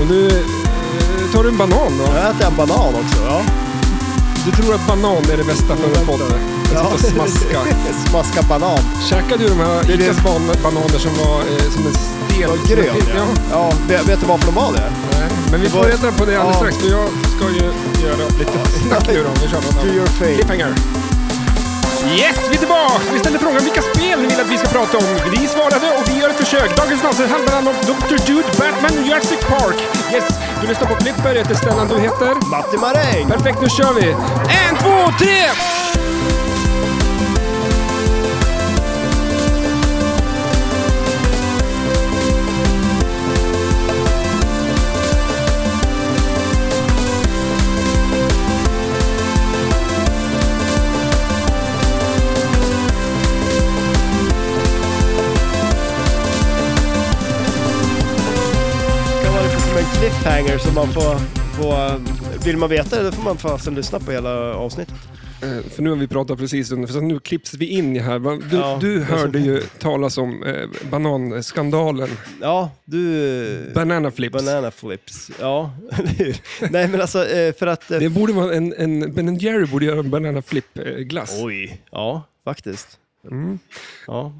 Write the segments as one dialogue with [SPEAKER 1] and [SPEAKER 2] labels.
[SPEAKER 1] eh, tar du en banan då?
[SPEAKER 2] Jag äter en banan också. Ja.
[SPEAKER 1] Du tror att banan är det bästa för en podd? Att sitta och smaska.
[SPEAKER 2] Smaska banan.
[SPEAKER 1] Käkade du de här
[SPEAKER 2] är det-
[SPEAKER 1] Icas ban- bananer som var eh, som en stel?
[SPEAKER 2] Och grön.
[SPEAKER 1] Ja.
[SPEAKER 2] Ja. ja. vet- Vet du varför de var det?
[SPEAKER 1] Nej. Men vi får
[SPEAKER 2] var-
[SPEAKER 1] reda på det alldeles
[SPEAKER 2] Ja.
[SPEAKER 1] strax. För jag ska ju göra lite snack nu då. Vi kör någon
[SPEAKER 2] Do your thing.
[SPEAKER 1] Cliffhanger. Yes, vi är tillbaka! Vi ställde frågan vilka spel ni vill att vi ska prata om. Ni svarade och vi gör ett försök. Dagens avsnitt handlar om Dr. Dude, Batman och Jurassic Park. Yes, du lyssnar på Flipper. Jag heter Stellan, du heter?
[SPEAKER 2] Matti Maräng!
[SPEAKER 1] Perfekt, nu kör vi! En, två, tre!
[SPEAKER 2] Kan vara lite som en cliffhanger som man får... får vill man veta det då får man fasen lyssna på hela avsnittet.
[SPEAKER 1] Eh, För nu har vi pratat precis under, för så nu klipps vi in i här. Va? Du,
[SPEAKER 2] Ja.
[SPEAKER 1] du hörde ju talas om eh, bananskandalen,
[SPEAKER 2] Ja, du...
[SPEAKER 1] banana flips.
[SPEAKER 2] Banana flips. Ja, eller hur? Nej men alltså eh, för att... eh,
[SPEAKER 1] Det borde vara en, en Ben Jerry borde göra en banana flip eh, glass.
[SPEAKER 2] Oj, ja faktiskt.
[SPEAKER 1] Mm.
[SPEAKER 2] Ja.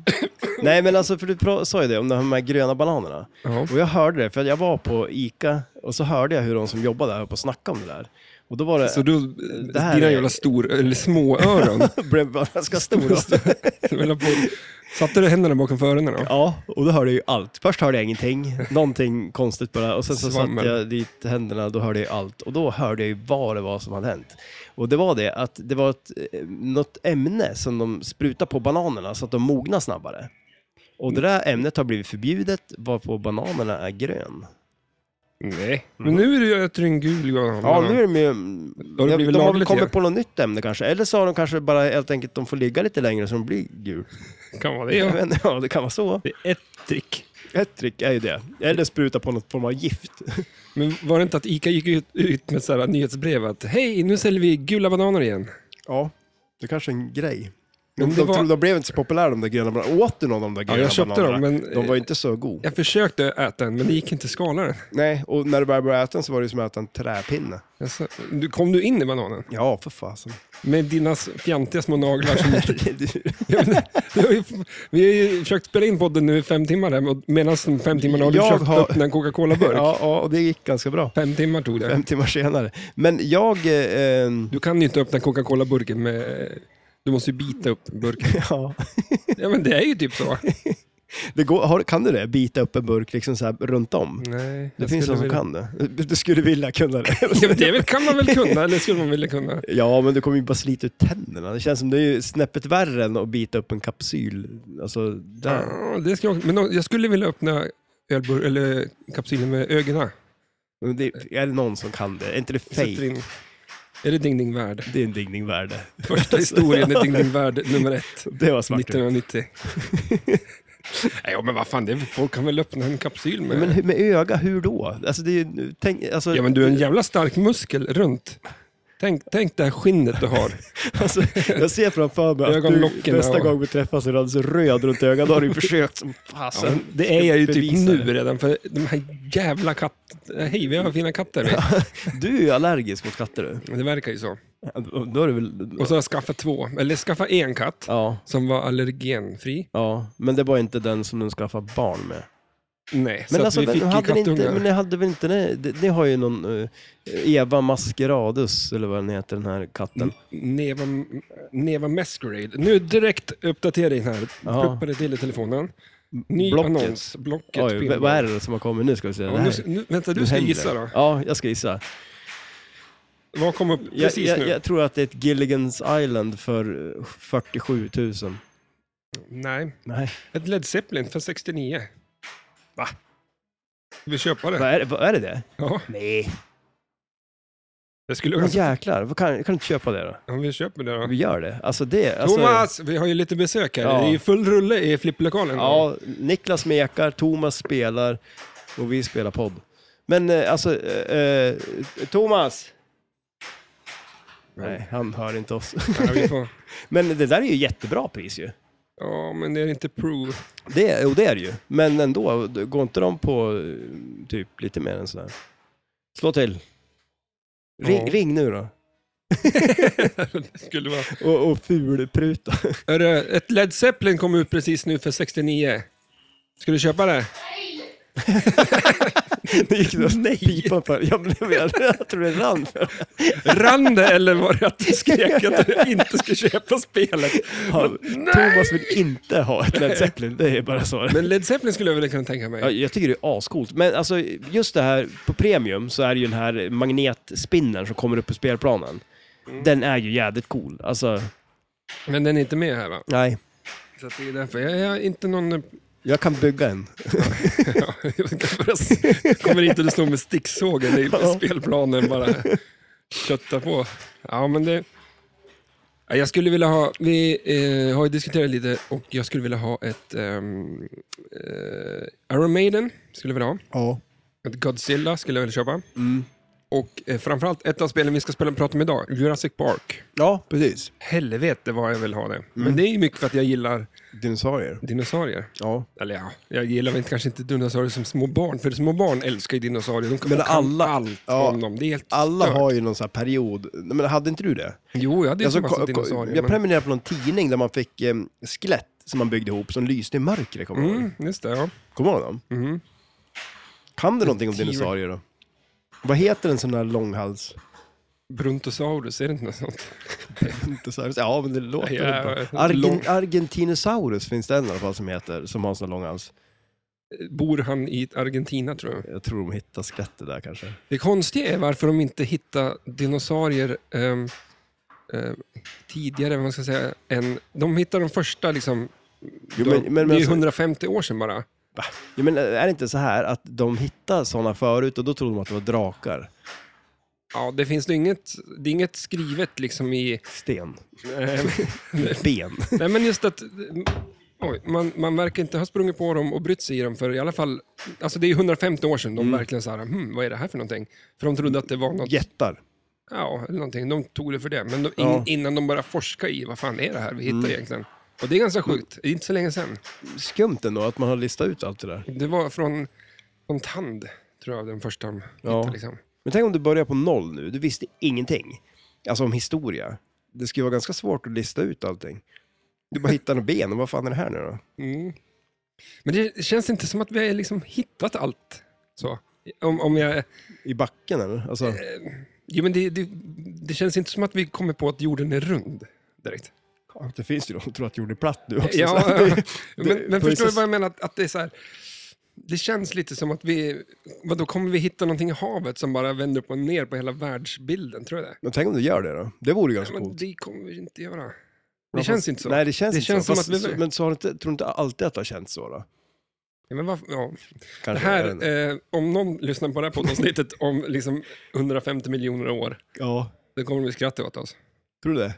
[SPEAKER 2] Nej men alltså för du pra- sa ju det om de här gröna bananerna.
[SPEAKER 1] Ja.
[SPEAKER 2] Och jag hörde det för jag var på ICA och så hörde jag hur de som jobbade där höll på att snacka om det där. Och då var det...
[SPEAKER 1] Så du,
[SPEAKER 2] Det här
[SPEAKER 1] dina
[SPEAKER 2] är-
[SPEAKER 1] jävla stor, eller småöron,
[SPEAKER 2] blev bara ganska stora.
[SPEAKER 1] du höll på- satte du händerna bakom för öronen då?
[SPEAKER 2] Ja, och då hörde jag ju allt. Först hörde jag ingenting, någonting konstigt bara. Och sen så
[SPEAKER 1] Svammel.
[SPEAKER 2] satte jag dit händerna, då hörde jag ju allt. Och då hörde jag ju vad det var som hade hänt. Och det var det att det var ett, eh, något ämne som de sprutar på bananerna så att de mognar snabbare. Och det där ämnet har blivit förbjudet, varpå bananerna är grön.
[SPEAKER 1] Nej. Men nu är du äter en gul banan.
[SPEAKER 2] Mm. Ja, nu är de ju...
[SPEAKER 1] Då har det
[SPEAKER 2] de,
[SPEAKER 1] blivit
[SPEAKER 2] de har väl
[SPEAKER 1] lagligt igen.
[SPEAKER 2] kommit på något nytt ämne kanske. Eller så har de kanske bara helt enkelt, de får ligga lite längre så de blir gul.
[SPEAKER 1] Kan vara det
[SPEAKER 2] Jag
[SPEAKER 1] ja.
[SPEAKER 2] vet inte, ja, det kan vara så.
[SPEAKER 3] Det är ett trick.
[SPEAKER 2] Ett trick är ju det. Eller spruta på något form av gift.
[SPEAKER 1] Men var det inte att ICA gick ut, ut med så här nyhetsbrev att hej, nu säljer vi gula bananer igen.
[SPEAKER 2] Ja, det kanske är en grej.
[SPEAKER 1] Men
[SPEAKER 2] Men
[SPEAKER 1] det
[SPEAKER 2] de, de,
[SPEAKER 1] var-
[SPEAKER 2] tro- de blev inte så populära de där gröna bananerna. Åt du någon av de där
[SPEAKER 1] Ja,
[SPEAKER 2] gröna
[SPEAKER 1] jag köpte dem,
[SPEAKER 2] bananerna?
[SPEAKER 1] men
[SPEAKER 2] De var ju inte så goda.
[SPEAKER 1] jag försökte äta en, men det gick inte att skala den.
[SPEAKER 2] Nej, och när du började börja äta den så var det ju som att äta en träpinne.
[SPEAKER 1] Jag sa- Du, kom du in i bananen?
[SPEAKER 2] Ja, för fasen.
[SPEAKER 1] Med dina fjantiga små naglar som
[SPEAKER 2] Herregud.
[SPEAKER 1] Jag vet inte, vi har ju- Vi har ju försökt spela in podden nu i fem timmar här, och medan de fem timmarna har du
[SPEAKER 2] Jag
[SPEAKER 1] försökt
[SPEAKER 2] har-
[SPEAKER 1] öppna en Coca-Cola-burk.
[SPEAKER 2] ja, ja, och det gick ganska bra.
[SPEAKER 1] Fem timmar tog det.
[SPEAKER 2] Fem timmar senare. Men jag... eh, Eh,
[SPEAKER 1] Du kan ju inte öppna Coca-Cola-burken med... Du måste ju bita upp burken.
[SPEAKER 2] ja,
[SPEAKER 1] Ja men det är ju typ så.
[SPEAKER 2] det går, har, kan du det? Bita upp en burk liksom så här runt
[SPEAKER 1] Mm.
[SPEAKER 2] om?
[SPEAKER 1] Nej,
[SPEAKER 2] Det finns någon som kan det. Du skulle vilja kunna det.
[SPEAKER 1] Ja, men det väl- kan man väl kunna, eller skulle man vilja kunna?
[SPEAKER 2] Ja, men du kommer ju bara slita ut tänderna. Det känns som det är ju snäppet värre än att bita upp en kapsyl. Alltså, där.
[SPEAKER 1] Ja, det ska jag, men jag skulle vilja öppna ölbur, eller kapsylen med ögonen.
[SPEAKER 2] Men Det, är det någon som kan det? Är inte det
[SPEAKER 1] Sätter
[SPEAKER 2] fake?
[SPEAKER 1] in. Är det Ding Ding Värld?
[SPEAKER 2] Det är en digning värde.
[SPEAKER 1] Första historien är Ding Ding Värld nummer ett.
[SPEAKER 2] Det var smart.
[SPEAKER 1] 1990. Nej, ja, men vad fan, det är, folk kan väl öppna en kapsyl med...
[SPEAKER 2] Men hur- med öga, hur då? Alltså, det är ju, tänk, alltså,
[SPEAKER 1] Ja, men du har en jävla stark muskel runt. Tänk, tänk det här skinnet du har.
[SPEAKER 2] alltså, jag ser framför mig att du
[SPEAKER 1] Ögonlocken
[SPEAKER 2] nästa
[SPEAKER 1] och-
[SPEAKER 2] gång vi träffas är du alldeles röd runt ögat. Då har du ju försökt som fasen.
[SPEAKER 1] det är jag ju typ
[SPEAKER 2] Bevisa
[SPEAKER 1] nu
[SPEAKER 2] det.
[SPEAKER 1] redan, för de här jävla katterna... Hej, vi har fina katter. vi.
[SPEAKER 2] Du är ju allergisk mot katter du.
[SPEAKER 1] Det verkar ju så.
[SPEAKER 2] Då är det väl...
[SPEAKER 1] Och så har jag skaffat två, eller skaffat en katt
[SPEAKER 2] Ja,
[SPEAKER 1] som var allergenfri.
[SPEAKER 2] ja, men det var inte den som du skaffade barn med.
[SPEAKER 1] Nej,
[SPEAKER 2] Men
[SPEAKER 1] så
[SPEAKER 2] alltså,
[SPEAKER 1] att vi
[SPEAKER 2] men,
[SPEAKER 1] fick ju
[SPEAKER 2] hade ni inte,
[SPEAKER 1] kattungar.
[SPEAKER 2] men ni hade väl inte, ni, ni, ni har ju någon eh, Eva Maskeradus, eller vad den heter, den här katten.
[SPEAKER 1] Neva, Neva Masquerade. Nu direkt uppdatering här.
[SPEAKER 2] Ja.
[SPEAKER 1] Pluppade till i telefonen. Ny
[SPEAKER 2] Blocket.
[SPEAKER 1] annons. Blocket.
[SPEAKER 2] Oj, v-
[SPEAKER 1] Billboard.
[SPEAKER 2] vad är det som har kommit nu ska vi se.
[SPEAKER 1] Ja,
[SPEAKER 2] det
[SPEAKER 1] nu,
[SPEAKER 2] här,
[SPEAKER 1] ska- nu, vänta, du
[SPEAKER 2] nu
[SPEAKER 1] ska
[SPEAKER 2] händer
[SPEAKER 1] gissa
[SPEAKER 2] det.
[SPEAKER 1] då.
[SPEAKER 2] Ja, jag ska gissa.
[SPEAKER 1] Vad kom upp
[SPEAKER 2] Jag,
[SPEAKER 1] precis
[SPEAKER 2] jag,
[SPEAKER 1] nu?
[SPEAKER 2] jag tror att det är ett Gilligan's Island för eh, 47 000.
[SPEAKER 1] Nej.
[SPEAKER 2] Nej,
[SPEAKER 1] Ett Led Zeppelin för 69. Va? Vill du köpa
[SPEAKER 2] vad
[SPEAKER 1] det?
[SPEAKER 2] är, det- vad är det det?
[SPEAKER 1] Ja,
[SPEAKER 2] Nej.
[SPEAKER 1] jag skulle
[SPEAKER 2] Men
[SPEAKER 1] önska
[SPEAKER 2] jäklar, vad kan, jag kan inte köpa det då?
[SPEAKER 1] om vi köper det då.
[SPEAKER 2] Alltså- Vi gör det. Alltså det, alltså,
[SPEAKER 1] Thomas, vi har ju lite besök här.
[SPEAKER 2] Ja.
[SPEAKER 1] Det är ju full rulle i flipplokalen. då.
[SPEAKER 2] Ja, Niklas mekar, Thomas spelar och vi spelar podd. Men eh, alltså, eh, eh, Thomas! Nej, han hör inte oss.
[SPEAKER 1] Ja, vi får...
[SPEAKER 2] Men det där är ju jättebra pris ju.
[SPEAKER 1] ja, men det är inte prov.
[SPEAKER 2] Det, jo, det är det ju. Men ändå, går inte de på eh, typ lite mer än sådär? Slå till. Ring,
[SPEAKER 1] Ja.
[SPEAKER 2] ring nu då.
[SPEAKER 1] det skulle vara...
[SPEAKER 2] Och, och fulpruta.
[SPEAKER 1] Hörru, ett Led Zeppelin kom ut precis nu för 69. Ska du köpa det?
[SPEAKER 2] Det gick då Nej. pipan för. Jag, blev, jag tror det rann för.
[SPEAKER 1] Rann det eller var det att du skrek att du inte ska köpa spelet?
[SPEAKER 2] Han, Thomas vill inte ha ett Led Zeppelin, det är bara så.
[SPEAKER 1] Men Led Zeppelin skulle jag väl kunna tänka
[SPEAKER 2] Ja,
[SPEAKER 1] mig.
[SPEAKER 2] jag tycker det är ascoolt. Men alltså, just det här på Premium så är det ju den här magnetspinnen som kommer upp på spelplanen. Den är ju jädrigt cool. Alltså,
[SPEAKER 1] Men den är inte med här va?
[SPEAKER 2] nej.
[SPEAKER 1] Så att det är därför. Jag jag är inte någon...
[SPEAKER 2] Jag kan bygga en.
[SPEAKER 1] Ja, jag bara s- kommer inte att stå med sticksågen i
[SPEAKER 2] Ja.
[SPEAKER 1] spelplanen bara kötta på. Ja, men det... Ja, Jag skulle vilja ha, vi eh, har ju diskuterat lite och jag skulle vilja ha ett ehm, eh, Iron Maiden, skulle jag vilja ha.
[SPEAKER 2] Ja.
[SPEAKER 1] Ett Godzilla skulle jag vilja köpa.
[SPEAKER 2] Mm.
[SPEAKER 1] Och eh, framförallt ett av spelen vi ska spela, prata om idag, Jurassic Park.
[SPEAKER 2] Ja, precis.
[SPEAKER 1] Helvete vad jag vill ha det.
[SPEAKER 2] Mm.
[SPEAKER 1] Men det är ju mycket för att jag gillar
[SPEAKER 2] Dinosaurier.
[SPEAKER 1] dinosaurier.
[SPEAKER 2] Ja.
[SPEAKER 1] Eller ja, jag gillar väl kanske inte dinosaurier som små barn, för små barn älskar ju dinosaurier. De kan,
[SPEAKER 2] Men
[SPEAKER 1] kan
[SPEAKER 2] alla-
[SPEAKER 1] allt
[SPEAKER 2] ja,
[SPEAKER 1] om dem. Det är helt
[SPEAKER 2] Alla
[SPEAKER 1] stört.
[SPEAKER 2] har ju någon sån här period. Nej, Men hade inte du det?
[SPEAKER 1] Jo, jag hade ju
[SPEAKER 2] Alltså,
[SPEAKER 1] en massa
[SPEAKER 2] ko- ko-
[SPEAKER 1] dinosaurier.
[SPEAKER 2] jag
[SPEAKER 1] men-
[SPEAKER 2] prenumererade på någon tidning där man fick eh, skelett som man byggde ihop som lyste i mörkret. Kommer du ihåg?
[SPEAKER 1] Mm, just det, ja.
[SPEAKER 2] Kommer du ihåg dem?
[SPEAKER 1] Mm.
[SPEAKER 2] Kan du någonting om
[SPEAKER 1] Tio-
[SPEAKER 2] dinosaurier då? Vad heter en sån här långhals?
[SPEAKER 1] Brontosaurus, är det inte något sånt?
[SPEAKER 2] Dinosaurus? Ja, men det låter
[SPEAKER 1] Ja,
[SPEAKER 2] väl bra.
[SPEAKER 1] lång-
[SPEAKER 2] Argen, Argentinosaurus finns det en i alla fall som heter, som har en sån här långhals.
[SPEAKER 1] Bor han i Argentina, tror jag.
[SPEAKER 2] Jag tror de hittar skelettet där kanske.
[SPEAKER 1] Det konstiga är varför de inte hittar dinosaurier ehm, ehm, tidigare, vad man ska säga, än... De hittar de första, liksom...
[SPEAKER 2] Jo,
[SPEAKER 1] de,
[SPEAKER 2] men- men- men
[SPEAKER 1] det är ju
[SPEAKER 2] alltså-
[SPEAKER 1] 150 år sedan bara.
[SPEAKER 2] Ja, men eh, är det inte så här att de hittar såna förut och då trodde de att det var drakar?
[SPEAKER 1] Ja, det finns ju inget, det är inget skrivet liksom i...
[SPEAKER 2] Sten?
[SPEAKER 1] ehm,
[SPEAKER 2] Ben?
[SPEAKER 1] Nej, men just att... Oj, man, man verkar inte ha sprungit på dem och brytt sig i dem, för i alla fall... Alltså det är 150 år sedan de
[SPEAKER 2] Mm.
[SPEAKER 1] verkligen så här, hmm, vad är det här för någonting? För de trodde att det var något...
[SPEAKER 2] Jättar?
[SPEAKER 1] Ja, eller någonting. De tog det för det. Men de, in,
[SPEAKER 2] Ja. Mm.
[SPEAKER 1] innan de började forska i, vad fan är det här vi hittar egentligen? Och det är ganska sjukt. Det är inte så länge sedan.
[SPEAKER 2] Skumt ändå att man har listat ut allt det där.
[SPEAKER 1] Det var från en tand, tror jag, den första de
[SPEAKER 2] Ja.
[SPEAKER 1] hittade. Liksom.
[SPEAKER 2] Men tänk om du börjar på noll nu, du visste ingenting. Alltså om historia. Det skulle vara ganska svårt att lista ut allting. Du bara hittar några ben, och vad fan är det här nu då?
[SPEAKER 1] Mm. Men det känns inte som att vi har liksom hittat allt. Så. Om, om jag...
[SPEAKER 2] I backen eller? Alltså,
[SPEAKER 1] Jo, men det, det, det känns inte som att vi kommer på att jorden är rund direkt.
[SPEAKER 2] ja, det finns ju de som tror att jorden är platt nu också.
[SPEAKER 1] Ja,
[SPEAKER 2] så här.
[SPEAKER 1] men men
[SPEAKER 2] på
[SPEAKER 1] förstår du
[SPEAKER 2] vissa-
[SPEAKER 1] vad jag menar? Att, att det, är så här, det känns lite som att vi... Vadå, kommer vi hitta någonting i havet som bara vänder upp och ner på hela världsbilden? Tror jag det.
[SPEAKER 2] Men tänk om du gör det då? Det vore ju ganska
[SPEAKER 1] Men
[SPEAKER 2] coolt.
[SPEAKER 1] det kommer vi inte göra.
[SPEAKER 2] Ja,
[SPEAKER 1] Det
[SPEAKER 2] fast-
[SPEAKER 1] känns inte så.
[SPEAKER 2] Nej, det känns
[SPEAKER 1] Det
[SPEAKER 2] inte
[SPEAKER 1] känns
[SPEAKER 2] så.
[SPEAKER 1] som
[SPEAKER 2] Fast
[SPEAKER 1] att vi-
[SPEAKER 2] så- Men så har det inte, tror du inte alltid att det har känts så då?
[SPEAKER 1] Ja, men varför, ja.
[SPEAKER 2] Kanske,
[SPEAKER 1] Det
[SPEAKER 2] jag vet inte.
[SPEAKER 1] här, eh, om någon lyssnar på det här poddavsnittet om liksom 150 miljoner år,
[SPEAKER 2] Ja,
[SPEAKER 1] då kommer de skratta åt oss.
[SPEAKER 2] tror du det?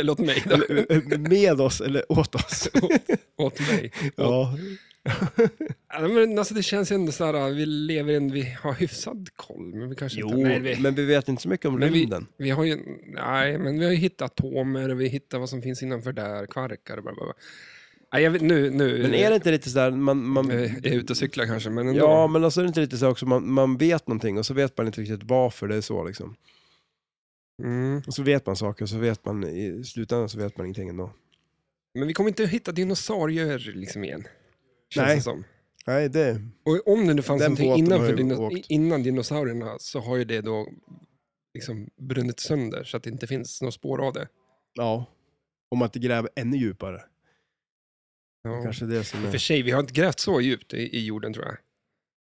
[SPEAKER 1] Eller åt mig. Då.
[SPEAKER 2] Eller, eh, Med oss eller åt oss?
[SPEAKER 1] åt mig.
[SPEAKER 2] ja.
[SPEAKER 1] Ja, men alltså det känns ändå så här, vi lever i en, vi har hyfsad koll, men vi kanske
[SPEAKER 2] Jo,
[SPEAKER 1] inte... Nej, vi,
[SPEAKER 2] men vi vet inte så mycket om
[SPEAKER 1] Men vi-
[SPEAKER 2] rymden.
[SPEAKER 1] vi har ju, nej, men vi har ju hittat atomer och vi hittar vad som finns innanför där, kvarkar och bla, bla, bla. Nej, jag vet, nu, nu
[SPEAKER 2] Men är det inte lite sådär, man, man,
[SPEAKER 1] eh, jag är ute och cyklar kanske, men ändå.
[SPEAKER 2] Ja, men alltså är det inte lite så också, man, man vet någonting och så vet man inte riktigt varför det är så liksom.
[SPEAKER 1] Mm.
[SPEAKER 2] Och så vet man saker och så vet man i slutändan så vet man ingenting ändå.
[SPEAKER 1] men vi kommer inte att hitta dinosaurier liksom igen. Känns
[SPEAKER 2] Nej.
[SPEAKER 1] Det som.
[SPEAKER 2] Nej, det...
[SPEAKER 1] Och om det nu fanns
[SPEAKER 2] Den
[SPEAKER 1] någonting
[SPEAKER 2] båten har
[SPEAKER 1] innanför
[SPEAKER 2] ju
[SPEAKER 1] dino,
[SPEAKER 2] åkt.
[SPEAKER 1] innan dinosaurierna så har ju det då liksom brunnit sönder så att det inte finns några spår av det.
[SPEAKER 2] Ja. Om att gräva ännu djupare.
[SPEAKER 1] Ja.
[SPEAKER 2] Kanske det som
[SPEAKER 1] I och för
[SPEAKER 2] är...
[SPEAKER 1] sig, vi har inte grävt så djupt i, i jorden tror jag.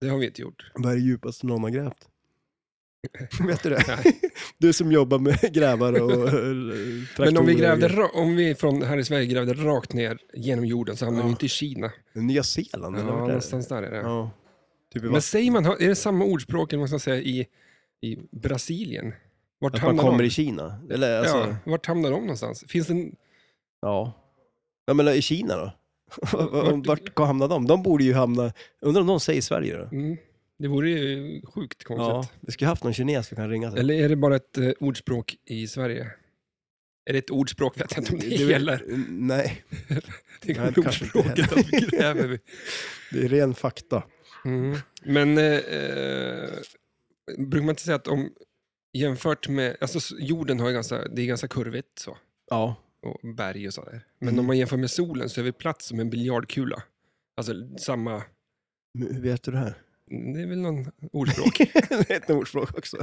[SPEAKER 1] Det har vi inte gjort.
[SPEAKER 2] Vad är det djupaste någon har grävt? vet du det?
[SPEAKER 1] Nej.
[SPEAKER 2] Du som jobbar med grävare och eh, traktorer.
[SPEAKER 1] Men om vi, grävde,
[SPEAKER 2] och-
[SPEAKER 1] ra- om vi från här i Sverige grävde rakt ner genom jorden så hamnade
[SPEAKER 2] Ja.
[SPEAKER 1] vi inte i Kina.
[SPEAKER 2] Nya Zeeland
[SPEAKER 1] Ja,
[SPEAKER 2] eller vart är det?
[SPEAKER 1] någonstans där är det.
[SPEAKER 2] Ja. Typ i
[SPEAKER 1] Men säger man, är det samma ordspråk eller vad man ska säga, i, i Brasilien? Vart
[SPEAKER 2] Att man
[SPEAKER 1] hamnar
[SPEAKER 2] kommer
[SPEAKER 1] de?
[SPEAKER 2] i Kina? Eller alltså...
[SPEAKER 1] Ja, vart hamnar de någonstans? Finns det en...
[SPEAKER 2] Ja. Jag menar i Kina då?
[SPEAKER 1] Vart-
[SPEAKER 2] Vart hamnar de? De borde ju hamna... Undrar om de säger Sverige då?
[SPEAKER 1] Mm, det vore ju sjukt
[SPEAKER 2] Ja,
[SPEAKER 1] konstigt.
[SPEAKER 2] vi skulle haft någon kines vi kan ringa till.
[SPEAKER 1] Eller är det bara ett eh, ordspråk i Sverige? Är det ett ordspråk? Vet jag inte om det,
[SPEAKER 2] är väl-
[SPEAKER 1] gäller.
[SPEAKER 2] Nej,
[SPEAKER 1] Det
[SPEAKER 2] Nej,
[SPEAKER 1] är
[SPEAKER 2] det kanske inte
[SPEAKER 1] ordspråket att vi gräver. vid-
[SPEAKER 2] det är ren fakta.
[SPEAKER 1] Mm. Men eh, eh, brukar man inte säga att om Jämfört med, alltså s- jorden har ju ganska, det är ganska kurvigt så.
[SPEAKER 2] Ja.
[SPEAKER 1] Och berg och sådär. Men
[SPEAKER 2] Mm.
[SPEAKER 1] om man jämför med solen så är vi platt som en biljardkula. Alltså samma, mm,
[SPEAKER 2] Men Hur vet du det här?
[SPEAKER 1] det är väl någon ordspråk.
[SPEAKER 2] det är ett ordspråk också.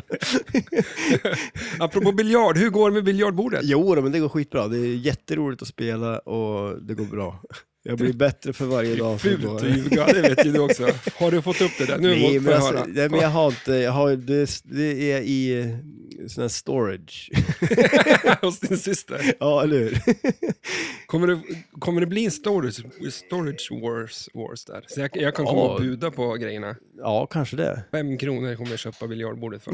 [SPEAKER 1] Apropå biljard, hur går det med biljardbordet?
[SPEAKER 2] Jo, då, men det går skitbra. Det är jätteroligt att spela och det går bra. Jag blir bättre för varje dag. som
[SPEAKER 1] Fult
[SPEAKER 2] går.
[SPEAKER 1] att ljuga, det vet ju du också. Har du fått upp det där? Nu
[SPEAKER 2] Nej,
[SPEAKER 1] får
[SPEAKER 2] men
[SPEAKER 1] jag
[SPEAKER 2] alltså,
[SPEAKER 1] höra.
[SPEAKER 2] nej, men jag har inte, jag har, det, det är i eh, sån här storage.
[SPEAKER 1] Hos din syster.
[SPEAKER 2] ja, eller hur?
[SPEAKER 1] Kommer det, kommer det bli en storage, storage wars, wars där? Så jag, jag kan komma
[SPEAKER 2] Ja.
[SPEAKER 1] och buda på grejerna.
[SPEAKER 2] Ja, kanske det.
[SPEAKER 1] Fem kronor kommer jag köpa biljardbordet för.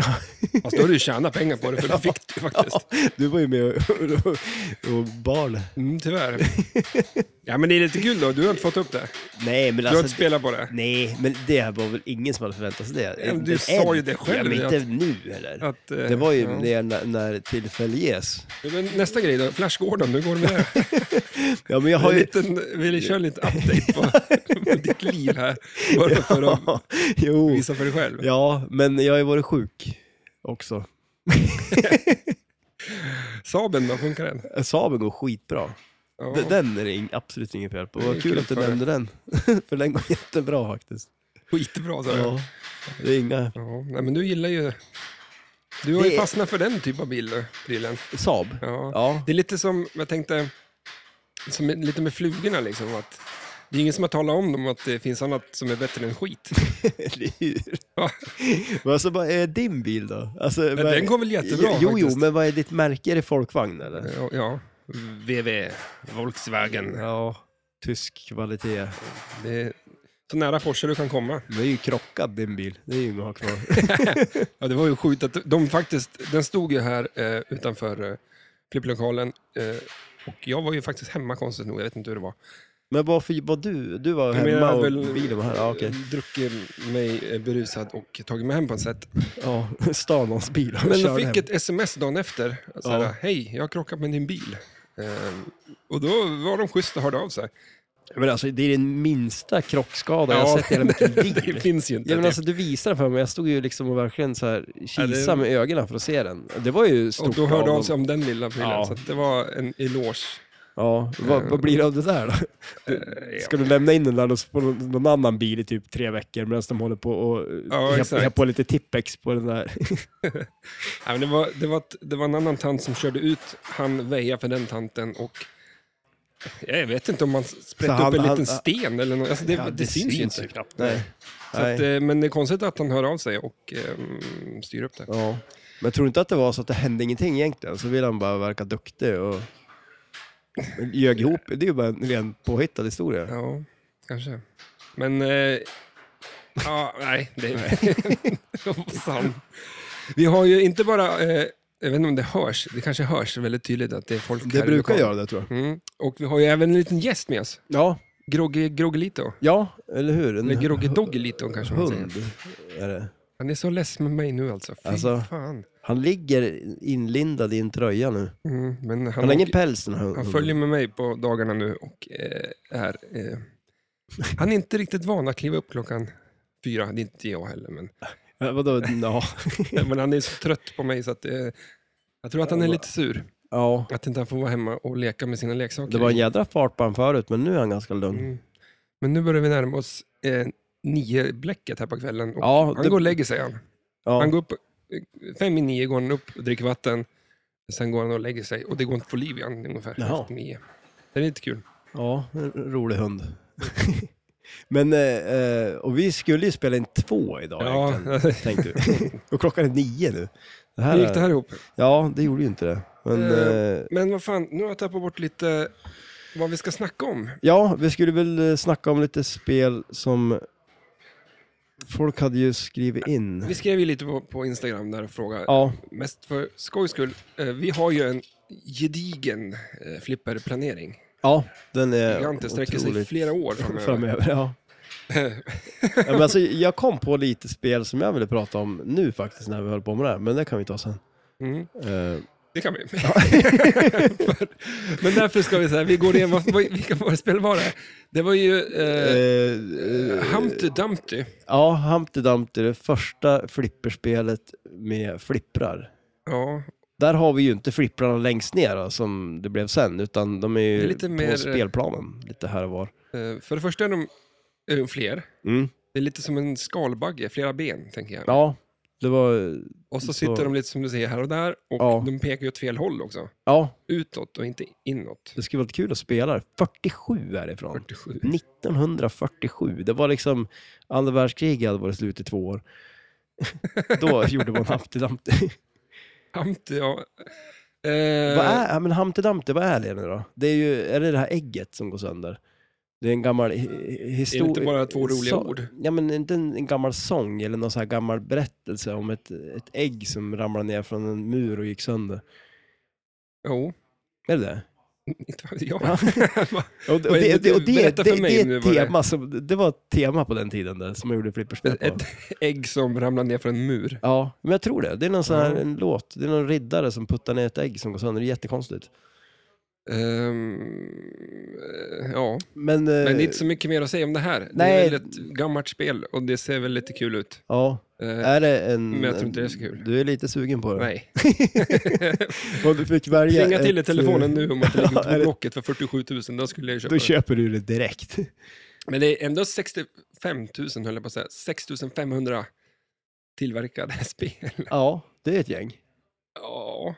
[SPEAKER 1] Fast då har du ju tjänat pengar på det, för det fick du faktiskt.
[SPEAKER 2] Du var ju med och, och, och bal.
[SPEAKER 1] Mm, tyvärr. Ja, men det är lite kul då. Du har inte fått upp det.
[SPEAKER 2] Nej, men
[SPEAKER 1] Du har inte
[SPEAKER 2] alltså...
[SPEAKER 1] spelat på det.
[SPEAKER 2] Nej, men det här var väl ingen som hade förväntat sig det.
[SPEAKER 1] men du
[SPEAKER 2] Inte
[SPEAKER 1] sa ju
[SPEAKER 2] än.
[SPEAKER 1] det
[SPEAKER 2] Ja,
[SPEAKER 1] själv,
[SPEAKER 2] men inte nu heller.
[SPEAKER 1] Att, eh,
[SPEAKER 2] det var ju
[SPEAKER 1] ja.
[SPEAKER 2] när, när- när tillfälle ges.
[SPEAKER 1] Men nästa grej då, Flash Gordon, hur går det med det?
[SPEAKER 2] Ja, men jag
[SPEAKER 1] Jag har
[SPEAKER 2] har
[SPEAKER 1] en
[SPEAKER 2] ju...
[SPEAKER 1] liten, vill köra en liten update på, på ditt liv här. Bara för att
[SPEAKER 2] jo.
[SPEAKER 1] visa för dig själv.
[SPEAKER 2] Ja, men jag har ju varit sjuk också.
[SPEAKER 1] Saben då, funkar den?
[SPEAKER 2] Saben går skitbra.
[SPEAKER 1] Ja.
[SPEAKER 2] D- Den är det ing- absolut inget fel på.
[SPEAKER 1] Det är
[SPEAKER 2] Vad kul
[SPEAKER 1] kul
[SPEAKER 2] att du
[SPEAKER 1] för
[SPEAKER 2] nämnde den. för den går jättebra faktiskt.
[SPEAKER 1] Skitbra, sa jag.
[SPEAKER 2] Ja, det är inga...
[SPEAKER 1] Ja, nej, men du gillar ju... Du har
[SPEAKER 2] Det-
[SPEAKER 1] ju fastnat för den typ av bil, prylen.
[SPEAKER 2] Saab?
[SPEAKER 1] Ja.
[SPEAKER 2] Ja.
[SPEAKER 1] Det är lite som, jag tänkte, som är- lite med flugorna liksom. Att det är ingen som har talat om dem att det finns annat som är bättre än skit.
[SPEAKER 2] Eller hur?
[SPEAKER 1] Ja.
[SPEAKER 2] Men alltså, vad är din bil då? Alltså,
[SPEAKER 1] Men
[SPEAKER 2] vad-
[SPEAKER 1] den går väl jättebra
[SPEAKER 2] Jo, jo,
[SPEAKER 1] faktiskt.
[SPEAKER 2] men vad är ditt märke? Är det folkvagn eller?
[SPEAKER 1] Ja, ja. VW, Volkswagen.
[SPEAKER 2] Ja, tysk kvalitet.
[SPEAKER 1] Det är så nära Porsche du kan komma.
[SPEAKER 2] Den är ju krockad din bil. Det är ju inget att ha kvar.
[SPEAKER 1] Ja, det var ju sjukt att de faktiskt, den stod ju här eh, utanför eh, flipplokalen eh, och jag var ju faktiskt hemma konstigt nog, jag vet inte hur det var.
[SPEAKER 2] Men varför var du? Du var
[SPEAKER 1] men
[SPEAKER 2] hemma och
[SPEAKER 1] väl,
[SPEAKER 2] bilen var här? Ja, okej.
[SPEAKER 1] druckit mig eh, berusad och tagit mig hem på ett sätt.
[SPEAKER 2] Ja, stal någons bil och
[SPEAKER 1] Men jag
[SPEAKER 2] körde
[SPEAKER 1] fick
[SPEAKER 2] hem.
[SPEAKER 1] ett sms dagen efter. Så här,
[SPEAKER 2] Ja.
[SPEAKER 1] Hej, jag har krockat med din bil. Ehm, och då var de schyssta och hörde av sig.
[SPEAKER 2] Men alltså, det är den minsta krockskada jag
[SPEAKER 1] Ja,
[SPEAKER 2] har sett i hela mitt
[SPEAKER 1] Det
[SPEAKER 2] liv.
[SPEAKER 1] finns ju inte.
[SPEAKER 2] Ja, men
[SPEAKER 1] det.
[SPEAKER 2] alltså, du visade den för mig, jag stod ju liksom och verkligen så här,
[SPEAKER 1] det-
[SPEAKER 2] kisade med ögonen för att se den. Det var ju stort
[SPEAKER 1] och då hörde
[SPEAKER 2] av
[SPEAKER 1] av sig om den lilla bilen.
[SPEAKER 2] Ja.
[SPEAKER 1] Så att det var en eloge.
[SPEAKER 2] Ja, vad, vad blir det av det där då?
[SPEAKER 1] Eh,
[SPEAKER 2] Ska du lämna in den där hos- på någon någon annan bil i typ tre veckor medan de håller på och
[SPEAKER 1] Ja,
[SPEAKER 2] ja,
[SPEAKER 1] exakt.
[SPEAKER 2] på lite tippex på den där?
[SPEAKER 1] Ja, men det, var, det, var ett, det var en annan tant som körde ut. Han väjade för den tanten och eh, jag vet inte om man sprätte
[SPEAKER 2] Så
[SPEAKER 1] upp
[SPEAKER 2] han-
[SPEAKER 1] en liten
[SPEAKER 2] han-
[SPEAKER 1] sten eller något. Alltså det,
[SPEAKER 2] Ja,
[SPEAKER 1] det, syns ju inte.
[SPEAKER 2] knappt. Nej.
[SPEAKER 1] Så
[SPEAKER 2] Nej.
[SPEAKER 1] att, eh, men det är konstigt att han hör av sig och ehm, styr upp det.
[SPEAKER 2] Ja. Men tror du inte att det var så att det hände ingenting egentligen? Så vill han bara verka duktig och Men ljög ihop. Det är ju bara en ren påhittad historia.
[SPEAKER 1] Ja, kanske. Men... Eh, ja, nej. Det är sant. Vi har ju inte bara... Eh, jag vet inte om det hörs. Det kanske hörs väldigt tydligt att det är folk här
[SPEAKER 2] Det
[SPEAKER 1] i
[SPEAKER 2] brukar
[SPEAKER 1] lokalen.
[SPEAKER 2] göra det tror jag.
[SPEAKER 1] Mm. Och vi har ju även en liten gäst med oss.
[SPEAKER 2] Ja,
[SPEAKER 1] Grogge, Groggelito.
[SPEAKER 2] ja eller hur? En
[SPEAKER 1] Eller Grogge Doggelito kanske man säger.
[SPEAKER 2] Mm. hund är det.
[SPEAKER 1] Han är så less med mig nu alltså. Fy
[SPEAKER 2] Alltså,
[SPEAKER 1] fan.
[SPEAKER 2] Han ligger inlindad i en tröja nu. Han,
[SPEAKER 1] Mm, men han,
[SPEAKER 2] har
[SPEAKER 1] åker-
[SPEAKER 2] ingen päls den här hunden.
[SPEAKER 1] han följer med mig på dagarna nu och eh, är... Eh, han är inte riktigt van att kliva upp klockan fyra. Det är inte jag heller, men...
[SPEAKER 2] Ja, vadå? Ja.
[SPEAKER 1] Nej, men han är så trött på mig så att eh, jag tror att han är lite sur.
[SPEAKER 2] ja.
[SPEAKER 1] Att inte han får vara hemma och leka med sina leksaker.
[SPEAKER 2] Det var en jädra fart på han förut, men nu är han ganska lugn.
[SPEAKER 1] Mm. Men nu börjar vi närma oss eh, nio-bläcket här på kvällen. Och
[SPEAKER 2] Ja,
[SPEAKER 1] han
[SPEAKER 2] det-
[SPEAKER 1] går och lägger sig. Han.
[SPEAKER 2] Ja.
[SPEAKER 1] han går upp, eh, fem i nio går han upp och dricker vatten. Sen går han och lägger sig och det går inte att få liv i han ungefär
[SPEAKER 2] Jaha.
[SPEAKER 1] efter nio. Det är lite kul.
[SPEAKER 2] Ja, en rolig hund. Men, eh, eh, och vi skulle ju spela in två idag
[SPEAKER 1] Ja.
[SPEAKER 2] egentligen, tänkte vi. Och klockan är nio nu. Det här,
[SPEAKER 1] Hur gick det här ihop?
[SPEAKER 2] Ja, det gjorde ju inte det. Men,
[SPEAKER 1] Eh.
[SPEAKER 2] eh,
[SPEAKER 1] Men vad fan, nu har jag tappat bort lite vad vi ska snacka om.
[SPEAKER 2] ja, vi skulle väl eh, snacka om lite spel som folk hade ju skrivit in.
[SPEAKER 1] Vi skrev ju lite på, på Instagram där och frågade
[SPEAKER 2] Ja,
[SPEAKER 1] Mest för skojs skull. eh, Vi har ju en gedigen eh, flipperplanering.
[SPEAKER 2] ja, den är
[SPEAKER 1] Giganten sträcker sig
[SPEAKER 2] otroligt
[SPEAKER 1] flera år framöver.
[SPEAKER 2] framöver. Ja. ja, men alltså, jag kom på lite spel som jag ville prata om nu faktiskt när vi höll på med det här, men det kan vi ta sen.
[SPEAKER 1] Mm,
[SPEAKER 2] Eh,
[SPEAKER 1] det kan vi. För- Men därför ska vi säga, vi går igenom, vad- vad- vilka var det spel var det? Det var ju eh,
[SPEAKER 2] eh, eh,
[SPEAKER 1] Humpty Dumpty.
[SPEAKER 2] Ja, Humpty Dumpty, det första flipperspelet med flipprar.
[SPEAKER 1] Ja,
[SPEAKER 2] Där har vi ju inte flipprarna längst ner då, som det blev sen, utan de är ju
[SPEAKER 1] Det är lite
[SPEAKER 2] på
[SPEAKER 1] mer-
[SPEAKER 2] spelplanen lite här och var.
[SPEAKER 1] eh, för det första är de, är de fler.
[SPEAKER 2] Mm.
[SPEAKER 1] Det är lite som en skalbagge, flera ben tänker jag.
[SPEAKER 2] Ja, det var...
[SPEAKER 1] och så
[SPEAKER 2] så-
[SPEAKER 1] sitter de lite som du säger här och där och
[SPEAKER 2] Ja.
[SPEAKER 1] de pekar ju åt fel håll också.
[SPEAKER 2] Ja,
[SPEAKER 1] Utåt och inte inåt.
[SPEAKER 2] det skulle vara lite kul att spela det. 47 är det ifrån.
[SPEAKER 1] 47.
[SPEAKER 2] 1947. Det var liksom andra världskriget hade varit slut i två år. Då gjorde man Humpty Dumpty.
[SPEAKER 1] Hamte, ja. Eh,
[SPEAKER 2] vad är, ja, men Humpty Dumpty, vad är det nu då? Det är ju, är det det här ägget som går sönder? Det är en gammal
[SPEAKER 1] är det inte
[SPEAKER 2] historia.
[SPEAKER 1] bara två roliga
[SPEAKER 2] så-
[SPEAKER 1] ord?
[SPEAKER 2] Ja, men inte en, en gammal sång eller någon så här gammal berättelse om ett, ett ägg som ramlade ner från en mur och gick sönder.
[SPEAKER 1] Jo,
[SPEAKER 2] Är det det?
[SPEAKER 1] inte vad jag.
[SPEAKER 2] Ja.
[SPEAKER 1] Va?
[SPEAKER 2] Och, och det,
[SPEAKER 1] Vad är det
[SPEAKER 2] och det, och
[SPEAKER 1] du-
[SPEAKER 2] det,
[SPEAKER 1] berätta
[SPEAKER 2] det,
[SPEAKER 1] för mig
[SPEAKER 2] det,
[SPEAKER 1] nu
[SPEAKER 2] är ett
[SPEAKER 1] vad det är.
[SPEAKER 2] tema som, det var ett tema på den tiden där, som man gjorde flipperspel på.
[SPEAKER 1] Ett ägg som ramlar ner från en mur.
[SPEAKER 2] Ja, men jag tror det. Det är någon sån här
[SPEAKER 1] Ja.
[SPEAKER 2] en låt. Det är någon riddare som puttar ner ett ägg som går sönder. Det är jättekonstigt.
[SPEAKER 1] Ehm, eh, ja,
[SPEAKER 2] Men,
[SPEAKER 1] men det är inte så mycket mer att säga om det här.
[SPEAKER 2] Eh. nej.
[SPEAKER 1] Det är väl ett gammalt spel och det ser väl lite kul ut.
[SPEAKER 2] ja,
[SPEAKER 1] Eh,
[SPEAKER 2] är det en...
[SPEAKER 1] men jag tror inte det är så kul.
[SPEAKER 2] Du är lite sugen på det.
[SPEAKER 1] nej.
[SPEAKER 2] Om du fick välja
[SPEAKER 1] Plinga till i
[SPEAKER 2] ett,
[SPEAKER 1] telefonen
[SPEAKER 2] eh,
[SPEAKER 1] nu om att det ligger
[SPEAKER 2] Ja,
[SPEAKER 1] ute
[SPEAKER 2] är
[SPEAKER 1] på
[SPEAKER 2] det-
[SPEAKER 1] Blocket för 47 000, då skulle jag ju köpa
[SPEAKER 2] Då
[SPEAKER 1] det.
[SPEAKER 2] köper du det direkt.
[SPEAKER 1] Men det är ändå 65 000, höll jag på att säga, 6 500 tillverkade spel.
[SPEAKER 2] Ja, det är ett gäng.
[SPEAKER 1] Ja,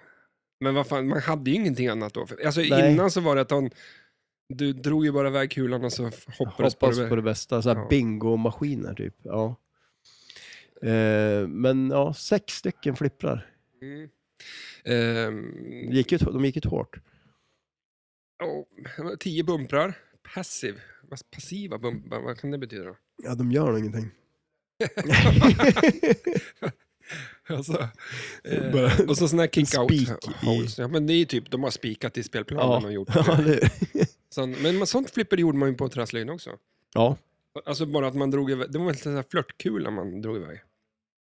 [SPEAKER 1] men vad fan, man hade ju ingenting annat då. Alltså
[SPEAKER 2] Nej.
[SPEAKER 1] innan så var det att han, du drog ju bara iväg kulan och så hoppades
[SPEAKER 2] Hoppas
[SPEAKER 1] på det.
[SPEAKER 2] på det, bästa. Så här
[SPEAKER 1] Ja.
[SPEAKER 2] bingo-maskiner typ. Ja. Eh, men ja, sex stycken flipprar.
[SPEAKER 1] Mm.
[SPEAKER 2] De
[SPEAKER 1] Ehm,
[SPEAKER 2] gick ut, de gick ut hårt.
[SPEAKER 1] Ja, tio bumprar. Passiv. Vad- Passiva bumprar, vad kan det betyda? då?
[SPEAKER 2] Ja, de gör nog ingenting.
[SPEAKER 1] Alltså, eh,
[SPEAKER 2] Bara-
[SPEAKER 1] och så sådana här
[SPEAKER 2] Spik i-
[SPEAKER 1] kick-out holes. Ja, men det är ju typ, de har spikat i spelplanen
[SPEAKER 2] Ja.
[SPEAKER 1] och gjort
[SPEAKER 2] ja,
[SPEAKER 1] det.
[SPEAKER 2] det...
[SPEAKER 1] Sån, men man- sånt flipper gjorde man ju på Trasslöjden också.
[SPEAKER 2] ja.
[SPEAKER 1] Alltså bara att man drog iväg, det var en sån här flörtkula man drog iväg.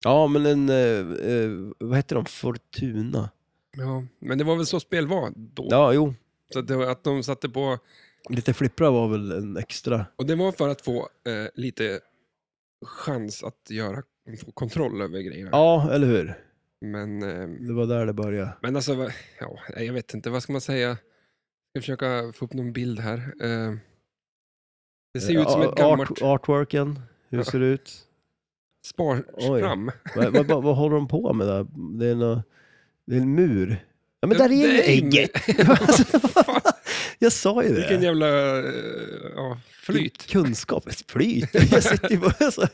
[SPEAKER 2] ja, men en... eh, eh, vad heter de? Fortuna?
[SPEAKER 1] Ja, men det var väl så spel var då.
[SPEAKER 2] Ja, jo.
[SPEAKER 1] Så att, det var, att de satte på,
[SPEAKER 2] Lite flipprar var väl en extra...
[SPEAKER 1] och det var för att få eh, lite chans att göra, få kontroll över grejerna.
[SPEAKER 2] Ja, eller hur?
[SPEAKER 1] Men eh,
[SPEAKER 2] Det var där det började.
[SPEAKER 1] Men alltså, vad- ja, jag vet inte, vad ska man säga? Jag ska försöka få upp någon bild här. Eh, Det ser ju ut som ett
[SPEAKER 2] Eh, Art-
[SPEAKER 1] gammalt
[SPEAKER 2] artworken, hur
[SPEAKER 1] Ja.
[SPEAKER 2] ser det ut?
[SPEAKER 1] sparspram.
[SPEAKER 2] vad, vad, vad, vad håller de på med där? Det är, nå, det är en mur. Ja, men där är ju
[SPEAKER 1] Nej,
[SPEAKER 2] ägget!
[SPEAKER 1] men- Vad fan,
[SPEAKER 2] Jag sa ju
[SPEAKER 1] Vilken
[SPEAKER 2] det.
[SPEAKER 1] jävla eh, ja, flyt.
[SPEAKER 2] Kunskap, ett flyt. Jag sitter ju bara så.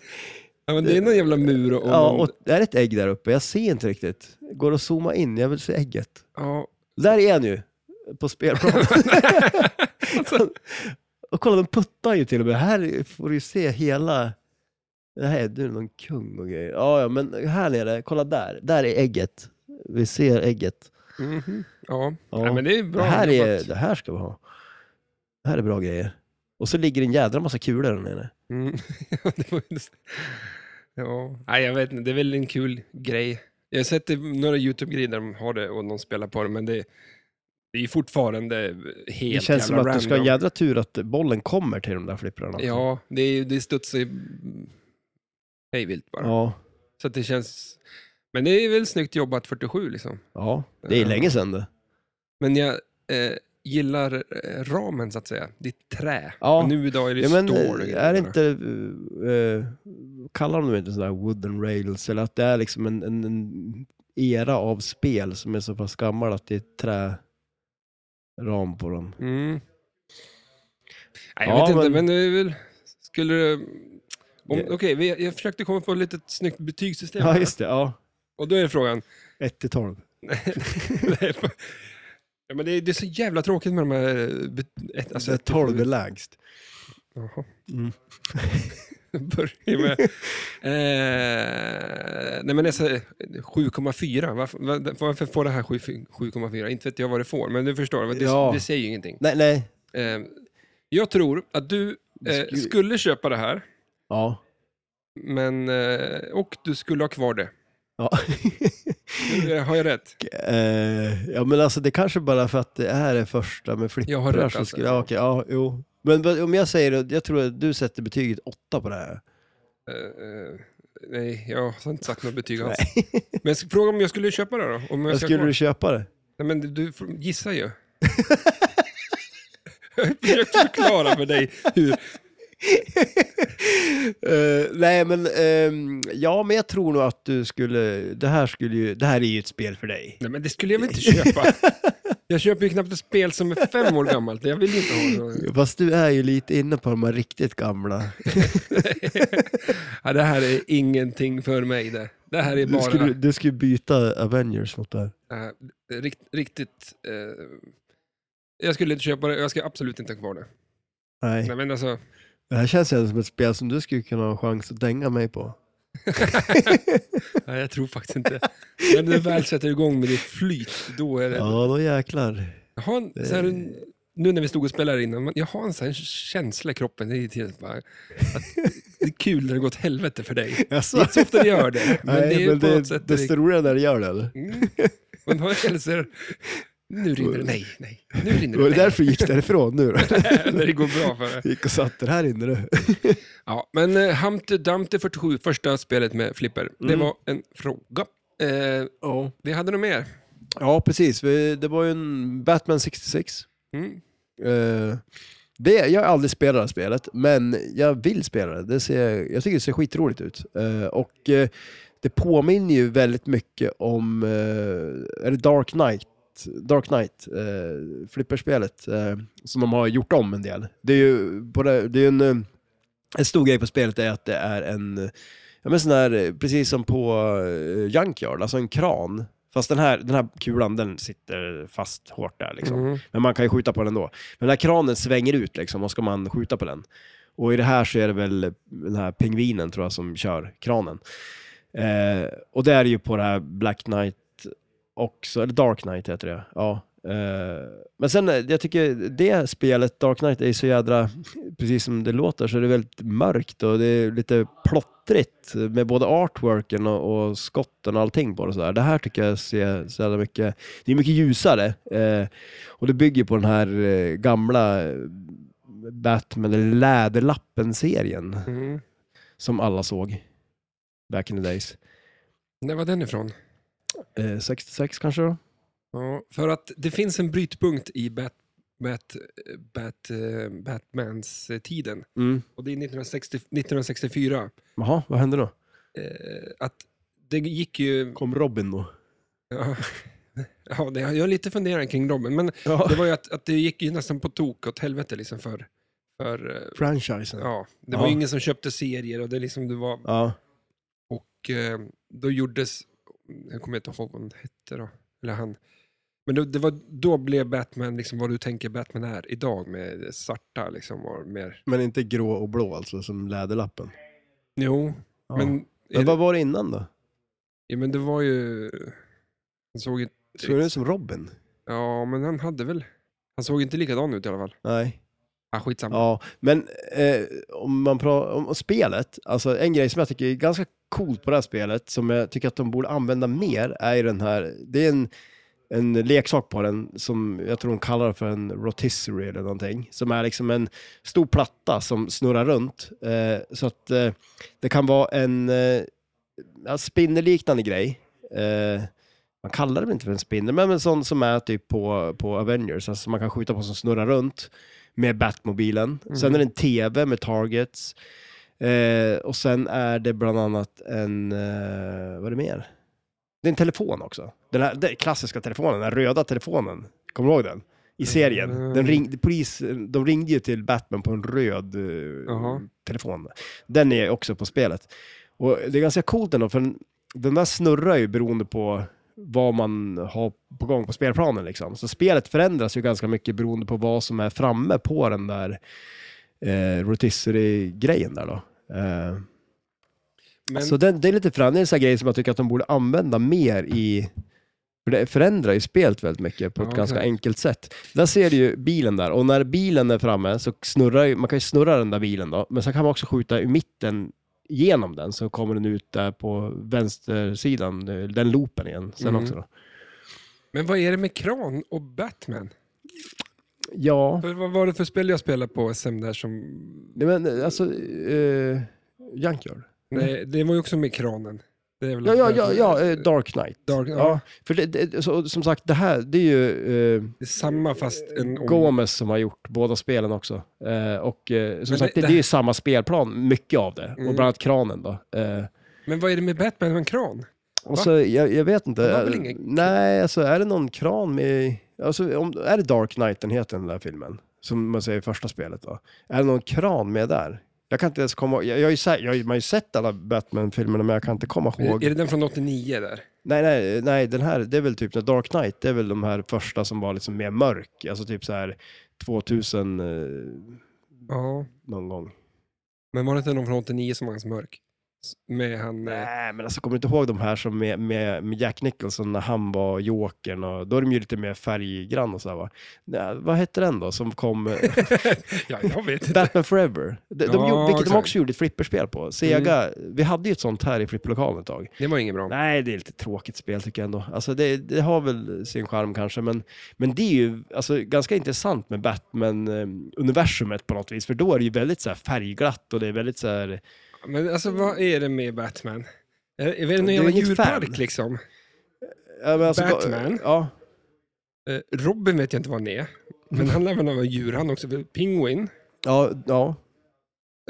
[SPEAKER 1] Ja, men det är någon jävla mur och...
[SPEAKER 2] Ja,
[SPEAKER 1] någon-
[SPEAKER 2] och det är ett ägg där uppe. Jag ser inte riktigt. Går att zooma in? Jag vill se ägget.
[SPEAKER 1] ja,
[SPEAKER 2] Där är han ju, på spelplanen.
[SPEAKER 1] Alltså,
[SPEAKER 2] och kolla, de puttar ju till och med. Här får du ju se hela... Det här är du någon kung och grejer. Ja, ja, men här nere, kolla där. Där är ägget. Vi ser ägget.
[SPEAKER 1] mhm, ja.
[SPEAKER 2] Ja.
[SPEAKER 1] ja, men det är bra
[SPEAKER 2] det, här är,
[SPEAKER 1] jobbat.
[SPEAKER 2] det här ska vi ha. Det här är bra grejer. Och så ligger det en jädra massa kulor där nere.
[SPEAKER 1] Mm. det var ju- ja. Nej, jag vet inte, det är väl en kul grej. Jag har sett det, några YouTube-grejer där de har det och någon spelar på det, men det, det är ju fortfarande helt
[SPEAKER 2] Det känns som
[SPEAKER 1] jävla
[SPEAKER 2] att du ska ha
[SPEAKER 1] random.
[SPEAKER 2] en jädra tur att bollen kommer till de där flipprarna.
[SPEAKER 1] Ja, det, är ju- det studsar ju hej vilt bara.
[SPEAKER 2] ja.
[SPEAKER 1] Så att det känns... Men det är väl snyggt jobbat 47 liksom.
[SPEAKER 2] Ja, det är
[SPEAKER 1] Ja.
[SPEAKER 2] länge sedan det.
[SPEAKER 1] Men jag eh, gillar eh, ramen så att säga. Det är trä.
[SPEAKER 2] Ja.
[SPEAKER 1] Och nu idag är det
[SPEAKER 2] Ja, men
[SPEAKER 1] stål. och
[SPEAKER 2] eh, är det
[SPEAKER 1] grejer.
[SPEAKER 2] inte, eh, kallar de det inte sådär wooden rails, eller att det är liksom en, en, en era av spel som är så pass gammal att det är träram på dem.
[SPEAKER 1] Mm. Nej, jag
[SPEAKER 2] Ja,
[SPEAKER 1] vet inte,
[SPEAKER 2] men-
[SPEAKER 1] men det är väl... Skulle det... Om,
[SPEAKER 2] Ja.
[SPEAKER 1] Okej, vi- jag försökte komma på ett litet snyggt betygssystem.
[SPEAKER 2] Ja,
[SPEAKER 1] här.
[SPEAKER 2] just det. Ja.
[SPEAKER 1] Och då är frågan...
[SPEAKER 2] 1 till 12.
[SPEAKER 1] ja, men det, är, det är så jävla tråkigt med de här... eh, bet- ett-
[SPEAKER 2] Alltså,
[SPEAKER 1] ett-
[SPEAKER 2] 12 är lägst.
[SPEAKER 1] Jaha.
[SPEAKER 2] Mm.
[SPEAKER 1] Börja med... eh, nej men alltså, 7,4. Varför, var- varför får det här 7 7,4? Inte vet jag vad det får, men du förstår, det,
[SPEAKER 2] Ja.
[SPEAKER 1] det säger ju ingenting.
[SPEAKER 2] Nej, nej.
[SPEAKER 1] Eh, jag tror att du eh, skulle köpa det här,
[SPEAKER 2] Ja.
[SPEAKER 1] men, eh, och du skulle ha kvar det.
[SPEAKER 2] Ja.
[SPEAKER 1] Eh, Har jag rätt?
[SPEAKER 2] Eh, ja, men alltså det kanske bara för att det här är första med flipprar.
[SPEAKER 1] Jag har rätt
[SPEAKER 2] så
[SPEAKER 1] alltså.
[SPEAKER 2] skulle- ja, okej, ja, jo. Men vad- om jag säger det, jag tror att du sätter betyget 8 på det här.
[SPEAKER 1] Eh, eh, Nej, jag har inte sagt något betyg alls. Men jag ska fråga om jag skulle köpa det då? Om jag
[SPEAKER 2] Vad
[SPEAKER 1] ska
[SPEAKER 2] skulle
[SPEAKER 1] ha-
[SPEAKER 2] du köpa det?
[SPEAKER 1] Nej, men du får- gissar ju. jag har försökt förklara för dig hur...
[SPEAKER 2] Eh, nej, men ehm, ja, men jag tror nog att du skulle, det här skulle ju, det här är ju ett spel för dig.
[SPEAKER 1] Nej, men det skulle jag väl inte köpa? Jag köper ju knappt ett spel som är fem år gammalt. Jag vill inte ha det.
[SPEAKER 2] Fast du är ju lite inne på de här riktigt gamla.
[SPEAKER 1] Ja, det här är ingenting för mig det. Det här är
[SPEAKER 2] Du
[SPEAKER 1] bara...
[SPEAKER 2] skulle, du skulle byta Avengers mot det här.
[SPEAKER 1] eh, rikt, riktigt... Eh, jag skulle inte köpa det. Jag ska absolut inte ha kvar det.
[SPEAKER 2] Nej.
[SPEAKER 1] Nej, men alltså...
[SPEAKER 2] Det här känns ju som ett spel som du skulle kunna ha en chans att dänga mig på.
[SPEAKER 1] Nej, jag tror faktiskt inte. Men när du väl sätter igång med ditt flyt, då är det...
[SPEAKER 2] Ja, då jäklar.
[SPEAKER 1] Jag har en, så här, en- nu när vi stod och spelade innan, men jag har en sån här känsla i kroppen hela tiden. Bara, att det är kul när det går åt helvete för dig. Det är
[SPEAKER 2] Alltså.
[SPEAKER 1] inte så ofta det gör det, men
[SPEAKER 2] Nej,
[SPEAKER 1] det är
[SPEAKER 2] men
[SPEAKER 1] på
[SPEAKER 2] det,
[SPEAKER 1] något sätt...
[SPEAKER 2] desto roligare när det gör det, eller?
[SPEAKER 1] Mm. Man har hälsor. Nu rinner det. Nej, nej. Nu rinner
[SPEAKER 2] Var
[SPEAKER 1] det.
[SPEAKER 2] det
[SPEAKER 1] Nej,
[SPEAKER 2] därför du gick därifrån nu då?
[SPEAKER 1] när det går bra för det.
[SPEAKER 2] Gick och satte det här inne du.
[SPEAKER 1] Ja, men eh, Humpty Dumpty 47, första spelet med Flipper. Det var en fråga. Eh,
[SPEAKER 2] Ja.
[SPEAKER 1] vi hade nog mer.
[SPEAKER 2] Ja, precis. Vi- Det var ju en Batman 66.
[SPEAKER 1] Mm.
[SPEAKER 2] Eh, det, jag har aldrig spelat det här spelet, men jag vill spela det. det ser, jag tycker det ser skitroligt ut. Eh, och eh, det påminner ju väldigt mycket om eh, är det Dark Knight, Dark Knight eh, flipperspelet eh, som de har gjort om en del. Det är ju både, det är en, eh, en stor grej på spelet är att det är en, eh, ja, men sån här, eh, precis som på eh, Junkyard, alltså en kran. Fast den här, den här kulan den sitter fast hårt där liksom.
[SPEAKER 1] Mm.
[SPEAKER 2] Men man kan ju skjuta på den då. Men den här kranen svänger ut liksom och ska man skjuta på den. Och i det här så är det väl den här pingvinen tror jag som kör kranen. Eh, och det är ju på det här Black Knight också, eller Dark Knight heter det. Ja. Eh, men sen, eh, jag tycker det spelet, Dark Knight, är ju så jädra, precis som det låter, så är det väldigt mörkt och det är lite plottrigt med både artworken och, och skotten och allting på det. och Så där. Det här tycker jag ser så jävla mycket, det är mycket ljusare. Eh, och det bygger på den här eh, gamla eh, Batman, eller Läderlappen-serien
[SPEAKER 1] Mm.
[SPEAKER 2] som alla såg back in the days.
[SPEAKER 1] När var den ifrån?
[SPEAKER 2] Eh, 66 kanske då?
[SPEAKER 1] Ja, för att det finns en brytpunkt i Bat, Bat, Bat, eh, Batmans eh, tiden.
[SPEAKER 2] Mm.
[SPEAKER 1] Och det är 1960, 1964.
[SPEAKER 2] Jaha, vad hände då?
[SPEAKER 1] Eh, att det gick ju...
[SPEAKER 2] Kom Robin då?
[SPEAKER 1] Ja, ja, det, jag har lite funderat kring Robin, men
[SPEAKER 2] Ja.
[SPEAKER 1] det var ju att, att det gick ju nästan på tok åt helvete liksom för... för eh,
[SPEAKER 2] Franchisen. Ja.
[SPEAKER 1] ja, det var ju
[SPEAKER 2] Ja.
[SPEAKER 1] ingen som köpte serier och det liksom det var... Och eh, då gjordes... Jag kommer inte ihåg vad han hette då. Eller han. Men då, det var, då blev Batman liksom vad du tänker Batman är idag med det svarta liksom. Och mer.
[SPEAKER 2] Men inte grå och blå alltså, som Läderlappen.
[SPEAKER 1] Jo,
[SPEAKER 2] Ja. Men,
[SPEAKER 1] men, är,
[SPEAKER 2] vad var det innan då?
[SPEAKER 1] ja, men det var ju... Han såg inte...
[SPEAKER 2] Såg den ut som Robin?
[SPEAKER 1] Ja, men han hade väl... Han såg inte likadan ut i alla fall.
[SPEAKER 2] Nej.
[SPEAKER 1] Ah, skitsamma.
[SPEAKER 2] Ja, men eh, om man pratar om om spelet, alltså en grej som jag tycker är ganska coolt på det här spelet, som jag tycker att de borde använda mer, är ju den här, det är en, en leksak på den som jag tror de kallar för en rotisserie eller någonting, som är liksom en stor platta som snurrar runt, eh, så att eh, det kan vara en eh, ja, spindelliknande grej. Eh, man kallar det väl inte för en spindel, men en sån som är typ på, på Avengers, alltså som man kan skjuta på som snurrar runt med Batmobilen.
[SPEAKER 1] Mm.
[SPEAKER 2] Sen är det en TV med targets. Eh, och sen är det bland annat en, eh, vad är det mer? Det är en telefon också. Den här den klassiska telefonen, den här röda telefonen. Kommer du ihåg den? I serien.
[SPEAKER 1] Mm.
[SPEAKER 2] Den ring, polis, de ringde ju till Batman på en röd eh,
[SPEAKER 1] Jaha.
[SPEAKER 2] telefon. Den är också på spelet. Och det är ganska coolt ändå, för den, den där snurrar ju beroende på vad man har på gång på spelplanen. Liksom. Så spelet förändras ju ganska mycket beroende på vad som är framme på den där eh, rotisserie-grejen där då. Eh,
[SPEAKER 1] men,
[SPEAKER 2] Så Alltså, det, det är lite förändring, så här grejer som jag tycker att de borde använda mer i... För det förändrar ju spelet väldigt mycket på ett
[SPEAKER 1] Ja,
[SPEAKER 2] ganska
[SPEAKER 1] exakt.
[SPEAKER 2] enkelt sätt. Där ser du ju bilen där och när bilen är framme så snurrar ju, man kan ju snurra den där bilen då, men sen kan man också skjuta i mitten genom den så kommer den ut där på vänstersidan, den loopen igen sen
[SPEAKER 1] Mm.
[SPEAKER 2] också då.
[SPEAKER 1] men vad är det med kran och Batman?
[SPEAKER 2] Ja,
[SPEAKER 1] För, vad var det
[SPEAKER 2] Mm.
[SPEAKER 1] för spel jag spelade på SM där som...
[SPEAKER 2] nej men alltså, eh, Junkyard.
[SPEAKER 1] Det, det var ju också med kranen. Det är väl
[SPEAKER 2] Ja, ja, ja, ja eh, Dark Knight.
[SPEAKER 1] Dark- ja.
[SPEAKER 2] ja. För det, det, så, som sagt, det här, det är ju eh,
[SPEAKER 1] Det är samma fast en om.
[SPEAKER 2] Gomez Eh, som har gjort båda spelen också. Eh, och eh, som
[SPEAKER 1] Men
[SPEAKER 2] sagt,
[SPEAKER 1] det- det-
[SPEAKER 2] det, det är ju samma spelplan, mycket av det.
[SPEAKER 1] Mm.
[SPEAKER 2] Och bland annat kranen då. Eh,
[SPEAKER 1] Men vad är det med Batman och en kran?
[SPEAKER 2] och
[SPEAKER 1] Va?
[SPEAKER 2] så, jag, jag vet inte.
[SPEAKER 1] Han har väl
[SPEAKER 2] eh,
[SPEAKER 1] ingen-
[SPEAKER 2] Nej, alltså är det någon kran med... Alltså, om, är det Dark Knight den heter, den där filmen? Som man säger i första spelet då. Är det någon kran med där? Jag kan inte ens komma ihåg. Jag, jag, har ju sä- jag, har ju- man har ju sett alla Batman-filmerna, men jag kan inte komma ihåg.
[SPEAKER 1] Är, är det den från 89 där?
[SPEAKER 2] Nej, nej, nej, den här, det är väl typ när Dark Knight, det är väl de här första som var liksom mer mörk, alltså typ så här 2000 eh,
[SPEAKER 1] Ja.
[SPEAKER 2] någon gång.
[SPEAKER 1] Men var det inte någon från 89 som var ganska mörk? S- Med han... eh,
[SPEAKER 2] Nej, men alltså kommer du inte ihåg de här som med, med, med Jack Nicholson när han var Jokern och då är de ju lite mer färggrann och så här va. Nej, vad hette den då som kom? eh,
[SPEAKER 1] ja, jag vet inte.
[SPEAKER 2] Batman Forever, de, de,
[SPEAKER 1] Ja,
[SPEAKER 2] gjorde- vilket de
[SPEAKER 1] exakt.
[SPEAKER 2] också gjorde ett flipperspel på. Sega, vi hade ju ett sånt här i flipplokalen ett tag.
[SPEAKER 1] Det var inget bra.
[SPEAKER 2] Mm. Nej, det är lite tråkigt spel tycker jag ändå. Alltså det, det har väl sin charm kanske, men, men det är ju alltså, ganska intressant med Batman-universumet på något vis, för då är det ju väldigt så här, färgglatt och det är väldigt så här...
[SPEAKER 1] Men alltså vad är det med Batman? Eh, Är, är det någon
[SPEAKER 2] är
[SPEAKER 1] jävla
[SPEAKER 2] inget
[SPEAKER 1] djurpark
[SPEAKER 2] fan.
[SPEAKER 1] liksom?
[SPEAKER 2] Ja, men alltså,
[SPEAKER 1] Batman?
[SPEAKER 2] Ja,
[SPEAKER 1] Eh, Robin vet jag inte vad han är. Men han lär väl vara djur han också. Pingvin.
[SPEAKER 2] ja, ja.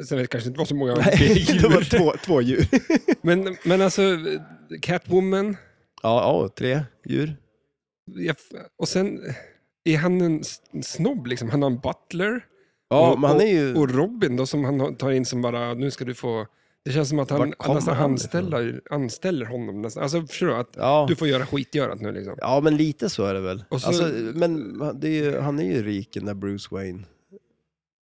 [SPEAKER 1] Sen vet jag kanske inte vad så många
[SPEAKER 2] Nej, det var
[SPEAKER 1] djur.
[SPEAKER 2] två, två djur. ja,
[SPEAKER 1] Men, men alltså, eh, Catwoman.
[SPEAKER 2] ja, tre djur.
[SPEAKER 1] Jag, och sen, eh, är han en s- en snobb liksom? Han har en butler.
[SPEAKER 2] Ja,
[SPEAKER 1] Och-
[SPEAKER 2] men han är ju...
[SPEAKER 1] Och Robin då som han har- tar in som bara, nu ska du få... Det känns som att
[SPEAKER 2] Var
[SPEAKER 1] han
[SPEAKER 2] kommer
[SPEAKER 1] nästan
[SPEAKER 2] han
[SPEAKER 1] anställer, anställer honom. Nästan. Alltså förstår du? Att
[SPEAKER 2] ja.
[SPEAKER 1] du får göra skitgörat nu liksom.
[SPEAKER 2] ja, men lite så är det väl.
[SPEAKER 1] Och så-
[SPEAKER 2] Alltså, men det är ju, han är ju rik, den där Bruce Wayne.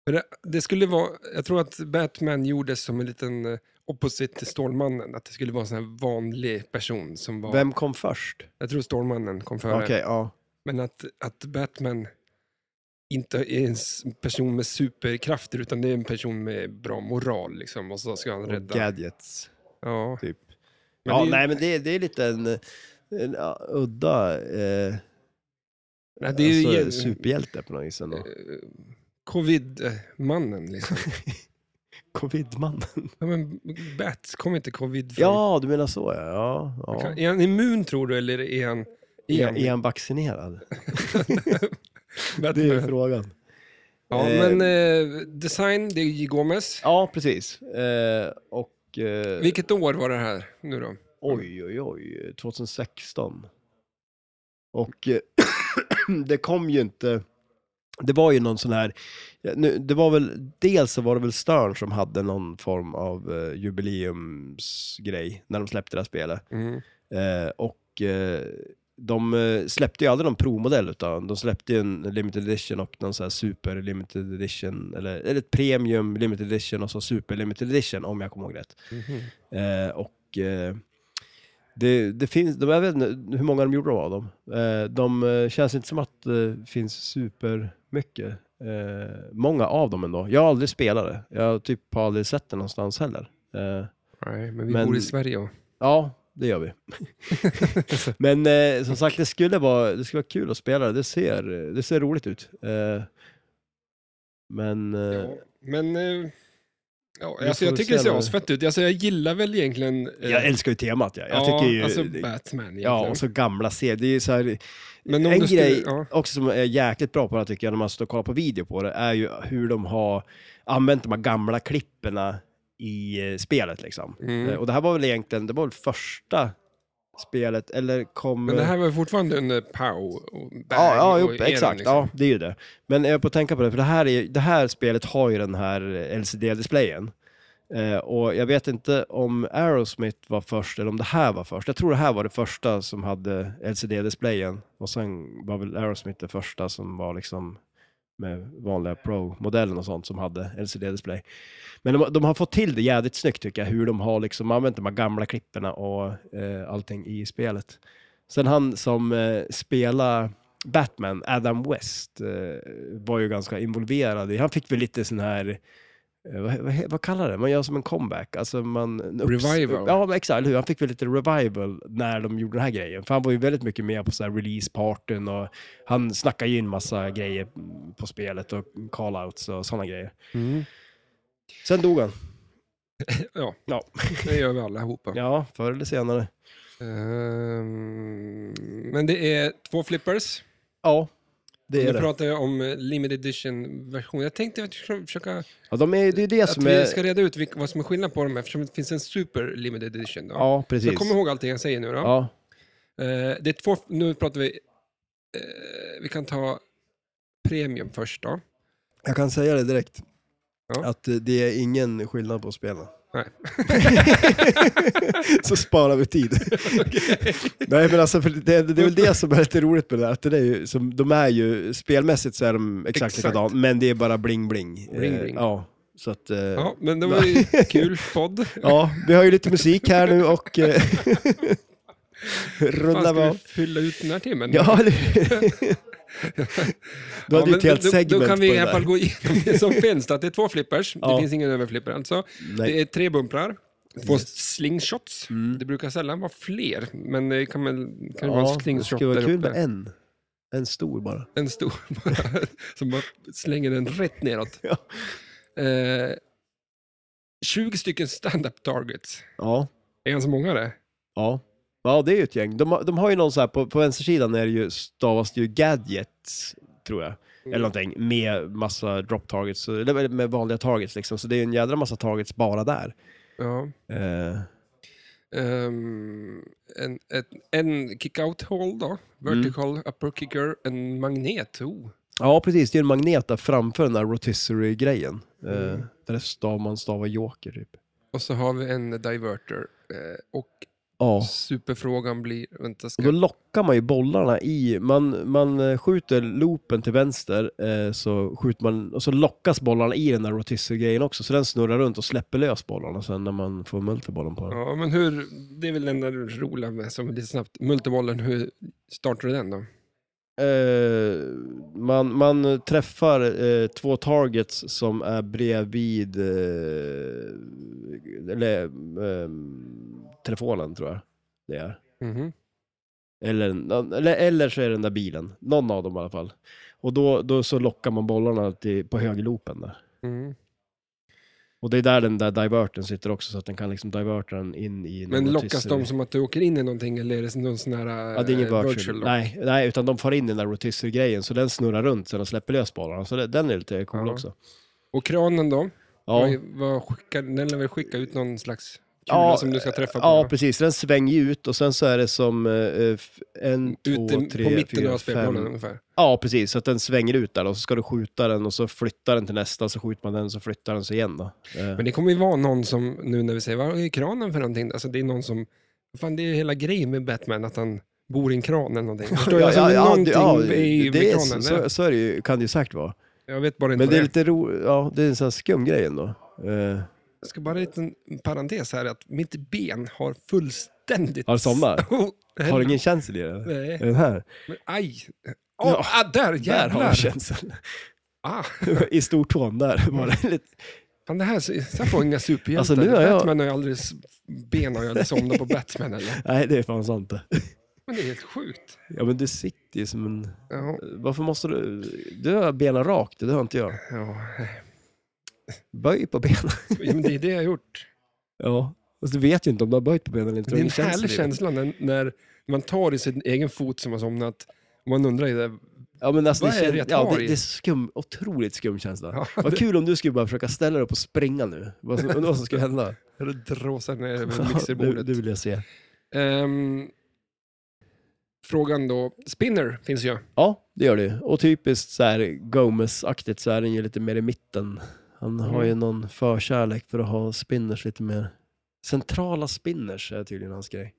[SPEAKER 1] Men det, det skulle vara, jag tror att Batman gjordes som en liten eh, opposite till Stålmannen. Att det skulle vara en sån här vanlig person som var...
[SPEAKER 2] Vem kom först?
[SPEAKER 1] Jag tror Stålmannen kom före.
[SPEAKER 2] Okej, ja.
[SPEAKER 1] Men att, att Batman inte är en s- person med superkrafter utan det är en person med bra moral liksom. Och så ska han
[SPEAKER 2] Och
[SPEAKER 1] rädda.
[SPEAKER 2] gadgets.
[SPEAKER 1] ja.
[SPEAKER 2] typ.
[SPEAKER 1] Men
[SPEAKER 2] ja,
[SPEAKER 1] det, är-
[SPEAKER 2] nej, men det, det är lite en, en ja, udda eh,
[SPEAKER 1] nej, det
[SPEAKER 2] det
[SPEAKER 1] är
[SPEAKER 2] är
[SPEAKER 1] ju
[SPEAKER 2] alltså,
[SPEAKER 1] gen-
[SPEAKER 2] superhjälte på något vis ändå.
[SPEAKER 1] eh, Covid-mannen liksom.
[SPEAKER 2] Covidmannen.
[SPEAKER 1] ja, men Bats, kom inte covid från...
[SPEAKER 2] Ja, du menar så ja. ja, ja.
[SPEAKER 1] Är han immun tror du eller är han...
[SPEAKER 2] Är, är han vaccinerad?
[SPEAKER 1] Batman?
[SPEAKER 2] Det är frågan.
[SPEAKER 1] Ja,
[SPEAKER 2] Eh,
[SPEAKER 1] men eh, design, det är J. Gomez.
[SPEAKER 2] Ja, precis. Eh, och... Eh,
[SPEAKER 1] Vilket år var det här nu då?
[SPEAKER 2] Oj, oj, oj. 2016. Och eh, det kom ju inte... Det var ju någon sån här... ja, Nu, det var väl, dels så var det väl Stern som hade någon form av eh, jubileumsgrej när de släppte det här spelet.
[SPEAKER 1] Mhm.
[SPEAKER 2] Eh, och eh, de eh, släppte ju aldrig någon provmodell utan de släppte ju en limited edition och någon sån här super limited edition eller, eller ett premium limited edition och så super limited edition om jag kommer ihåg rätt. Eh, och eh, det, det finns, de, jag vet inte hur många de gjorde av dem. Eh, de eh, känns inte som att det finns super mycket. Eh, många av dem ändå. Jag har aldrig spelat det. Jag har typ aldrig sett det någonstans heller. Eh,
[SPEAKER 1] Nej, men vi
[SPEAKER 2] Men-
[SPEAKER 1] bor i Sverige och...
[SPEAKER 2] Ja, det gör vi. Men eh, som sagt, det skulle, vara, det skulle vara kul att spela det. Det ser, det ser roligt ut. Eh, men... Eh,
[SPEAKER 1] Ja, men... eh, Ja,
[SPEAKER 2] Vi
[SPEAKER 1] alltså,
[SPEAKER 2] får
[SPEAKER 1] jag tycker det
[SPEAKER 2] se
[SPEAKER 1] ser
[SPEAKER 2] vad-
[SPEAKER 1] asfett ut. Alltså, jag gillar väl egentligen... eh,
[SPEAKER 2] jag älskar ju temat. Jag, jag
[SPEAKER 1] ja,
[SPEAKER 2] tycker ju...
[SPEAKER 1] alltså Batman egentligen.
[SPEAKER 2] ja, och så gamla serier. Det är ju så här,
[SPEAKER 1] men om
[SPEAKER 2] en
[SPEAKER 1] du skulle,
[SPEAKER 2] grej
[SPEAKER 1] ja,
[SPEAKER 2] också som är jäkligt bra på det här, tycker jag, när man står och kollar på video på det, är ju hur de har använt de här gamla klipperna i eh, spelet liksom.
[SPEAKER 1] Mm.
[SPEAKER 2] Eh, Och det här var väl egentligen, det var väl första spelet, eller kom...
[SPEAKER 1] men det här var ju fortfarande under Pow och Bang
[SPEAKER 2] Ja, ja
[SPEAKER 1] och
[SPEAKER 2] jo,
[SPEAKER 1] eran,
[SPEAKER 2] exakt.
[SPEAKER 1] liksom.
[SPEAKER 2] Ja, det är ju det. Men jag är på att tänka på det, för det här, är, det här spelet har ju den här LCD-displayen. Eh, och jag vet inte om Aerosmith var först eller om det här var först. Jag tror det här var det första som hade LCD-displayen. Och sen var väl Aerosmith det första som var liksom med vanliga Pro-modellen och sånt som hade LCD-display. Men de, de har fått till det jädrigt snyggt tycker jag, hur de har liksom använt de här gamla klipporna och eh, allting i spelet. Sen han som eh, spelar Batman, Adam West, eh, var ju ganska involverad i, han fick väl lite sån här, eh, vad, vad, vad kallar det, man gör som en comeback, alltså man... en upps-
[SPEAKER 1] Revival.
[SPEAKER 2] Ja, men exakt, eller hur? han fick väl lite revival när de gjorde den här grejen, för han var ju väldigt mycket med på så här release-parten och han snackade ju in massa grejer på spelet och call-outs och sådana grejer.
[SPEAKER 1] Mm.
[SPEAKER 2] Sen dog han.
[SPEAKER 1] Ja,
[SPEAKER 2] Ja.
[SPEAKER 1] det gör vi allihopa.
[SPEAKER 2] ja, förr eller senare.
[SPEAKER 1] Ehm, men det är två flippers.
[SPEAKER 2] Ja, det är
[SPEAKER 1] Nu
[SPEAKER 2] det.
[SPEAKER 1] pratar jag om eh, limited edition-version. Jag tänkte att vi skulle försöka
[SPEAKER 2] Ja, de är, det är ju det
[SPEAKER 1] att
[SPEAKER 2] som
[SPEAKER 1] vi
[SPEAKER 2] är...
[SPEAKER 1] ska reda ut vilk- vad som är skillnad på dem eftersom det finns en super limited edition. Då.
[SPEAKER 2] Ja,
[SPEAKER 1] Så
[SPEAKER 2] precis.
[SPEAKER 1] jag kommer ihåg allting jag säger nu då.
[SPEAKER 2] Ja,
[SPEAKER 1] Eh, det är två, nu pratar vi, eh, vi kan ta premium först då.
[SPEAKER 2] jag kan säga det direkt.
[SPEAKER 1] Ja.
[SPEAKER 2] Att eh, det är ingen skillnad på spelen.
[SPEAKER 1] Nej.
[SPEAKER 2] så sparar vi tid. Nej, men alltså, för det, det är väl det som är lite roligt med det där, att det är ju, som, de är ju, spelmässigt så är de exakt,
[SPEAKER 1] Exakt.
[SPEAKER 2] likadana, men det är bara bling-bling.
[SPEAKER 1] Bling, bling.
[SPEAKER 2] ja, så att, eh, ja.
[SPEAKER 1] Ja, men det var ju kul podd.
[SPEAKER 2] vi har ju lite musik här nu och eh,
[SPEAKER 1] Fan,
[SPEAKER 2] rullar vi
[SPEAKER 1] ska vi
[SPEAKER 2] av.
[SPEAKER 1] fylla ut den här timmen?
[SPEAKER 2] Ja, det- du hade ju
[SPEAKER 1] men
[SPEAKER 2] ett helt
[SPEAKER 1] då,
[SPEAKER 2] segment
[SPEAKER 1] Då kan vi
[SPEAKER 2] på
[SPEAKER 1] i
[SPEAKER 2] det
[SPEAKER 1] alla
[SPEAKER 2] där.
[SPEAKER 1] fall gå igenom det som finns. Att det är två flippers,
[SPEAKER 2] Ja.
[SPEAKER 1] det finns ingen överflipper alltså.
[SPEAKER 2] Nej. Mm.
[SPEAKER 1] Det är tre bumprar, två slingshots. Det brukar sällan vara fler, men det kan, väl, kan
[SPEAKER 2] Ja,
[SPEAKER 1] vara en
[SPEAKER 2] det
[SPEAKER 1] slingshot
[SPEAKER 2] skulle
[SPEAKER 1] där
[SPEAKER 2] vara kul
[SPEAKER 1] uppe.
[SPEAKER 2] med en. En stor bara.
[SPEAKER 1] En stor bara, som bara slänger den rätt neråt.
[SPEAKER 2] Ja.
[SPEAKER 1] Eh, 20 stycken stand-up targets.
[SPEAKER 2] Ja.
[SPEAKER 1] Är han så många det?
[SPEAKER 2] Ja. Ja, det är ju ett gäng. De, har- de har ju någon så här, på, på vänstersidan är det ju, stavas det ju gadgets, tror jag. Eller
[SPEAKER 1] Mm.
[SPEAKER 2] någonting, med massa drop targets, så- eller med vanliga targets liksom. Så det är ju en jädra massa targets bara där.
[SPEAKER 1] Ja.
[SPEAKER 2] Eh,
[SPEAKER 1] Ehm, en, ett, en kick-out hole då, vertical
[SPEAKER 2] Mm.
[SPEAKER 1] upper kicker, en magnet. Oh.
[SPEAKER 2] ja, precis. Det är ju en magnet där framför den där rotisserie-grejen. Eh,
[SPEAKER 1] Mm.
[SPEAKER 2] där det stav, man stavar joker, typ.
[SPEAKER 1] Och så har vi en diverter. Eh, och
[SPEAKER 2] Ja.
[SPEAKER 1] superfrågan blir... Vänta, ska...
[SPEAKER 2] Och då lockar man ju bollarna i, man, man eh, skjuter loopen till vänster eh, så skjuter man, och så lockas bollarna i den där rotisserie-grejen också, så den snurrar runt och släpper lös bollarna sen när man får multibollen på den.
[SPEAKER 1] Ja, men hur... Det är väl den där roliga med, som är lite snabbt. Multibollen, hur startar du den då?
[SPEAKER 2] Eh, man, man träffar eh, två targets som är bredvid eh, eller, eh, telefonen tror jag det är.
[SPEAKER 1] Mhm.
[SPEAKER 2] Eller, eller, eller så är det den där bilen. Någon av dem i alla fall. Och då, då så lockar man bollarna till, på högerloopen där.
[SPEAKER 1] Mhm.
[SPEAKER 2] Och det är där den där diverten sitter också så att den kan liksom diverta den in i... någon
[SPEAKER 1] Men lockas
[SPEAKER 2] rotisserie.
[SPEAKER 1] de som att du åker in i någonting eller är det någon sån här eh,
[SPEAKER 2] Ja, det är ingen virtual.
[SPEAKER 1] lock?
[SPEAKER 2] nej, nej, utan de far in i den där rotisserie-grejen så den snurrar runt sen och släpper lös bollarna. Så det, den är lite cool
[SPEAKER 1] Ja.
[SPEAKER 2] också.
[SPEAKER 1] Och kranen då?
[SPEAKER 2] Ja,
[SPEAKER 1] Vad, vad skickar, den lär väl skicka ut någon slags kula
[SPEAKER 2] Ja,
[SPEAKER 1] som du ska träffa på?
[SPEAKER 2] ja
[SPEAKER 1] då?
[SPEAKER 2] precis. Den svänger ju ut och sen så är det som eh, f- en,
[SPEAKER 1] Ute
[SPEAKER 2] två, tre,
[SPEAKER 1] på mitten
[SPEAKER 2] fyra,
[SPEAKER 1] av spelplanen
[SPEAKER 2] fem.
[SPEAKER 1] ungefär.
[SPEAKER 2] Ja, precis. Så att den svänger ut där och så ska du skjuta den och så flyttar den till nästa, så skjuter man den så flyttar den sig igen då. Eh.
[SPEAKER 1] Men det kommer ju vara någon som, nu när vi säger vad är kranen för någonting? Alltså det är någon som, fan det är ju hela grejen med Batman, att han bor i en kran eller någonting. Förstår jag? Alltså, någonting
[SPEAKER 2] det-
[SPEAKER 1] i
[SPEAKER 2] det är,
[SPEAKER 1] med
[SPEAKER 2] så,
[SPEAKER 1] kranen.
[SPEAKER 2] så, så är det ju, kan det ju säkert vara.
[SPEAKER 1] Jag vet bara inte
[SPEAKER 2] Men
[SPEAKER 1] vad
[SPEAKER 2] det
[SPEAKER 1] det är.
[SPEAKER 2] är lite ro, ja, det är en sån här skum grej ändå. Eh,
[SPEAKER 1] Jag ska bara en liten parentes här, att mitt ben har fullständigt...
[SPEAKER 2] Har det somnat? har du
[SPEAKER 1] ingen...
[SPEAKER 2] ingen känsel i det?
[SPEAKER 1] Nej,
[SPEAKER 2] Är den här?
[SPEAKER 1] men aj! Åh, ah, där
[SPEAKER 2] Där har
[SPEAKER 1] jävlar!
[SPEAKER 2] du känsel.
[SPEAKER 1] ah,
[SPEAKER 2] I stortån där var det lite...
[SPEAKER 1] fan, det här, så här får jag inga superhjältar.
[SPEAKER 2] Alltså, nu har jag-
[SPEAKER 1] Batman har jag aldrig... s- Ben har jag aldrig somnat på Batman eller.
[SPEAKER 2] Nej, det är fan sant det.
[SPEAKER 1] Men det är helt sjukt.
[SPEAKER 2] Ja, men du sitter ju som en...
[SPEAKER 1] Ja,
[SPEAKER 2] Varför måste du... Du har benen rakt, det har inte jag.
[SPEAKER 1] ja.
[SPEAKER 2] Böj på benen.
[SPEAKER 1] Men det är det jag har gjort.
[SPEAKER 2] Ja. Och du vet ju inte om du har böjt på benen eller inte.
[SPEAKER 1] Det
[SPEAKER 2] har
[SPEAKER 1] är
[SPEAKER 2] ingen
[SPEAKER 1] en
[SPEAKER 2] känsel i
[SPEAKER 1] härlig
[SPEAKER 2] det.
[SPEAKER 1] känsla när, när man tar i sin egen fot som har somnat. Och man undrar ju det.
[SPEAKER 2] Ja, men alltså,
[SPEAKER 1] Vad
[SPEAKER 2] det,
[SPEAKER 1] är det
[SPEAKER 2] kän-
[SPEAKER 1] jag
[SPEAKER 2] ja,
[SPEAKER 1] tar
[SPEAKER 2] det,
[SPEAKER 1] i?
[SPEAKER 2] det är skum, otroligt skum känsla.
[SPEAKER 1] Ja,
[SPEAKER 2] Vad kul om du skulle bara försöka ställa dig upp och springa nu. Vad som, undrar vad som skulle hända.
[SPEAKER 1] det dråsar ner över
[SPEAKER 2] det,
[SPEAKER 1] mixerbordet.
[SPEAKER 2] det vill jag se.
[SPEAKER 1] Ehm, frågan då. Spinner finns ju.
[SPEAKER 2] Ja, det gör det ju. Och typiskt så här Gomez-aktigt så är den ju lite mer i mitten. Han har ju någon förkärlek för att ha spinners lite mer. Centrala spinners är tydligen hans grej.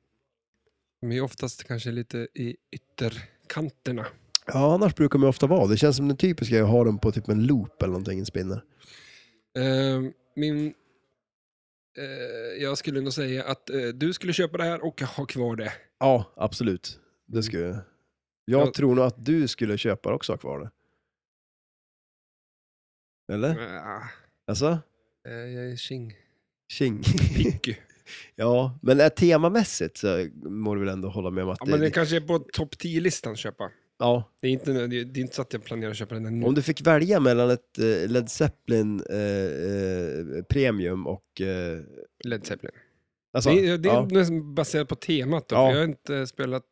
[SPEAKER 1] De är ju oftast kanske lite i ytterkanterna.
[SPEAKER 2] Ja, annars brukar de ju ofta vara. Det känns som den typiska jag har dem på typ en loop eller någonting, en spinner.
[SPEAKER 1] Ehm, min... eh, jag skulle nog säga att eh, du skulle köpa det här och ha kvar det.
[SPEAKER 2] Ja, absolut. Det skulle jag. Jag
[SPEAKER 1] Ja.
[SPEAKER 2] tror nog att du skulle köpa det också ha kvar det. Eller?
[SPEAKER 1] Ah,
[SPEAKER 2] Alltså?
[SPEAKER 1] eh, jag är tjing.
[SPEAKER 2] Tjing.
[SPEAKER 1] Picky.
[SPEAKER 2] ja, men är temamässigt så må du väl ändå hålla med om att
[SPEAKER 1] Ja,
[SPEAKER 2] det,
[SPEAKER 1] men det kanske är på topp 10-listan köpa.
[SPEAKER 2] Ja.
[SPEAKER 1] Det är, inte, det är det är inte så att jag planerar att köpa den nu.
[SPEAKER 2] Om du fick välja mellan ett eh, Led Zeppelin eh, eh, Premium och... Eh,
[SPEAKER 1] Led Zeppelin.
[SPEAKER 2] alltså,
[SPEAKER 1] Det, det är
[SPEAKER 2] ja.
[SPEAKER 1] nästan baserat på temat då,
[SPEAKER 2] Ja.
[SPEAKER 1] för jag har inte spelat...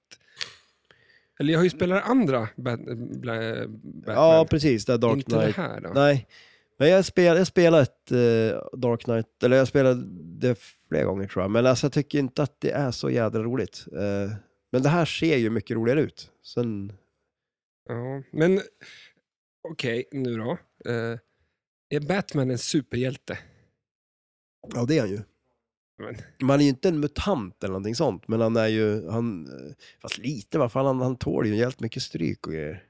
[SPEAKER 1] Eller jag har ju spelat andra Bat, Bla- Batman.
[SPEAKER 2] ja, precis. Det är Dark
[SPEAKER 1] inte det
[SPEAKER 2] Knight.
[SPEAKER 1] här då.
[SPEAKER 2] Nej, men jag spelade, jag spelade ett eh, Dark Knight, eller jag spelade det flera gånger tror jag, men alltså, jag tycker inte att det är så jädra roligt. Eh, men det här ser ju mycket roligare ut. Sen,
[SPEAKER 1] Ja. Men okej, nu då. Eh, är Batman en superhjälte?
[SPEAKER 2] ja, det är han ju.
[SPEAKER 1] Men-
[SPEAKER 2] Men han är ju inte en mutant eller någonting sånt, men han är ju, han, eh, fast lite vad fan, han, han tål ju jävligt mycket stryk och grejer.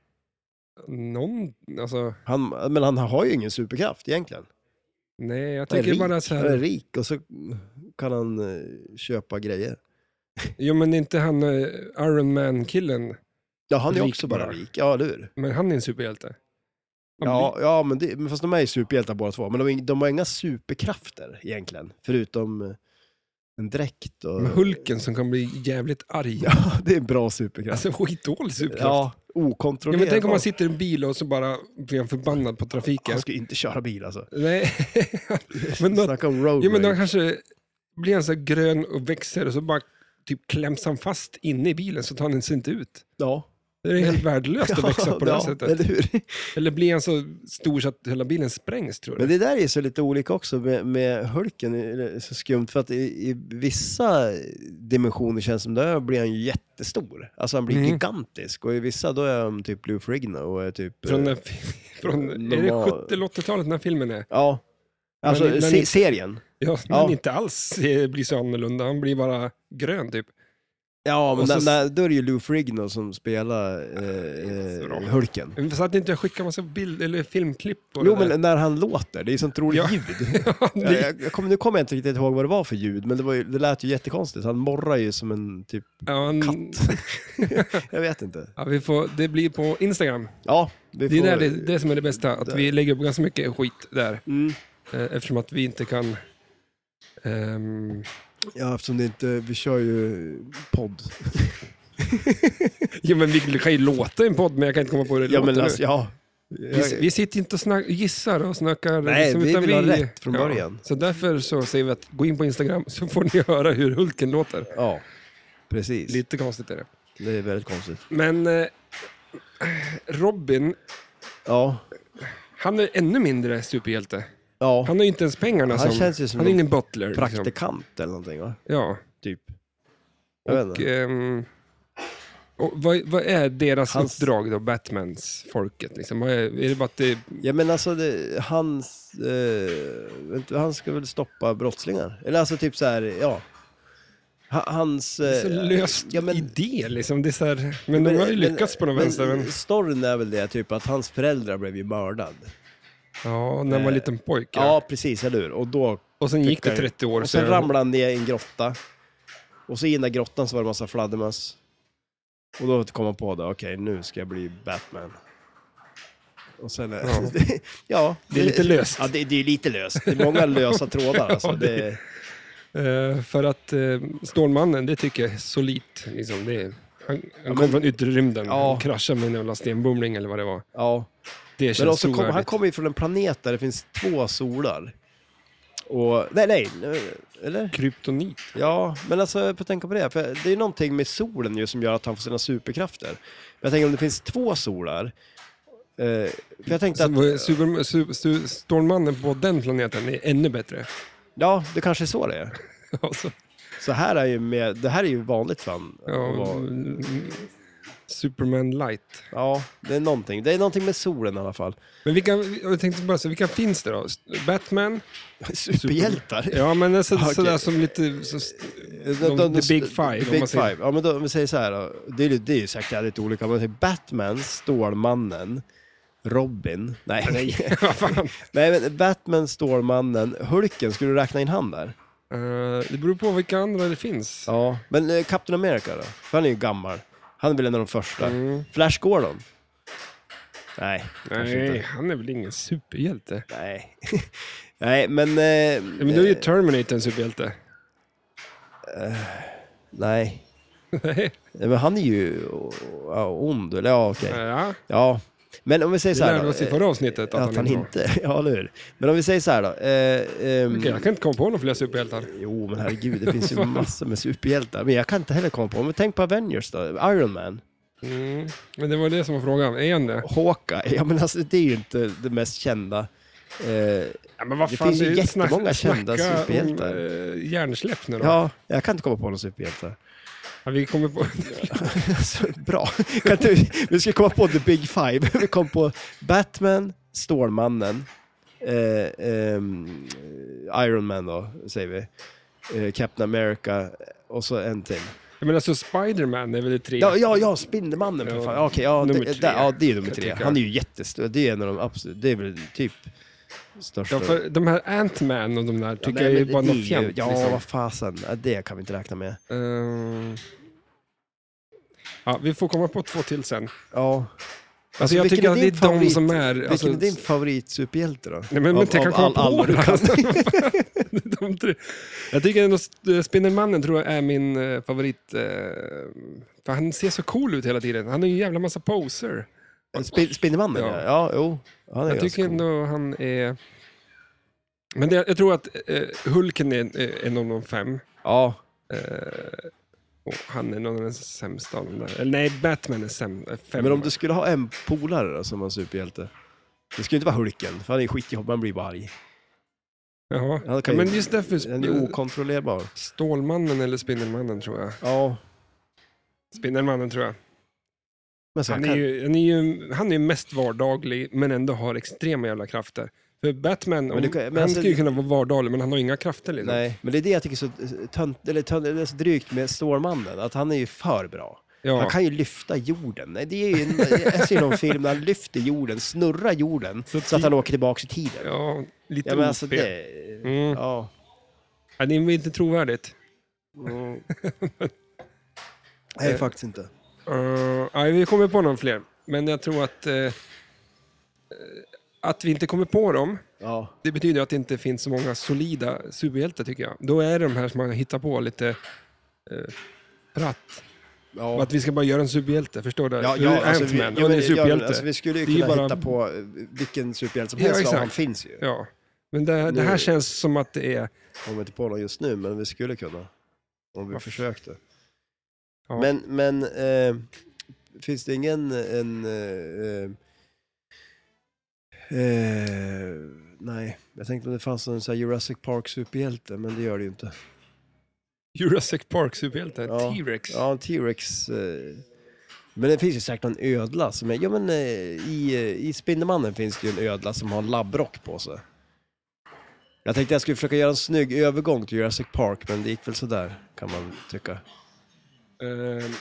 [SPEAKER 1] Någon, alltså,
[SPEAKER 2] Han, men han har ju ingen superkraft egentligen.
[SPEAKER 1] nej, jag
[SPEAKER 2] Han är,
[SPEAKER 1] tänker
[SPEAKER 2] rik,
[SPEAKER 1] bara så
[SPEAKER 2] han är
[SPEAKER 1] här.
[SPEAKER 2] rik och så kan han eh, köpa grejer.
[SPEAKER 1] Jo, men inte han eh, Iron Man-killen,
[SPEAKER 2] Ja, han är
[SPEAKER 1] Rik
[SPEAKER 2] också bara
[SPEAKER 1] bara.
[SPEAKER 2] rik. Ja, eller hur?
[SPEAKER 1] men han är en superhjälte. Han
[SPEAKER 2] Ja, ja men, det, men fast de är ju superhjältar båda två. Men de, har ing- de har inga superkrafter egentligen, förutom eh, en dräkt. Och...
[SPEAKER 1] blir- Med Hulken som kan bli jävligt arg.
[SPEAKER 2] Ja, det är en bra superkraft.
[SPEAKER 1] Alltså skitdålig superkraft.
[SPEAKER 2] Ja,
[SPEAKER 1] Ja,
[SPEAKER 2] okontrollerbar.
[SPEAKER 1] men tänk om man sitter i en bil och så bara blir han förbannad på trafiken.
[SPEAKER 2] Han ska ju inte köra bil alltså.
[SPEAKER 1] Nej, men då,
[SPEAKER 2] Snacka om road
[SPEAKER 1] jo, men då
[SPEAKER 2] rage.
[SPEAKER 1] kanske blir han så här grön och växer och så bara typ kläms han fast inne i bilen så tar han sig inte ut.
[SPEAKER 2] Ja.
[SPEAKER 1] Det är helt värdelöst att växa på det här sättet.
[SPEAKER 2] Eller hur?
[SPEAKER 1] Eller blir han så stor så att hela bilen sprängs tror
[SPEAKER 2] Men
[SPEAKER 1] du?
[SPEAKER 2] det där är ju så lite olika också med, med Hulken, det är så skumt för att i, i vissa dimensioner känns det som där blir han ju jättestor. Alltså han blir
[SPEAKER 1] Mm.
[SPEAKER 2] gigantisk och i vissa då är han typ Lou Frigno och är typ...
[SPEAKER 1] Från,
[SPEAKER 2] eh,
[SPEAKER 1] den- från är det
[SPEAKER 2] Normal-
[SPEAKER 1] 70 eller 80-talet den här filmen är?
[SPEAKER 2] Ja. Alltså
[SPEAKER 1] Men- men-
[SPEAKER 2] se, serien.
[SPEAKER 1] Ja,
[SPEAKER 2] Ja.
[SPEAKER 1] men inte alls eh, blir så annorlunda. Han blir bara grön typ.
[SPEAKER 2] Ja, men
[SPEAKER 1] Och så-
[SPEAKER 2] där- där- då är det ju Lou Frigno som spelar
[SPEAKER 1] det är inte så
[SPEAKER 2] eh,
[SPEAKER 1] bra.
[SPEAKER 2] eh, Hulken.
[SPEAKER 1] Men Så att inte jag skickar massa bild, eller filmklipp på
[SPEAKER 2] Jo,
[SPEAKER 1] det där.
[SPEAKER 2] men när han låter, det är ju sånt roligt
[SPEAKER 1] Ja.
[SPEAKER 2] ljud.
[SPEAKER 1] Ja,
[SPEAKER 2] Jag,
[SPEAKER 1] det-
[SPEAKER 2] jag, jag kommer, nu kommer jag inte riktigt ihåg vad det var för ljud, men det, var ju, det lät ju jättekonstigt. Han morrar ju som en typ,
[SPEAKER 1] ja, en-
[SPEAKER 2] Katt. jag vet inte.
[SPEAKER 1] Ja, vi får, det blir på Instagram.
[SPEAKER 2] Ja, vi
[SPEAKER 1] Det är
[SPEAKER 2] får...
[SPEAKER 1] där det, det som är det bästa, att vi lägger upp ganska mycket skit där.
[SPEAKER 2] Mm.
[SPEAKER 1] Eh, eftersom att vi inte kan... ehm,
[SPEAKER 2] Ja, eftersom det inte, vi kör ju podd.
[SPEAKER 1] jo, men vi kan ju låta i en podd, men jag kan inte komma på hur det
[SPEAKER 2] Ja,
[SPEAKER 1] låter
[SPEAKER 2] men
[SPEAKER 1] nu.
[SPEAKER 2] alltså, ja.
[SPEAKER 1] vi, vi sitter inte och snack, gissar och snackar. liksom,
[SPEAKER 2] Nej, vi
[SPEAKER 1] utan
[SPEAKER 2] vill ha rätt från början.
[SPEAKER 1] Så därför så säger vi att gå in på Instagram så får ni höra hur Hulken låter.
[SPEAKER 2] Ja, precis.
[SPEAKER 1] Lite konstigt är det.
[SPEAKER 2] Det är väldigt konstigt.
[SPEAKER 1] Men eh, Robin,
[SPEAKER 2] Ja,
[SPEAKER 1] han är ännu mindre superhjälte.
[SPEAKER 2] ja.
[SPEAKER 1] Han har ju inte ens pengarna.
[SPEAKER 2] Han
[SPEAKER 1] som,
[SPEAKER 2] känns ju som
[SPEAKER 1] han är
[SPEAKER 2] en
[SPEAKER 1] ingen butler. Liksom.
[SPEAKER 2] praktikant eller någonting va?
[SPEAKER 1] Ja.
[SPEAKER 2] Typ. Jag vet
[SPEAKER 1] Och,
[SPEAKER 2] inte.
[SPEAKER 1] ehm, och vad, vad är deras
[SPEAKER 2] Hans-
[SPEAKER 1] uppdrag då, Batmans, folket? Liksom? Vad är, är det bara att det,
[SPEAKER 2] Ja men alltså det, hans, eh, vänta, han ska väl stoppa brottslingar? Eller alltså typ så här, ja. Ha- Hans...
[SPEAKER 1] det
[SPEAKER 2] Eh,
[SPEAKER 1] är så löst
[SPEAKER 2] ja, men-
[SPEAKER 1] idé liksom? Det är så här, men, de har ju lyckats på något vänster. Men,
[SPEAKER 2] Storyn är väl det, typ att hans föräldrar blev ju mördad.
[SPEAKER 1] ja, när man var
[SPEAKER 2] eh,
[SPEAKER 1] liten pojke.
[SPEAKER 2] Ja, precis, eller hur? Och då...
[SPEAKER 1] Och sen gick det
[SPEAKER 2] fick han-
[SPEAKER 1] 30 år.
[SPEAKER 2] Typ Och sen
[SPEAKER 1] så-
[SPEAKER 2] ramlade han ner i en grotta. Och så i den där grottan så var det massa fladdermöss. Och då kom han på det, okej nu ska jag bli Batman. Och sen... Ja, ja
[SPEAKER 1] Det är lite löst.
[SPEAKER 2] Ja, det, det är lite löst. Det är många lösa trådar alltså.
[SPEAKER 1] Ja, det-
[SPEAKER 2] det...
[SPEAKER 1] Eh, för att eh, Stålmannen, det tycker jag är solitt. Liksom. Det är, han han kom
[SPEAKER 2] men-
[SPEAKER 1] från yttre rymden.
[SPEAKER 2] Ja.
[SPEAKER 1] Han kraschade med en jävla stenbumling eller vad det var.
[SPEAKER 2] Ja.
[SPEAKER 1] Det
[SPEAKER 2] Men
[SPEAKER 1] känns
[SPEAKER 2] också kom, han
[SPEAKER 1] trovärdigt.
[SPEAKER 2] kommer ju från en planet där det finns två solar. Och, nej, nej, eller?
[SPEAKER 1] Kryptonit.
[SPEAKER 2] Ja, men alltså jag får tänka på det. För det är någonting med solen ju som gör att han får sina superkrafter. Men jag tänker om det finns två solar. Eh, för jag tänkte att,
[SPEAKER 1] Så, eh, Super, su, su, Stålmannen på den planeten är ännu bättre.
[SPEAKER 2] ja, det kanske är så det är.
[SPEAKER 1] Alltså,
[SPEAKER 2] Så här är ju med, det här är ju vanligt fan. att
[SPEAKER 1] ja,
[SPEAKER 2] vara-
[SPEAKER 1] mm, Superman light.
[SPEAKER 2] ja, det är någonting. Det är någonting med solen i alla fall.
[SPEAKER 1] Men vilka, jag tänkte bara så, vilka finns det då? Batman?
[SPEAKER 2] Superhjältar.
[SPEAKER 1] Ja, men alltså,
[SPEAKER 2] Okej.
[SPEAKER 1] sådär som lite... Så,
[SPEAKER 2] De,
[SPEAKER 1] the big five,
[SPEAKER 2] The
[SPEAKER 1] om
[SPEAKER 2] big
[SPEAKER 1] man säger.
[SPEAKER 2] five. Ja, men då, om vi säger så här då. Det är, ju- det är ju säkert jävligt olika. Men typ Batman, Stålmannen, Robin. Nej. Nej.
[SPEAKER 1] vad fan?
[SPEAKER 2] men Batman, Stålmannen, Hulken, skulle du räkna in han där?
[SPEAKER 1] Eh, det beror på vilka andra det finns.
[SPEAKER 2] Ja. Men eh, Captain America då? För han är ju gammal. Han är väl en av de första.
[SPEAKER 1] Mm.
[SPEAKER 2] Flash Gordon? Nej, kanske
[SPEAKER 1] Nej,
[SPEAKER 2] inte.
[SPEAKER 1] han är väl ingen superhjälte.
[SPEAKER 2] Nej. Nej, men... Eh,
[SPEAKER 1] Ja, men då är ju Terminator en superhjälte.
[SPEAKER 2] Nej.
[SPEAKER 1] Nej.
[SPEAKER 2] Nej, Men han är ju ja, ond, eller ja, okej.
[SPEAKER 1] Ja,
[SPEAKER 2] Ja, men om vi säger
[SPEAKER 1] vi
[SPEAKER 2] så här
[SPEAKER 1] lärde
[SPEAKER 2] då,
[SPEAKER 1] oss i
[SPEAKER 2] eh,
[SPEAKER 1] förra avsnittet att,
[SPEAKER 2] att han
[SPEAKER 1] inte var.
[SPEAKER 2] inte, ja eller hur. Men om vi säger så här då. Eh, ehm,
[SPEAKER 1] Okej, jag kan inte komma på någon fler superhjältar.
[SPEAKER 2] Jo, men herregud, det finns ju massor med superhjältar. Men jag kan inte heller komma på, men tänk på Avengers då, Iron Man,
[SPEAKER 1] Mm. Men det var det som var frågan, är han det?
[SPEAKER 2] Hawkeye, ja men alltså det är ju inte det mest kända. Eh,
[SPEAKER 1] Ja, men vad
[SPEAKER 2] Det
[SPEAKER 1] fan,
[SPEAKER 2] finns ju
[SPEAKER 1] är
[SPEAKER 2] jättemånga
[SPEAKER 1] snack-
[SPEAKER 2] kända
[SPEAKER 1] snacka om,
[SPEAKER 2] superhjältar.
[SPEAKER 1] eh, Hjärnsläpp nu då. Ja.
[SPEAKER 2] ja, jag kan inte komma på någon superhjälte.
[SPEAKER 1] vi kommer på...
[SPEAKER 2] Alltså, bra, kan inte, vi- vi ska komma på the big five. Vi kom på Batman, Stålmannen, eh, ehm, Iron Man då, säger vi. Eh, Captain America och så en till.
[SPEAKER 1] Jag menar så Spiderman är väl det tre?
[SPEAKER 2] Ja, ja, ja Spindelmannen för fan. Ja, Okej, ja,
[SPEAKER 1] Nummer
[SPEAKER 2] det,
[SPEAKER 1] tre,
[SPEAKER 2] där, ja, det är ju nummer
[SPEAKER 1] kan jag
[SPEAKER 2] tre.
[SPEAKER 1] tycka.
[SPEAKER 2] Han är ju jättestor. Det är en av de absolut, det är väl typ största.
[SPEAKER 1] Ja, för de här Ant-Man och de där
[SPEAKER 2] Ja,
[SPEAKER 1] tycker
[SPEAKER 2] nej,
[SPEAKER 1] jag
[SPEAKER 2] men
[SPEAKER 1] är bara
[SPEAKER 2] det
[SPEAKER 1] något
[SPEAKER 2] ju-
[SPEAKER 1] fjant.
[SPEAKER 2] Ja,
[SPEAKER 1] liksom.
[SPEAKER 2] vad fasen. Ja, Det kan vi inte räkna med.
[SPEAKER 1] Ehm. Ja, vi får komma på två till sen. Alltså,
[SPEAKER 2] Ja.
[SPEAKER 1] jag
[SPEAKER 2] Alltså, vilken
[SPEAKER 1] tycker att det är
[SPEAKER 2] din favorit-
[SPEAKER 1] de som är... Alltså,
[SPEAKER 2] Vilken är din favoritsuperhjälte då?
[SPEAKER 1] Nej, men, men
[SPEAKER 2] Av-
[SPEAKER 1] tänk
[SPEAKER 2] av
[SPEAKER 1] att komma
[SPEAKER 2] all-
[SPEAKER 1] på
[SPEAKER 2] alla du
[SPEAKER 1] alla.
[SPEAKER 2] kan.
[SPEAKER 1] de tre. Jag tycker ändå eh, Spindelmannen tror jag är min eh, favorit. eh, För han ser så cool ut hela tiden. Han är ju en jävla massa poser.
[SPEAKER 2] Spin- Spindelmannen ja.
[SPEAKER 1] Ja.
[SPEAKER 2] ja. jo. Han är
[SPEAKER 1] Jag
[SPEAKER 2] ganska
[SPEAKER 1] tycker
[SPEAKER 2] cool.
[SPEAKER 1] ändå han är... Men det, jag tror att eh, Hulken är eh, en av de fem.
[SPEAKER 2] Ja.
[SPEAKER 1] Eh, Och han är någon av den sämsta av de där. Eller nej, Batman är säm, eh, fem.
[SPEAKER 2] Men om du skulle ha en polare då, som var en superhjälte. Det skulle inte vara Hulken, för han är skitjobbig, han blir bara arg.
[SPEAKER 1] Jaha.
[SPEAKER 2] Han
[SPEAKER 1] Ja,
[SPEAKER 2] kan ju-
[SPEAKER 1] men just därför...
[SPEAKER 2] Han är okontrollerbar.
[SPEAKER 1] Stålmannen eller Spindelmannen tror jag.
[SPEAKER 2] Ja.
[SPEAKER 1] Spindelmannen tror jag.
[SPEAKER 2] Men så
[SPEAKER 1] Han
[SPEAKER 2] han
[SPEAKER 1] är,
[SPEAKER 2] kan...
[SPEAKER 1] ju, han, är ju, han är ju mest vardaglig, men ändå har extrema jävla krafter. För Batman,
[SPEAKER 2] du
[SPEAKER 1] om,
[SPEAKER 2] kan- men
[SPEAKER 1] han
[SPEAKER 2] alltså-
[SPEAKER 1] skulle ju kunna vara vardaglig, men han har ju inga krafter. Liksom.
[SPEAKER 2] Nej, men det är det jag tycker är så eh, tönt, eller tönt, eller så drygt med Stålmannen, att han är ju för bra. Han
[SPEAKER 1] Ja.
[SPEAKER 2] kan ju lyfta jorden. Nej, Det är ju en, jag ser någon film där han lyfter jorden, snurrar jorden, så,
[SPEAKER 1] Så
[SPEAKER 2] att
[SPEAKER 1] ti-
[SPEAKER 2] han åker tillbaka i tiden. Ja,
[SPEAKER 1] ja, lite
[SPEAKER 2] men alltså
[SPEAKER 1] OP.
[SPEAKER 2] det...
[SPEAKER 1] Mm.
[SPEAKER 2] Ja.
[SPEAKER 1] Ja, det är inte trovärdigt.
[SPEAKER 2] Nej, faktiskt inte.
[SPEAKER 1] Eh, ja, vi kommer på någon fler, men jag tror att... eh, eh, att vi inte kommer på dem,
[SPEAKER 2] Ja.
[SPEAKER 1] det betyder att det inte finns så många solida superhjältar tycker jag. Då är det de här som man hittar på lite eh, pratt.
[SPEAKER 2] ja.
[SPEAKER 1] Att vi ska bara göra en superhjälte, förstår du?
[SPEAKER 2] Ja,
[SPEAKER 1] Du är
[SPEAKER 2] ja, alltså, vi,
[SPEAKER 1] Ant-Man,
[SPEAKER 2] ja,
[SPEAKER 1] han är
[SPEAKER 2] men, ja, men,
[SPEAKER 1] superhjälte.
[SPEAKER 2] alltså, vi skulle ju
[SPEAKER 1] Det är ju
[SPEAKER 2] kunna
[SPEAKER 1] bara-
[SPEAKER 2] hitta på eh, vilken superhjälte som
[SPEAKER 1] Ja,
[SPEAKER 2] helst, ja,
[SPEAKER 1] exakt.
[SPEAKER 2] han finns ju.
[SPEAKER 1] Ja, men det, det
[SPEAKER 2] Nu-
[SPEAKER 1] här känns som att det är...
[SPEAKER 2] Kommer inte på någon just nu, men vi skulle kunna. Om vi
[SPEAKER 1] Ja.
[SPEAKER 2] försökte.
[SPEAKER 1] Ja.
[SPEAKER 2] Men, men eh, finns det ingen en... Eh, eh, nej, jag tänkte om det fanns någon sån här Jurassic Park superhjälte, men det gör det ju inte.
[SPEAKER 1] Jurassic Park superhjälte,
[SPEAKER 2] Ja.
[SPEAKER 1] T-Rex.
[SPEAKER 2] Ja, en T-Rex. Eh, men det finns ju säkert någon ödla som är... Ja, men eh, i, eh, i Spindelmannen finns det ju en ödla som har en labbrock på sig. Jag tänkte jag skulle försöka göra en snygg övergång till Jurassic Park, men det gick väl sådär, kan man tycka.
[SPEAKER 1] Ehm,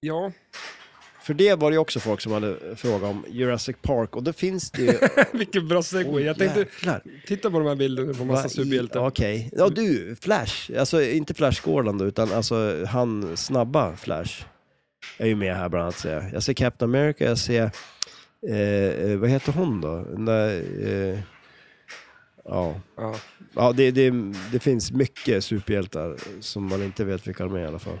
[SPEAKER 1] ja.
[SPEAKER 2] För det var det ju också folk som hade frågat om Jurassic Park och då finns det ju...
[SPEAKER 1] vilken bra segway. Jag tänkte
[SPEAKER 2] Jäklar.
[SPEAKER 1] titta på de här bilderna på massa
[SPEAKER 2] Va- i-
[SPEAKER 1] superhjältar.
[SPEAKER 2] Okej. Ja du, Flash. Alltså inte Flash Gordon då, utan alltså han snabba Flash. Är ju med här bland annat ser jag. Jag ser Captain America, jag ser... Eh, eh, vad heter hon då? Den där, eh, ja,
[SPEAKER 1] Ja.
[SPEAKER 2] ja det, det, det finns mycket superhjältar som man inte vet vilka de är i alla fall.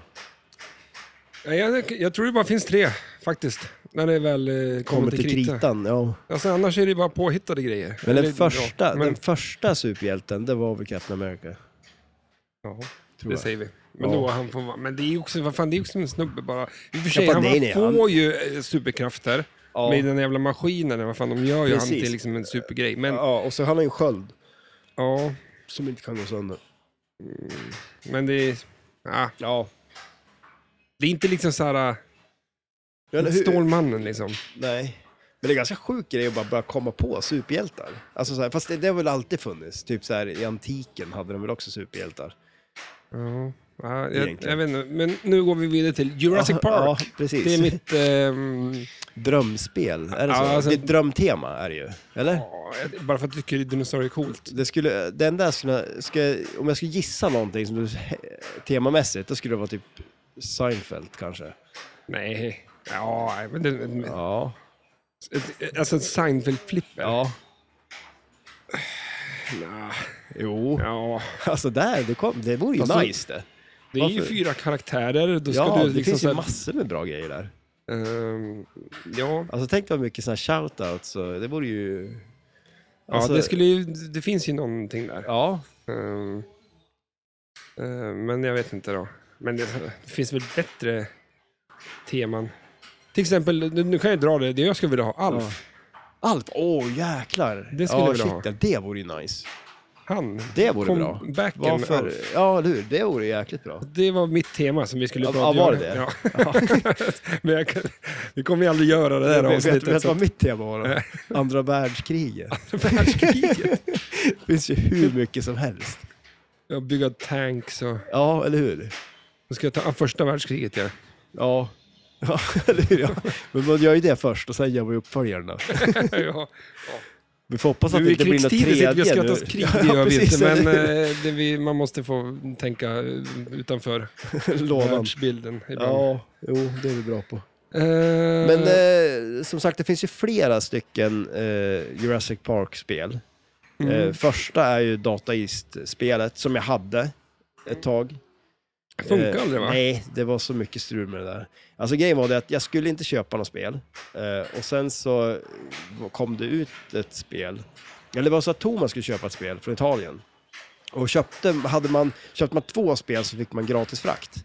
[SPEAKER 1] Ja, Jag, jag tror det bara finns tre, faktiskt. När det väl eh, kommer,
[SPEAKER 2] Kommer
[SPEAKER 1] till krita.
[SPEAKER 2] ja.
[SPEAKER 1] Alltså, annars är det bara påhittade grejer.
[SPEAKER 2] Men
[SPEAKER 1] Eller,
[SPEAKER 2] den
[SPEAKER 1] ja,
[SPEAKER 2] första,
[SPEAKER 1] men,
[SPEAKER 2] den första superhjälten, det var väl Captain America.
[SPEAKER 1] ja,
[SPEAKER 2] Tror
[SPEAKER 1] det
[SPEAKER 2] jag.
[SPEAKER 1] säger vi. Men,
[SPEAKER 2] Ja.
[SPEAKER 1] då han får, vara- men det är ju också, vad fan, det är också en snubbe bara. I och för sig,
[SPEAKER 2] bara,
[SPEAKER 1] han
[SPEAKER 2] nej, nej,
[SPEAKER 1] får
[SPEAKER 2] han-
[SPEAKER 1] ju eh, superkrafter.
[SPEAKER 2] Ja.
[SPEAKER 1] Med den jävla maskinen, vad fan, de gör ju han
[SPEAKER 2] Precis.
[SPEAKER 1] till liksom en supergrej. Men
[SPEAKER 2] Ja, och så har han en sköld
[SPEAKER 1] ja,
[SPEAKER 2] som inte kan gå sönder.
[SPEAKER 1] men det är... Ja,
[SPEAKER 2] Ja.
[SPEAKER 1] det är inte liksom så här...
[SPEAKER 2] Men
[SPEAKER 1] äh,
[SPEAKER 2] hur-
[SPEAKER 1] Stålmannen liksom.
[SPEAKER 2] Nej. Men det är ganska sjuk grej att bara börja komma på superhjältar. Alltså så här, fast det, det har väl alltid funnits. Typ så här i antiken hade de väl också superhjältar.
[SPEAKER 1] Ja, ja, jag,
[SPEAKER 2] Egentligen.
[SPEAKER 1] jag vet inte. Men nu går vi vidare till Jurassic
[SPEAKER 2] Ja,
[SPEAKER 1] Park.
[SPEAKER 2] Ja, precis.
[SPEAKER 1] Det är mitt... ehm,
[SPEAKER 2] drömspel. Är det så?
[SPEAKER 1] Ja, alltså-
[SPEAKER 2] Ditt drömtema är det ju. Eller?
[SPEAKER 1] ja, jag- bara för att jag tycker dinosaurier är coolt.
[SPEAKER 2] Det skulle, den där skulle, ska, om jag skulle gissa någonting som du, temamässigt, då skulle det vara typ Seinfeld kanske.
[SPEAKER 1] Nej. Ja, men det,
[SPEAKER 2] Ja.
[SPEAKER 1] ett- alltså en Seinfeld-flipper.
[SPEAKER 2] Ja.
[SPEAKER 1] Nja,
[SPEAKER 2] Jo.
[SPEAKER 1] ja.
[SPEAKER 2] Alltså där, det, kom, det vore ju
[SPEAKER 1] Fast så-
[SPEAKER 2] nice det.
[SPEAKER 1] Det är ju
[SPEAKER 2] Varför?
[SPEAKER 1] fyra karaktärer. Då ska
[SPEAKER 2] ja,
[SPEAKER 1] du
[SPEAKER 2] det
[SPEAKER 1] liksom
[SPEAKER 2] finns
[SPEAKER 1] så
[SPEAKER 2] ju
[SPEAKER 1] här,
[SPEAKER 2] massor med bra grejer där.
[SPEAKER 1] ehm, ja.
[SPEAKER 2] Alltså tänk vad mycket sådana shoutouts, och- det vore ju... Alltså,
[SPEAKER 1] ja, det, skulle ju, det finns ju någonting där.
[SPEAKER 2] Ja,
[SPEAKER 1] Ehm, eh, men jag vet inte då. Men det, det finns väl bättre teman. Till exempel, nu- nu kan jag dra det, det jag skulle vilja ha, Alf.
[SPEAKER 2] allt. Åh jäklar!
[SPEAKER 1] Det skulle
[SPEAKER 2] ja,
[SPEAKER 1] jag vilja ha.
[SPEAKER 2] shit, ja, det vore ju nice.
[SPEAKER 1] Han.
[SPEAKER 2] Det vore
[SPEAKER 1] Kom
[SPEAKER 2] bra.
[SPEAKER 1] backen med
[SPEAKER 2] Varför?
[SPEAKER 1] Alf.
[SPEAKER 2] Ja, eller hur? Det vore jäkligt bra.
[SPEAKER 1] Det var mitt tema som vi skulle
[SPEAKER 2] Ja,
[SPEAKER 1] prata
[SPEAKER 2] ja, var
[SPEAKER 1] om.
[SPEAKER 2] det
[SPEAKER 1] Ja.
[SPEAKER 2] det?
[SPEAKER 1] men jag, kan- vi kommer ju aldrig göra det här
[SPEAKER 2] vet, vet,
[SPEAKER 1] avsnittet.
[SPEAKER 2] vet
[SPEAKER 1] så
[SPEAKER 2] vad mitt tema var då? Andra världskriget.
[SPEAKER 1] världskriget.
[SPEAKER 2] Det finns ju hur mycket som helst.
[SPEAKER 1] Jag bygga tanks och...
[SPEAKER 2] Ja, eller hur?
[SPEAKER 1] Nu ska jag ta ah, första världskriget, ja.
[SPEAKER 2] Ja. Ja, eller hur? Ja. Men man gör ju det först och sen gör man ju uppföljarna.
[SPEAKER 1] ja.
[SPEAKER 2] Vi får hoppas att
[SPEAKER 1] Nu
[SPEAKER 2] det
[SPEAKER 1] i
[SPEAKER 2] inte blir något
[SPEAKER 1] krigstider
[SPEAKER 2] tredje
[SPEAKER 1] sitter vi och skrattar
[SPEAKER 2] nu.
[SPEAKER 1] oss krig,
[SPEAKER 2] Ja,
[SPEAKER 1] det gör vi
[SPEAKER 2] precis,
[SPEAKER 1] inte, men
[SPEAKER 2] eller hur?
[SPEAKER 1] eh, det vi, man måste få tänka eh, utanför
[SPEAKER 2] Lådan.
[SPEAKER 1] världsbilden ibland.
[SPEAKER 2] Ja, jo, det är vi bra på.
[SPEAKER 1] Eh,
[SPEAKER 2] Men eh, som sagt, det finns ju flera stycken eh, Jurassic Park-spel. Eh, första är ju Data East-spelet som jag hade ett tag.
[SPEAKER 1] funkar
[SPEAKER 2] Eh,
[SPEAKER 1] aldrig va?
[SPEAKER 2] Nej, det var så mycket strul med det där. Alltså grejen var det att jag skulle inte köpa något spel. Eh, och sen så kom det ut ett spel. Eller det var så att Thomas skulle köpa ett spel från Italien. Och köpte, hade man, köpte man två spel så fick man gratis frakt.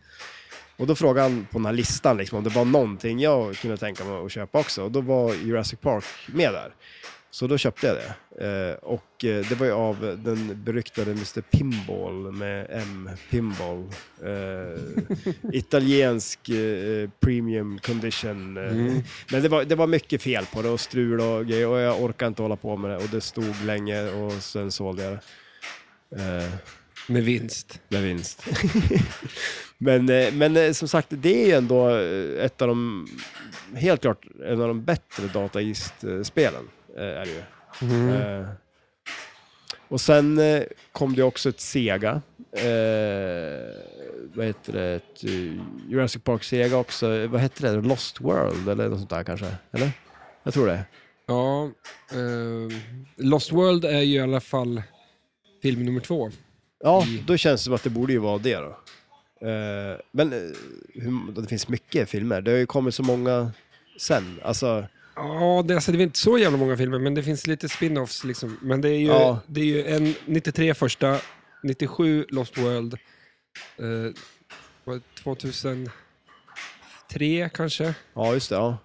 [SPEAKER 2] Och då frågade han på den här listan liksom, om det var någonting jag kunde tänka mig att köpa också. Och då var Jurassic Park med där. Så då köpte jag det. Eh, och eh, det var ju av den beryktade Mr Pinball med M. Pinball. Eh, italiensk eh, premium condition. Eh, Men det var, det var mycket fel på det och strul och grejer och jag orkade inte hålla på med det. Och det stod länge och sen sålde jag det. Eh,
[SPEAKER 1] Med vinst.
[SPEAKER 2] med vinst. men, eh, men eh, som sagt, det är ju ändå eh, ett av de, helt klart en av de bättre Data East-spelen. eh, Är det ju. Eh, Och sen eh, kom det också ett Sega. Eh, vad heter det? Ett, eh, Jurassic Park Sega också. Eh, Vad heter det? Lost World eller något sånt där kanske? Eller? Jag tror det.
[SPEAKER 1] Ja, eh, Lost World är ju i alla fall film nummer två.
[SPEAKER 2] Ja,
[SPEAKER 1] I-
[SPEAKER 2] då känns det som att det borde ju vara det då. Eh, men eh, hur, det finns mycket filmer. Det har ju kommit så många sen. Alltså,
[SPEAKER 1] Ja, det, alltså, det är väl inte så jävla många filmer, men det finns lite spin-offs liksom. Men det är ju,
[SPEAKER 2] Ja.
[SPEAKER 1] det är ju en 93 första, 97 Lost World, eh, vad- 2003 kanske,
[SPEAKER 2] ja just det. Ja.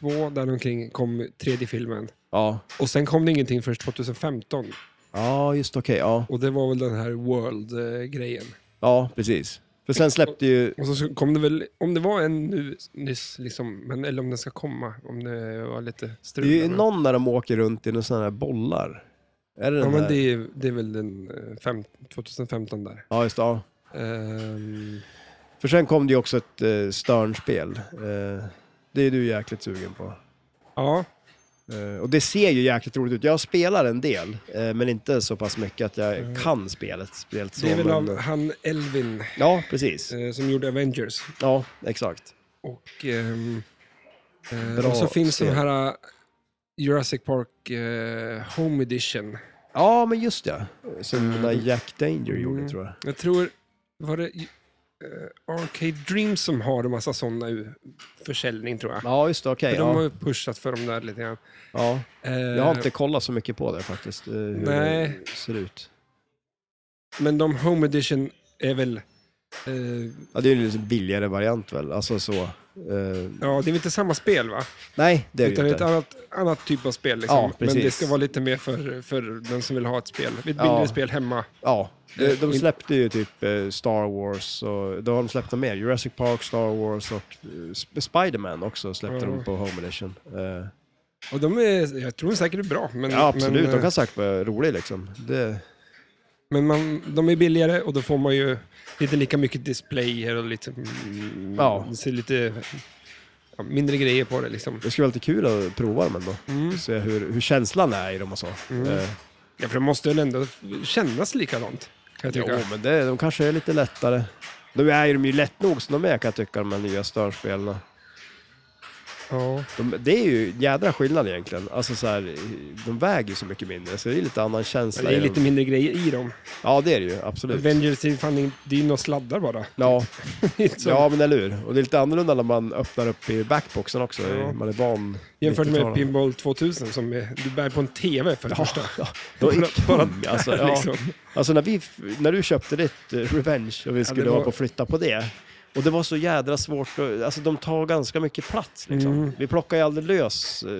[SPEAKER 1] två där omkring kom tredje filmen.
[SPEAKER 2] Ja,
[SPEAKER 1] Och sen kom det ingenting först 2015
[SPEAKER 2] ja just okej. ja.
[SPEAKER 1] och det var väl den här World-grejen.
[SPEAKER 2] ja, precis. För sen släppte ju...
[SPEAKER 1] Och så- så kom det väl, om det var en nu nyss, liksom, men, eller om den ska komma, om det var lite
[SPEAKER 2] Det
[SPEAKER 1] strul.
[SPEAKER 2] är ju
[SPEAKER 1] där, men-
[SPEAKER 2] någon när de åker runt i några sådana här bollar. Är det
[SPEAKER 1] Ja,
[SPEAKER 2] den
[SPEAKER 1] men
[SPEAKER 2] där?
[SPEAKER 1] det är, det är väl den eh, fem, 2015 där.
[SPEAKER 2] Ja, just det. Ja.
[SPEAKER 1] Ehm,
[SPEAKER 2] För sen kom det ju också ett eh, Stern-spel. Eh, det är du jäkligt sugen på.
[SPEAKER 1] ja,
[SPEAKER 2] Eh, och det ser ju jäkligt roligt ut. Jag spelar en del, eh, men inte så pass mycket att jag kan spelet. Spelet så,
[SPEAKER 1] Mm. det är väl
[SPEAKER 2] men-
[SPEAKER 1] av han Elvin
[SPEAKER 2] Ja, precis.
[SPEAKER 1] eh, som gjorde Avengers.
[SPEAKER 2] Ja, exakt.
[SPEAKER 1] Och, ehm, eh,
[SPEAKER 2] Bra
[SPEAKER 1] och så finns
[SPEAKER 2] spel.
[SPEAKER 1] de här eh, Jurassic Park eh, Home Edition.
[SPEAKER 2] Ja, men just det. Som
[SPEAKER 1] Mm.
[SPEAKER 2] den där Jack Danger gjorde,
[SPEAKER 1] Mm.
[SPEAKER 2] tror jag.
[SPEAKER 1] Jag tror, var det eh, Arcade Dream som har en massa sådana i försäljning tror jag.
[SPEAKER 2] Ja, just det. Okej.
[SPEAKER 1] För de har
[SPEAKER 2] ja.
[SPEAKER 1] ju pushat för dem där lite grann.
[SPEAKER 2] ja.
[SPEAKER 1] Eh,
[SPEAKER 2] Jag har inte kollat så mycket på det faktiskt, eh, hur
[SPEAKER 1] Nej.
[SPEAKER 2] det ser ut.
[SPEAKER 1] Men de Home Edition är väl... eh,
[SPEAKER 2] Ja, det är ju en lite billigare variant väl? Alltså så. eh,
[SPEAKER 1] ja, det är väl inte samma spel va?
[SPEAKER 2] nej, det är det
[SPEAKER 1] Utan
[SPEAKER 2] ju
[SPEAKER 1] ett
[SPEAKER 2] inte.
[SPEAKER 1] annat, annat typ av spel. Liksom.
[SPEAKER 2] Ja,
[SPEAKER 1] Men
[SPEAKER 2] precis.
[SPEAKER 1] det ska vara lite mer för, för den som vill ha ett spel. Ett mindre
[SPEAKER 2] Ja.
[SPEAKER 1] spel hemma.
[SPEAKER 2] Ja, de, de släppte ju typ eh, Star Wars och då har de släppt något mer. Jurassic Park, Star Wars och eh, Sp- Spiderman också släppte
[SPEAKER 1] Ja.
[SPEAKER 2] de på Home Edition. Eh,
[SPEAKER 1] Och de är, jag tror säkert det är bra. Men,
[SPEAKER 2] ja, absolut.
[SPEAKER 1] Men,
[SPEAKER 2] de
[SPEAKER 1] eh,
[SPEAKER 2] kan säkert vara roliga liksom. Det,
[SPEAKER 1] men man, de är billigare och då får man ju inte lika mycket displayer och lite, mm,
[SPEAKER 2] Ja.
[SPEAKER 1] det ser lite ja, mindre grejer på det. Liksom.
[SPEAKER 2] det skulle vara lite kul att prova dem ändå.
[SPEAKER 1] Mm.
[SPEAKER 2] Se hur, hur känslan är i dem och så. Eh,
[SPEAKER 1] Ja, för det måste väl ändå kännas likadant. Kan jag
[SPEAKER 2] Jo,
[SPEAKER 1] tycka.
[SPEAKER 2] men det, de kanske är lite lättare. De är ju, de är ju lätt nog som de är kan jag tycka, de här nya störspelen.
[SPEAKER 1] Ja.
[SPEAKER 2] De, det är ju en jädra skillnad egentligen. Alltså så här, de väger ju så mycket mindre, så det är lite annan känsla.
[SPEAKER 1] Men det är
[SPEAKER 2] i
[SPEAKER 1] lite
[SPEAKER 2] dem.
[SPEAKER 1] mindre grejer i dem.
[SPEAKER 2] Ja, det är det ju. Absolut.
[SPEAKER 1] Avengers är ju fan in- det är ju några sladdar bara.
[SPEAKER 2] Ja,
[SPEAKER 1] Så,
[SPEAKER 2] ja, men eller hur. Och det är lite annorlunda när man öppnar upp i backboxen också.
[SPEAKER 1] Ja.
[SPEAKER 2] Man är van.
[SPEAKER 1] jämfört med
[SPEAKER 2] 90-talet.
[SPEAKER 1] Pinball 2000 som är, du bär på en TV för det första.
[SPEAKER 2] Ja, de är
[SPEAKER 1] Bara-
[SPEAKER 2] kung alltså. Ja.
[SPEAKER 1] Liksom.
[SPEAKER 2] Alltså när, vi, f- när du köpte ditt eh, Revenge och vi skulle
[SPEAKER 1] var-
[SPEAKER 2] hålla på och flytta på det. Och det var så jädra svårt, att, alltså de tar ganska mycket plats liksom.
[SPEAKER 1] Mm.
[SPEAKER 2] Vi plockar ju aldrig lös eh,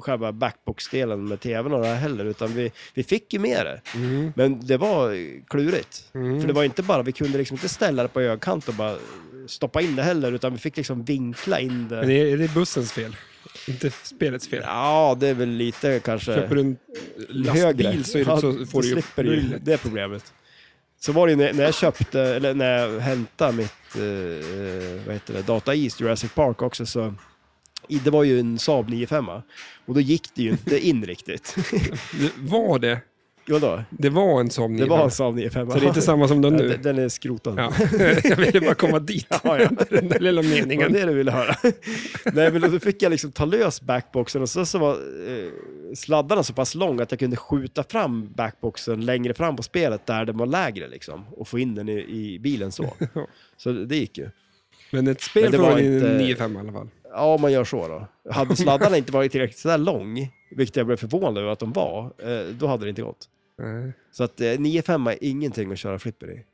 [SPEAKER 2] själva backbox-delen med tvn och det här heller, utan vi, vi fick ju med det.
[SPEAKER 1] Mm.
[SPEAKER 2] Men det var eh, klurigt.
[SPEAKER 1] Mm.
[SPEAKER 2] För det var inte bara, vi kunde liksom inte ställa det på ögkant och bara stoppa in det heller, utan vi fick liksom vinkla in det.
[SPEAKER 1] Men är, är det bussens fel? Inte spelets fel?
[SPEAKER 2] Ja, det är väl lite kanske...
[SPEAKER 1] Köper du en lastbil
[SPEAKER 2] högre.
[SPEAKER 1] så, är det,
[SPEAKER 2] Ja,
[SPEAKER 1] så får
[SPEAKER 2] då
[SPEAKER 1] du ju...
[SPEAKER 2] slipper
[SPEAKER 1] då är
[SPEAKER 2] du
[SPEAKER 1] det
[SPEAKER 2] ju
[SPEAKER 1] lätt.
[SPEAKER 2] det problemet. Så var det ju när när jag köpte, eller när jag hämtade mitt, eh, vad heter det, Data East Jurassic Park också så i- det var ju en Saab 95 och då gick det ju inte in riktigt.
[SPEAKER 1] Det Var det?
[SPEAKER 2] Jo då,
[SPEAKER 1] Det var en Saab
[SPEAKER 2] det
[SPEAKER 1] 9.
[SPEAKER 2] var en Saab 95
[SPEAKER 1] Så det är inte samma som den
[SPEAKER 2] Ja,
[SPEAKER 1] nu?
[SPEAKER 2] den- Den är skrotad.
[SPEAKER 1] Ja. Jag ville bara komma dit.
[SPEAKER 2] Ja, ja.
[SPEAKER 1] Den där lilla
[SPEAKER 2] Det var
[SPEAKER 1] meningen.
[SPEAKER 2] det du ville höra. Nej, men då fick jag liksom ta lös backboxen och så, så var eh, sladdarna så pass lång att jag kunde skjuta fram backboxen längre fram på spelet där den var lägre liksom och få in den i, i bilen så.
[SPEAKER 1] Ja.
[SPEAKER 2] Så det det gick ju.
[SPEAKER 1] Men ett
[SPEAKER 2] Men
[SPEAKER 1] spel
[SPEAKER 2] det
[SPEAKER 1] får
[SPEAKER 2] var
[SPEAKER 1] man inte...
[SPEAKER 2] inte-
[SPEAKER 1] 9-5 i alla fall.
[SPEAKER 2] Ja, man gör så då. Hade sladdarna inte varit tillräckligt sådär lång, vilket jag blev förvånad över att de var, eh, då hade det inte gått.
[SPEAKER 1] Nej.
[SPEAKER 2] Så att eh, 9-5 är ingenting att köra flipper i.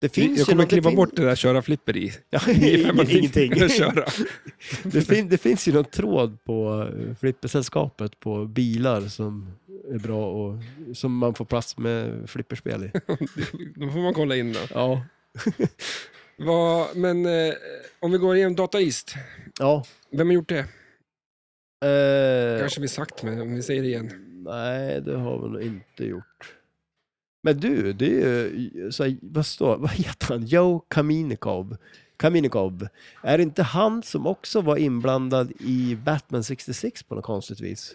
[SPEAKER 2] Det
[SPEAKER 1] jag
[SPEAKER 2] finns ju
[SPEAKER 1] kommer
[SPEAKER 2] något- det
[SPEAKER 1] klippa
[SPEAKER 2] fin-
[SPEAKER 1] bort det där köra flipper i.
[SPEAKER 2] Ja,
[SPEAKER 1] 9-5 har
[SPEAKER 2] ingenting.
[SPEAKER 1] att köra.
[SPEAKER 2] Det, fin- det finns ju någon tråd på eh, flippersällskapet på bilar som är bra och som man får plats med flipperspel i.
[SPEAKER 1] Då får man kolla in då.
[SPEAKER 2] Ja.
[SPEAKER 1] Vad, men eh, om vi går igenom Data East.
[SPEAKER 2] Ja.
[SPEAKER 1] Vem har gjort det?
[SPEAKER 2] Eh,
[SPEAKER 1] Kanske vi sagt, men om vi säger det igen.
[SPEAKER 2] Nej, det har vi nog inte gjort. Men du, det är ju, så här, vad, står, vad heter han? Joe Kaminikov. Kaminikov. Är det inte han som också var inblandad i Batman 66 på något konstigt vis?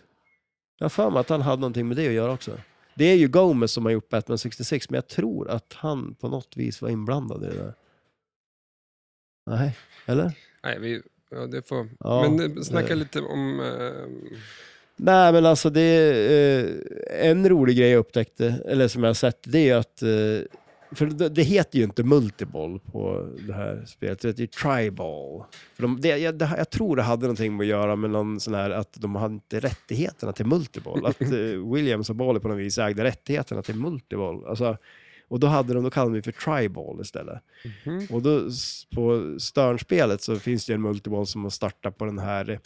[SPEAKER 2] Jag har för mig att han hade någonting med det att göra också. Det är ju Gomez som har gjort Batman 66, men jag tror att han på något vis var inblandad i det där. Nej, eller?
[SPEAKER 1] Nej, vi, ja, det får...
[SPEAKER 2] Ja,
[SPEAKER 1] men eh, snacka
[SPEAKER 2] det-
[SPEAKER 1] lite om... Eh,
[SPEAKER 2] Nej, men alltså det är eh, en rolig grej jag upptäckte, eller som jag har sett, det är ju att eh, för det, det heter ju inte multiboll på det här spelet, det heter ju triball. För de, det, jag, det, jag tror det hade någonting med att göra med någon sån här att de hade inte rättigheterna till multiboll. Att eh, Williams och Bali på något vis ägde rättigheterna till multiboll. Alltså, och då hade de, då kallade de det för triball istället.
[SPEAKER 1] mhm.
[SPEAKER 2] Och då s- på Störnspelet så finns det ju en multiball som man startar på den här, eh,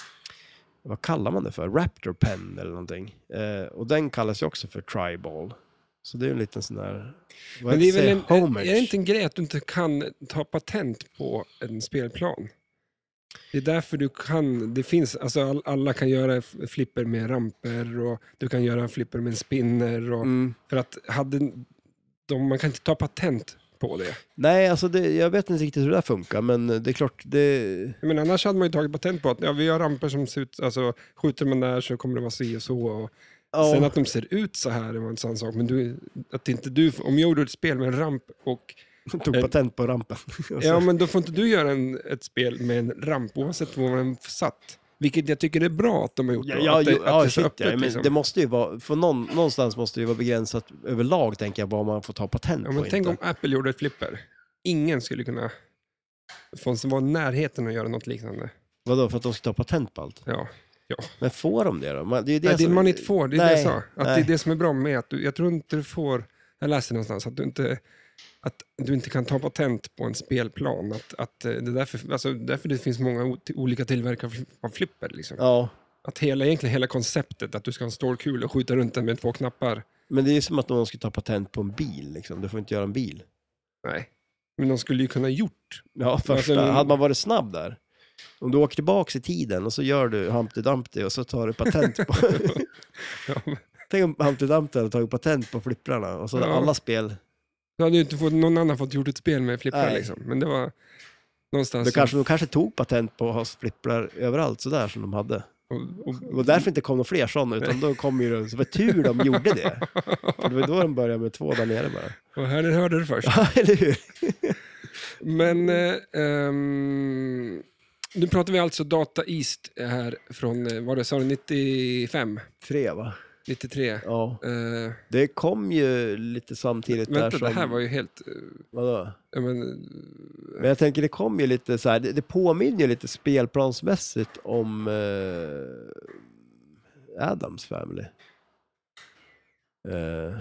[SPEAKER 2] vad kallar man det för? Raptor Pen eller någonting. Eh, och den kallas ju också för Triball. Så det är ju en liten sån där, vad
[SPEAKER 1] Men det är, väl
[SPEAKER 2] säger-
[SPEAKER 1] en, en,
[SPEAKER 2] homage.
[SPEAKER 1] är det inte en grej att du inte kan ta patent på en spelplan? Det är därför du kan, det finns, alltså all, alla kan göra f- flipper med ramper och du kan göra flipper med en spinner. Och,
[SPEAKER 2] Mm.
[SPEAKER 1] För att hade, de, man kan inte ta patent på det.
[SPEAKER 2] Nej, alltså det, jag vet inte riktigt hur det där funkar, men det är klart, det...
[SPEAKER 1] Men annars hade man ju tagit patent på att ja, vi har ramper som ser ut, alltså skjuter man där så kommer det vara si och så. Och,
[SPEAKER 2] Ja,
[SPEAKER 1] Sen att de ser ut så här är en sån sak, men du, att inte du, om jag gjorde ett spel med en ramp och
[SPEAKER 2] tog patent på rampen.
[SPEAKER 1] Ja, men då får inte du göra en, ett spel med en ramp oavsett var den satt. Vilket jag tycker är bra att de har gjort.
[SPEAKER 2] Ja,
[SPEAKER 1] då,
[SPEAKER 2] ja,
[SPEAKER 1] att det, att
[SPEAKER 2] jo, ja,
[SPEAKER 1] det är så
[SPEAKER 2] shit,
[SPEAKER 1] öppet.
[SPEAKER 2] ja, men
[SPEAKER 1] liksom.
[SPEAKER 2] Det måste ju vara, för någon, någonstans måste det ju vara begränsat överlag, tänker jag, vad man får ta patent
[SPEAKER 1] ja,
[SPEAKER 2] på.
[SPEAKER 1] men tänk
[SPEAKER 2] inte.
[SPEAKER 1] om Apple gjorde ett flipper. Ingen skulle kunna få som var i närheten att göra något liknande.
[SPEAKER 2] Vadå, för att de ska ta patent på allt?
[SPEAKER 1] Ja.
[SPEAKER 2] Men får de det då? Man- Det är ju det,
[SPEAKER 1] Det, nej, det
[SPEAKER 2] som-
[SPEAKER 1] man inte får, det är det jag
[SPEAKER 2] Nej,
[SPEAKER 1] sa. Att
[SPEAKER 2] nej.
[SPEAKER 1] det är det som är bra med att du, jag tror inte du får, jag läste någonstans att du inte, att du inte kan ta patent på en spelplan. Att, att eh, det är därför, alltså, därför det finns många o- olika tillverkare av flipper. Liksom.
[SPEAKER 2] Ja,
[SPEAKER 1] Att hela, egentligen hela konceptet att du ska ha en stålkula och skjuta runt den med två knappar.
[SPEAKER 2] men det är ju som att någon ska ta patent på en bil. Liksom. Du får inte göra en bil.
[SPEAKER 1] Nej. Men de skulle ju kunna gjort.
[SPEAKER 2] Ja, första.
[SPEAKER 1] alltså-
[SPEAKER 2] Hade man varit snabb där, om du åker tillbaka i tiden och så gör du Humpty Dumpty och så tar du patent på...
[SPEAKER 1] Ja, men
[SPEAKER 2] Tänk om Humpty Dumpty hade tagit patent på flipprarna och så hade
[SPEAKER 1] Ja.
[SPEAKER 2] alla spel...
[SPEAKER 1] Då hade ju inte fått, någon annan fått gjort ett spel med flipprar
[SPEAKER 2] Nej.
[SPEAKER 1] liksom. Men det var någonstans...
[SPEAKER 2] Alltså... Kanske, de kanske tog patent på att ha flipprar överallt sådär som de hade.
[SPEAKER 1] och, och,
[SPEAKER 2] Och därför inte kom några fler sådana, utan då kom ju det, så var tur de gjorde det. För det var då de började med två där nere bara.
[SPEAKER 1] och här hörde du det först.
[SPEAKER 2] Ja, eller hur?
[SPEAKER 1] Men... Eh, ehm, Nu pratar vi alltså Data East här från, eh, vad det, sa du, 95?
[SPEAKER 2] Tre, va?
[SPEAKER 1] 93?
[SPEAKER 2] Ja.
[SPEAKER 1] Eh,
[SPEAKER 2] Det kom ju lite samtidigt där
[SPEAKER 1] vänta,
[SPEAKER 2] som...
[SPEAKER 1] det här var ju helt... eh,
[SPEAKER 2] Vadå?
[SPEAKER 1] ja, men, eh,
[SPEAKER 2] Men jag tänker det kom ju lite så här, det, det påminner ju lite spelplansmässigt om eh, Adams Family. Eh,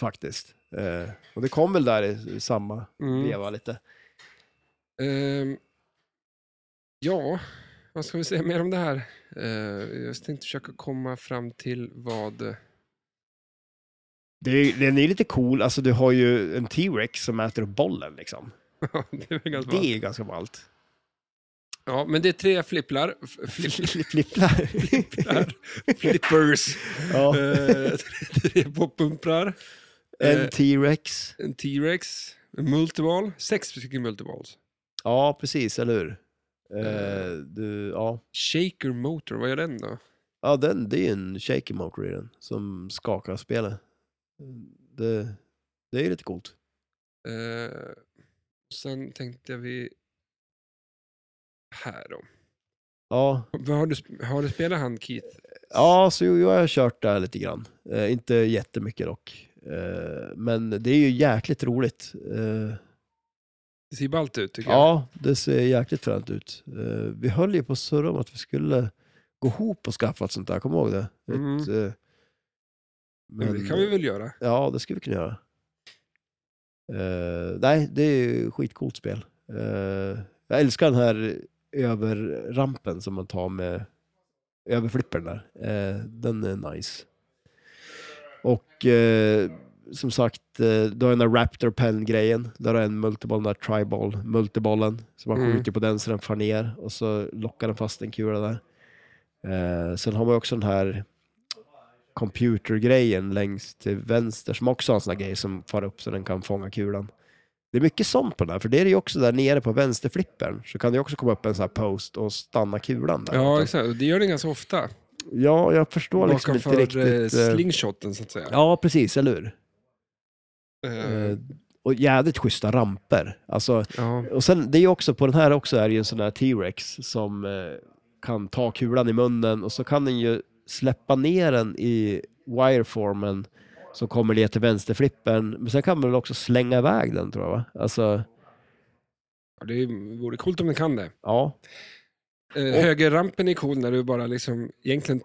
[SPEAKER 2] faktiskt. Eh, och det kom väl där i, i samma
[SPEAKER 1] Mm.
[SPEAKER 2] veva lite.
[SPEAKER 1] ehm, ja, vad ska vi säga mer om det här? Eh, jag tänkte försöka komma fram till vad...
[SPEAKER 2] Det är, den är ju lite cool, alltså du har ju en T-Rex som äter upp bollen liksom.
[SPEAKER 1] det är väl ganska
[SPEAKER 2] Det
[SPEAKER 1] bra.
[SPEAKER 2] är ju ganska ballt.
[SPEAKER 1] Ja, men det är tre flipplar. F- Flipp,
[SPEAKER 2] Flipplar.
[SPEAKER 1] flipplar. Flippers.
[SPEAKER 2] ja.
[SPEAKER 1] Eh, tre poppumprar. Eh,
[SPEAKER 2] En T-Rex.
[SPEAKER 1] en T-Rex. En multiball. Sex stycken multiballs.
[SPEAKER 2] Ja, precis, eller hur? Eh, du, ja.
[SPEAKER 1] Shaker motor, vad är den då?
[SPEAKER 2] Ja, den, det är ju en shaky motor i den som skakar spelet. Det, det är lite coolt.
[SPEAKER 1] Eh, sen tänkte jag vi... Här då.
[SPEAKER 2] Ja,
[SPEAKER 1] Vad Har du, sp- har du spelat han Keith?
[SPEAKER 2] ja så jo, jag har kört där lite grann. Eh, inte jättemycket dock. Eh, men det är ju jäkligt roligt. Eh,
[SPEAKER 1] Det ser ju ballt ut tycker jag.
[SPEAKER 2] ja, det ser jäkligt fränt ut. Eh, vi höll ju på att surra om att vi skulle gå ihop och skaffa ett sånt där, kommer du ihåg det? Ett,
[SPEAKER 1] Mm.
[SPEAKER 2] eh,
[SPEAKER 1] Men det kan vi väl göra.
[SPEAKER 2] Ja, det skulle vi kunna göra. Eh, nej, det är ju skitcoolt spel. Eh, jag älskar den här överrampen som man tar med överflippern där. Eh, den är nice. Och eh, som sagt, eh, du har den där Raptor Pen-grejen. Där har en multiball, den där triball, multibollen. Så man
[SPEAKER 1] Mm.
[SPEAKER 2] skjuter på den så den far ner och så lockar den fast en kula där. Eh, sen har man ju också den här computergrejen längst till vänster som också har en sån här grej som far upp så den kan fånga kulan. Det är mycket sånt på den här, för det är det ju också där nere på vänsterflippern så kan det ju också komma upp en sån här post och stanna kulan där.
[SPEAKER 1] Ja, exakt. Och Det gör den ganska ofta.
[SPEAKER 2] ja jag förstår liksom inte
[SPEAKER 1] Bakomför eh,
[SPEAKER 2] riktigt. eh,
[SPEAKER 1] slingshoten så att säga.
[SPEAKER 2] Ja, precis, eller hur?
[SPEAKER 1] Eh,
[SPEAKER 2] Eh, Och jädrigt schyssta ramper. Alltså,
[SPEAKER 1] ja.
[SPEAKER 2] och sen, det är ju också, på den här också är det ju en sån här T-Rex som eh, kan ta kulan i munnen och så kan den ju släppa ner den i wireformen som kommer ner till vänsterflippen. Men sen kan man väl också slänga iväg den tror jag va? Alltså,
[SPEAKER 1] Ja, Det vore coolt om den kan det.
[SPEAKER 2] ja.
[SPEAKER 1] Eh,
[SPEAKER 2] Och-
[SPEAKER 1] Högerrampen är cool när du bara liksom, egentligen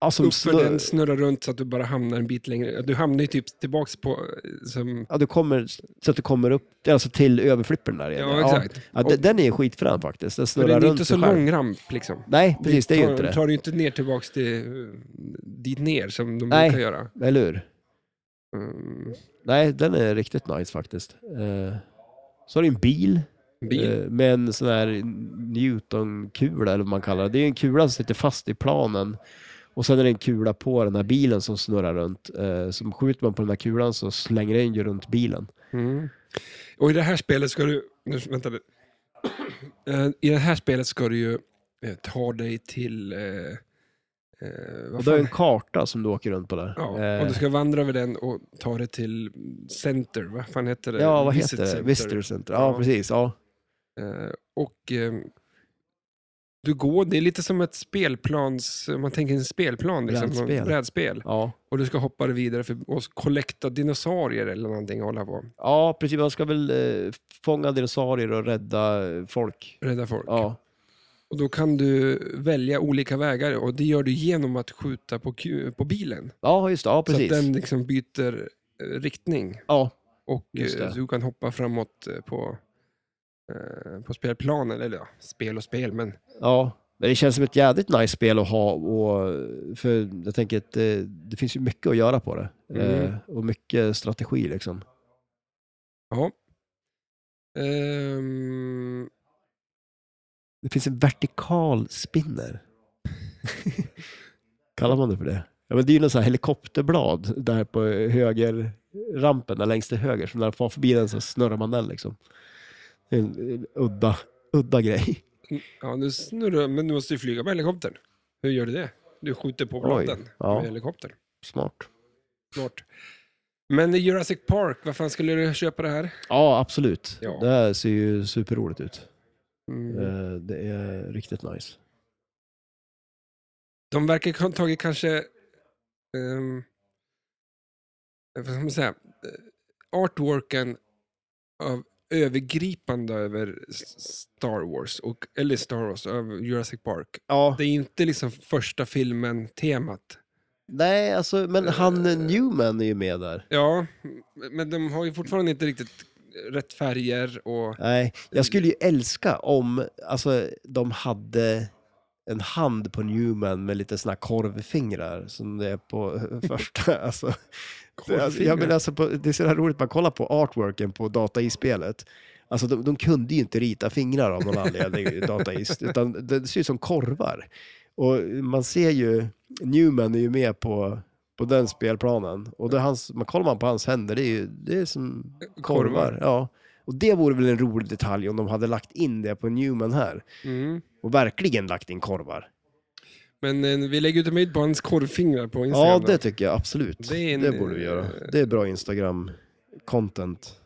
[SPEAKER 2] ja som
[SPEAKER 1] uppför
[SPEAKER 2] snurr-
[SPEAKER 1] den, snurrar runt så att du bara hamnar en bit längre. Du hamnar ju typ tillbaks på, eh, som,
[SPEAKER 2] ja, du kommer, så att du kommer upp alltså till överflippen där igen.
[SPEAKER 1] ja exakt.
[SPEAKER 2] Ja, den, den är skitfrän faktiskt. Den
[SPEAKER 1] För
[SPEAKER 2] snurrar
[SPEAKER 1] den är
[SPEAKER 2] runt
[SPEAKER 1] inte så
[SPEAKER 2] sig själv.
[SPEAKER 1] lång ramp liksom.
[SPEAKER 2] Nej, precis, det är ju
[SPEAKER 1] tar,
[SPEAKER 2] inte det.
[SPEAKER 1] tar du inte ner tillbaks till, eh, dit ner som de
[SPEAKER 2] Nej.
[SPEAKER 1] brukar göra.
[SPEAKER 2] Eller hur?
[SPEAKER 1] Mm,
[SPEAKER 2] Nej, den är riktigt nice faktiskt. Eh, så har du en bil,
[SPEAKER 1] bil.
[SPEAKER 2] eh, med en sån här Newton-kula eller vad man kallar det. Det är en kula som sitter fast i planen och sen är det en kula på den här bilen som snurrar runt. Eh, som skjuter man på den här kulan så slänger den ju runt bilen.
[SPEAKER 1] Mm. Och i det här spelet ska du... Nu, vänta nu. Eh, I det här spelet ska du ju eh, ta dig till... Eh, eh,
[SPEAKER 2] Och
[SPEAKER 1] vad
[SPEAKER 2] det är en
[SPEAKER 1] fan?
[SPEAKER 2] karta som du åker runt på där.
[SPEAKER 1] Ja,
[SPEAKER 2] Eh,
[SPEAKER 1] och du ska vandra över den och ta dig till Center. Vad fan heter det?
[SPEAKER 2] ja, vad
[SPEAKER 1] Visit
[SPEAKER 2] heter det?
[SPEAKER 1] Center.
[SPEAKER 2] Visitor Center. Ja,
[SPEAKER 1] Ja.
[SPEAKER 2] precis. Ja.
[SPEAKER 1] Eh, och eh, du går, det är lite som ett spelplans... Om man tänker en spelplan, liksom,
[SPEAKER 2] Brädspel.
[SPEAKER 1] något brädspel.
[SPEAKER 2] Ja.
[SPEAKER 1] Och du ska hoppa vidare för att kollekta dinosaurier eller någonting och hålla på.
[SPEAKER 2] ja, precis. Man ska väl eh, fånga dinosaurier och rädda eh, folk.
[SPEAKER 1] Rädda folk.
[SPEAKER 2] Ja,
[SPEAKER 1] Och då kan du välja olika vägar och det gör du genom att skjuta på, ku- på bilen.
[SPEAKER 2] ja just det. Ja, precis.
[SPEAKER 1] Så att den liksom byter eh, riktning
[SPEAKER 2] Ja,
[SPEAKER 1] och
[SPEAKER 2] Just
[SPEAKER 1] eh,
[SPEAKER 2] det.
[SPEAKER 1] så du kan hoppa framåt eh, på, eh, på spelplanen. Eller ja, spel och spel, men
[SPEAKER 2] Ja, men det känns som ett jädrigt nice spel att ha. Och, för jag tänker att det, det finns ju mycket att göra på det.
[SPEAKER 1] Mm.
[SPEAKER 2] Eh, och mycket strategi liksom.
[SPEAKER 1] ja. Ehm,
[SPEAKER 2] Det finns en vertikal spinner. Kallar man det för det? Ja, men det är ju någon sån här helikopterblad där på högerrampen, där längst till höger. Så när man far förbi den så snurrar man den liksom. Det är en, en udda, udda grej.
[SPEAKER 1] ja, nu snurrar, men du måste ju flyga med helikoptern. Hur gör du det? Du skjuter på
[SPEAKER 2] Oj,
[SPEAKER 1] bladen
[SPEAKER 2] ja.
[SPEAKER 1] med helikoptern.
[SPEAKER 2] Smart.
[SPEAKER 1] Smart. Men i Jurassic Park, vad fan skulle du köpa det här?
[SPEAKER 2] Ja, absolut.
[SPEAKER 1] Ja.
[SPEAKER 2] Det här ser ju superroligt ut.
[SPEAKER 1] Mm.
[SPEAKER 2] Eh, Det är riktigt nice.
[SPEAKER 1] De verkar ha tagit kanske... ehm, vad ska man säga? Eh, Artworken av övergripande över S- Star Wars, och, eller Star Wars, över Jurassic Park.
[SPEAKER 2] Ja,
[SPEAKER 1] Det är inte liksom första filmen-temat.
[SPEAKER 2] nej alltså, men han eh, Newman är ju med där.
[SPEAKER 1] Ja, men de har ju fortfarande inte riktigt rätt färger och...
[SPEAKER 2] Nej, jag skulle ju älska om alltså, de hade en hand på Newman med lite såna här korvfingrar som det är på eh, första. Alltså, det, jag menar, alltså, på, det är så här roligt, man kollar på artworken på Data i spelet. Alltså de, de kunde ju inte rita fingrar av någon anledning, i Data i, utan det ser ut som korvar. Och man ser ju, Newman är ju med på, på den spelplanen. Och det är hans, man kollar man på hans händer, det är ju det är som korvar.
[SPEAKER 1] Korvar.
[SPEAKER 2] Ja. Och det vore väl en rolig detalj om de hade lagt in det på Newman här.
[SPEAKER 1] Mm.
[SPEAKER 2] Och verkligen lagt in korvar.
[SPEAKER 1] Men eh, vi lägger ut en bild på hans korvfingrar på Instagram.
[SPEAKER 2] Ja,
[SPEAKER 1] då.
[SPEAKER 2] det tycker jag absolut.
[SPEAKER 1] Det är
[SPEAKER 2] Det, eh,
[SPEAKER 1] en-
[SPEAKER 2] borde vi göra. Det är bra Instagram-content.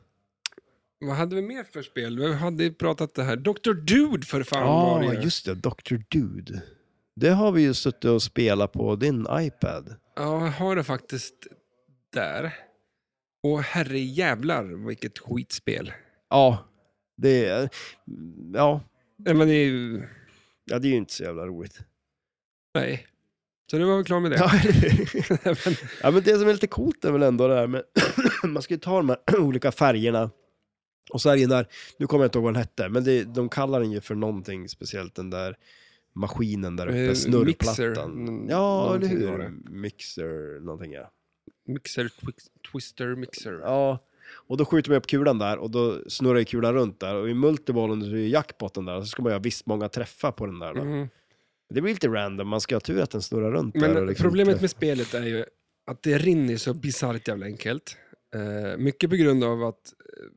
[SPEAKER 1] Vad hade vi mer för spel? Vi hade ju pratat det här. Dr. Dude för fan
[SPEAKER 2] Ja,
[SPEAKER 1] var det ju.
[SPEAKER 2] just det. Dr. Dude. Det har vi ju suttit och spelat på din iPad.
[SPEAKER 1] Ja, jag har det faktiskt där. Och herre jävlar vilket skitspel.
[SPEAKER 2] Ja. Det är, ja,
[SPEAKER 1] Nej, men det är ju...
[SPEAKER 2] ja, det är ju inte så jävla roligt.
[SPEAKER 1] Nej. Så nu var vi klara med det.
[SPEAKER 2] Ja,
[SPEAKER 1] men,
[SPEAKER 2] ja, men det som är lite coolt är väl ändå det här med, man ska ju ta de här olika färgerna. Och så är det ju där, nu kommer jag inte ihåg vad den hette, men det, de kallar den ju för någonting speciellt, den där maskinen där
[SPEAKER 1] Eh,
[SPEAKER 2] uppe, snurrplattan.
[SPEAKER 1] mixer, mm,
[SPEAKER 2] ja, eller
[SPEAKER 1] någonting var det.
[SPEAKER 2] hur? Mixer, någonting ja.
[SPEAKER 1] mixer, twix, twister, mixer.
[SPEAKER 2] Ja, och då skjuter man upp kulan där och då snurrar ju kulan runt där. Och i multibollen så är ju jackpotten där och så ska man göra visst många träffar på den där. Då.
[SPEAKER 1] Mm.
[SPEAKER 2] Det blir lite random, man ska ha tur att den snurrar runt där. och
[SPEAKER 1] Men
[SPEAKER 2] liksom
[SPEAKER 1] problemet
[SPEAKER 2] inte-
[SPEAKER 1] med spelet är ju att det rinner så bisarrt jävla enkelt. Eh, mycket på grund av att eh,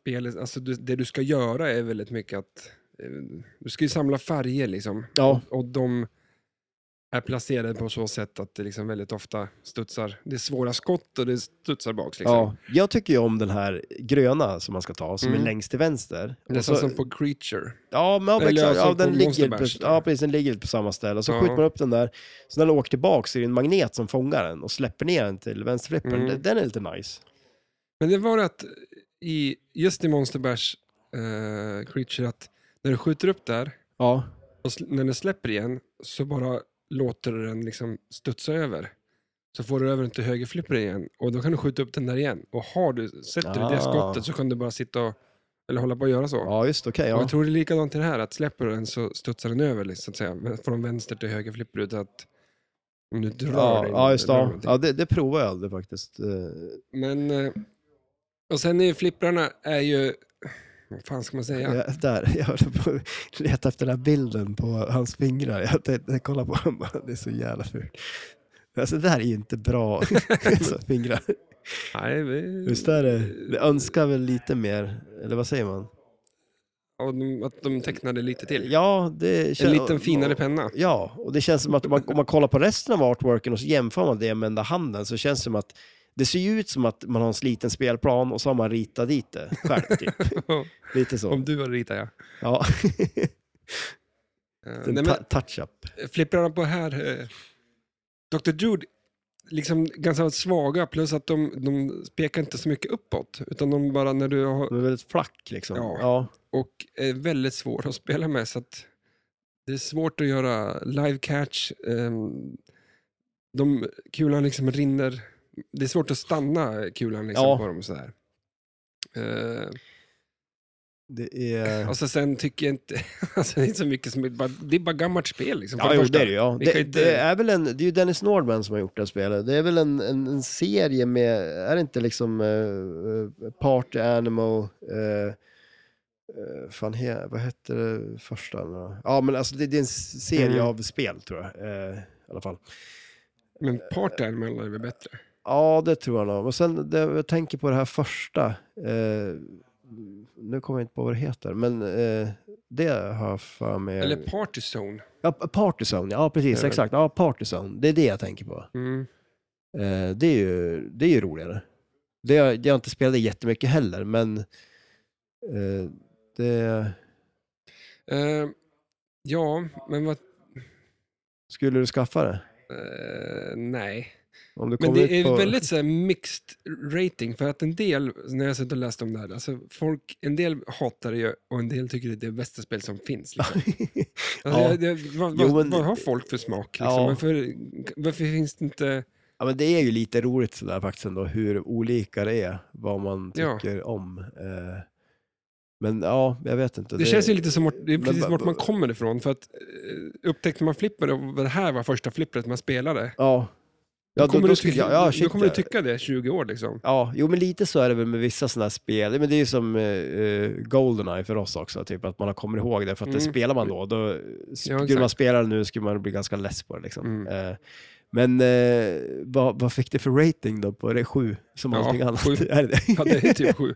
[SPEAKER 1] spelet, alltså du, det du ska göra är väldigt mycket att eh, du ska ju samla färger liksom.
[SPEAKER 2] Ja,
[SPEAKER 1] Och de är placerade på så sätt att det liksom väldigt ofta studsar. Det är svåra skott och det studsar baks liksom.
[SPEAKER 2] ja. Jag tycker ju om den här gröna som man ska ta, som
[SPEAKER 1] Mm.
[SPEAKER 2] är längst till vänster. Och
[SPEAKER 1] Nästan
[SPEAKER 2] så-
[SPEAKER 1] som på Creature.
[SPEAKER 2] Ja, men
[SPEAKER 1] Eller
[SPEAKER 2] eller, exakt,
[SPEAKER 1] alltså
[SPEAKER 2] ja, den
[SPEAKER 1] på
[SPEAKER 2] ligger
[SPEAKER 1] Monster
[SPEAKER 2] på,
[SPEAKER 1] Bash, då.
[SPEAKER 2] ja, precis, den ligger på samma ställe. Och så
[SPEAKER 1] Ja.
[SPEAKER 2] skjuter man upp den där, så när den åker tillbaka så är det en magnet som fångar den och släpper ner den till vänsterflippen.
[SPEAKER 1] Mm.
[SPEAKER 2] Den- Den är lite nice.
[SPEAKER 1] Men det var det att i, just i Monster Bash eh, Creature att när du skjuter upp där
[SPEAKER 2] Ja,
[SPEAKER 1] och sl- när den släpper igen så bara låter du den liksom studsa över. Så får du över den till högerflippen igen och då kan du skjuta upp den där igen. Och har du, sätter du det
[SPEAKER 2] Ah.
[SPEAKER 1] skottet så kan du bara sitta och, eller hålla på och göra så.
[SPEAKER 2] ja just okej.
[SPEAKER 1] Och
[SPEAKER 2] ja.
[SPEAKER 1] jag tror det är likadant till det här, att släpper du den så studsar den över liksom, så att säga. Från vänster till höger flipper ut att om du drar
[SPEAKER 2] Ja,
[SPEAKER 1] dig.
[SPEAKER 2] ja, just det.
[SPEAKER 1] drar
[SPEAKER 2] Ja,
[SPEAKER 1] någonting.
[SPEAKER 2] ja det, det provar jag aldrig faktiskt. Eh,
[SPEAKER 1] Men, eh, och sen är ju flipprarna är ju, vad fan ska man säga?
[SPEAKER 2] jag, där, jag höll på att leta efter den här bilden på hans fingrar. Jag, tänkte- jag kollar på honom bara, det är så jävla fult. Alltså det där är ju inte bra, alltså, fingrar.
[SPEAKER 1] Nej, vi,
[SPEAKER 2] Visst är det? Det önskar väl lite mer, eller vad säger man?
[SPEAKER 1] och de, att de tecknade lite till.
[SPEAKER 2] Ja, det
[SPEAKER 1] en
[SPEAKER 2] kän-
[SPEAKER 1] liten finare penna.
[SPEAKER 2] Ja, och det känns som att om man, om man kollar på resten av artworken och så jämför man det med den där handen så känns det som att det ser ju ut som att man har en sliten spelplan och så har man ritat dit det själv, typ. Lite så.
[SPEAKER 1] om du har ritat ja.
[SPEAKER 2] Ja.
[SPEAKER 1] Eh,
[SPEAKER 2] En
[SPEAKER 1] nej,
[SPEAKER 2] ta- touch-up.
[SPEAKER 1] men, flipprarna på här, eh, Dr. Dude, liksom ganska svaga plus att de, de pekar inte så mycket uppåt. Utan de bara när du har
[SPEAKER 2] De är väldigt flack liksom.
[SPEAKER 1] Ja.
[SPEAKER 2] Ja.
[SPEAKER 1] och är väldigt svår att spela med. Så att det är svårt att göra live catch. ehm, De, kulan liksom rinner. Det är svårt att stanna kulan liksom
[SPEAKER 2] Ja.
[SPEAKER 1] på dem. Så här. Eh,
[SPEAKER 2] Det är...
[SPEAKER 1] och så sen tycker jag inte, alltså det är inte så mycket som, bara- det är bara gammalt spel liksom.
[SPEAKER 2] Ja, jo, det är det ju. Ja.
[SPEAKER 1] Vi kan
[SPEAKER 2] Det,
[SPEAKER 1] inte-
[SPEAKER 2] det, är väl en, det är ju Dennis Nordman som har gjort det här spelet. Det är väl en, en, en serie med, är det inte liksom eh, eh, Party Animal, uh, fan he, vad hette det första? nu då? Ja, men alltså det, det är en s- serie
[SPEAKER 1] Mm.
[SPEAKER 2] av spel tror jag. eh, I alla fall.
[SPEAKER 1] Men Part Animal är väl bättre?
[SPEAKER 2] Ja, det tror jag nog. Och sen, det, jag tänker på det här första. Eh, nu kommer jag inte på vad det heter, men eh, det har jag för mig.
[SPEAKER 1] Eller Party Zone.
[SPEAKER 2] Ja, Partizone, ja precis,
[SPEAKER 1] Eller-
[SPEAKER 2] exakt. Ja, Partizone, det är det jag tänker på.
[SPEAKER 1] Mm.
[SPEAKER 2] Eh, det, är ju, det är ju roligare. Det har det har jag inte spelat jättemycket heller, men eh, det...
[SPEAKER 1] Eh, ja, men vad...
[SPEAKER 2] Skulle du skaffa det?
[SPEAKER 1] eh, nej.
[SPEAKER 2] Om du
[SPEAKER 1] Men
[SPEAKER 2] kom ut
[SPEAKER 1] det är
[SPEAKER 2] på...
[SPEAKER 1] väldigt så här, mixed rating, för att en del, när jag satt och läste om det här, alltså folk, en del hatar det ju och en del tycker det är det bästa spel som finns. Liksom. Alltså,
[SPEAKER 2] Ja.
[SPEAKER 1] jag, jag, vad,
[SPEAKER 2] Jo,
[SPEAKER 1] vad,
[SPEAKER 2] men-
[SPEAKER 1] vad har folk för smak? Liksom?
[SPEAKER 2] Ja.
[SPEAKER 1] Varför, varför finns det inte...
[SPEAKER 2] Ja, men det är ju lite roligt sådär faktiskt ändå, hur olika det är, vad man
[SPEAKER 1] Ja.
[SPEAKER 2] tycker om. Eh, men ja, jag vet inte.
[SPEAKER 1] Det, känns ju lite som vart, det är
[SPEAKER 2] Men
[SPEAKER 1] precis
[SPEAKER 2] ba-
[SPEAKER 1] vart man
[SPEAKER 2] ba-
[SPEAKER 1] kommer ifrån. För att eh, upptäckte man flipper och det här var första flippret man spelade,
[SPEAKER 2] Ja.
[SPEAKER 1] då
[SPEAKER 2] Ja,
[SPEAKER 1] kommer, du,
[SPEAKER 2] skulle
[SPEAKER 1] tycka,
[SPEAKER 2] jag- ja,
[SPEAKER 1] då
[SPEAKER 2] shit,
[SPEAKER 1] kommer du
[SPEAKER 2] ja.
[SPEAKER 1] tycka det 20 år liksom.
[SPEAKER 2] Ja, jo men lite så är det väl med vissa sådana här spel. Men det är ju som eh, eh, Goldeneye för oss också, typ att man kommer ihåg det för att
[SPEAKER 1] Mm.
[SPEAKER 2] det spelar man då. då
[SPEAKER 1] Ja,
[SPEAKER 2] skulle man
[SPEAKER 1] exakt.
[SPEAKER 2] spela det nu skulle man bli ganska less på det liksom.
[SPEAKER 1] Mm.
[SPEAKER 2] Eh, men eh, vad, vad fick det för rating då på det? Sju? Som
[SPEAKER 1] Ja,
[SPEAKER 2] allting annat?
[SPEAKER 1] sju.
[SPEAKER 2] Är det det?
[SPEAKER 1] Ja, det är typ 7.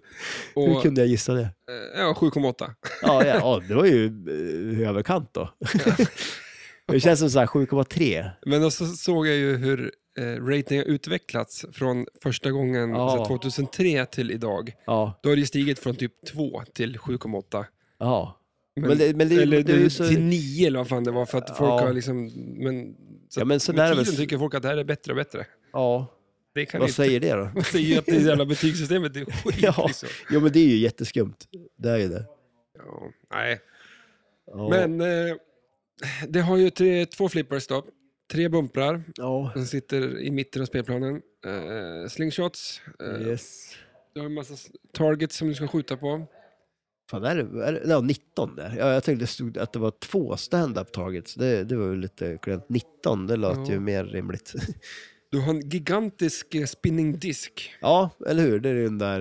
[SPEAKER 1] Och,
[SPEAKER 2] Hur kunde jag gissa det?
[SPEAKER 1] eh, ja, 7,8.
[SPEAKER 2] Ja, ja, ja det var ju eh, i överkant då. det känns som så här 7,3.
[SPEAKER 1] Men då så såg jag ju hur eh, rating har utvecklats från första gången,
[SPEAKER 2] Ja.
[SPEAKER 1] alltså 2003 till idag.
[SPEAKER 2] Ja,
[SPEAKER 1] Då har det ju stigit från typ 2 till 7,8.
[SPEAKER 2] ja.
[SPEAKER 1] Men-
[SPEAKER 2] Men det- men det-
[SPEAKER 1] Eller
[SPEAKER 2] men det är ju så-
[SPEAKER 1] till 9 eller vad fan det var, för att folk
[SPEAKER 2] Ja.
[SPEAKER 1] har liksom... Men, så
[SPEAKER 2] Ja,
[SPEAKER 1] att
[SPEAKER 2] men så där är
[SPEAKER 1] med
[SPEAKER 2] väl-
[SPEAKER 1] tiden tycker folk att det här är bättre och bättre.
[SPEAKER 2] ja.
[SPEAKER 1] Det kan
[SPEAKER 2] Vad
[SPEAKER 1] inte...
[SPEAKER 2] säger det då?
[SPEAKER 1] Man säger ju att det jävla betygssystemet är skit
[SPEAKER 2] Ja.
[SPEAKER 1] liksom.
[SPEAKER 2] Jo men det är ju jätteskumt. Det är ju det.
[SPEAKER 1] Ja, nej.
[SPEAKER 2] Ja.
[SPEAKER 1] Men eh, det har ju tre, två flippers då. Tre bumprar
[SPEAKER 2] Ja.
[SPEAKER 1] som sitter i mitten av spelplanen. Eh, slingshots. Eh,
[SPEAKER 2] Yes.
[SPEAKER 1] Du har en massa s- targets som du ska skjuta på.
[SPEAKER 2] Fan, är det, är det, ja, 19 där. Ja, jag tänkte det stod att det var två stand-up targets. Det, det var ju lite klent. 19, det lät
[SPEAKER 1] Ja.
[SPEAKER 2] ju mer rimligt.
[SPEAKER 1] Du har en gigantisk eh, spinning disk.
[SPEAKER 2] ja, eller hur? Det är ju den där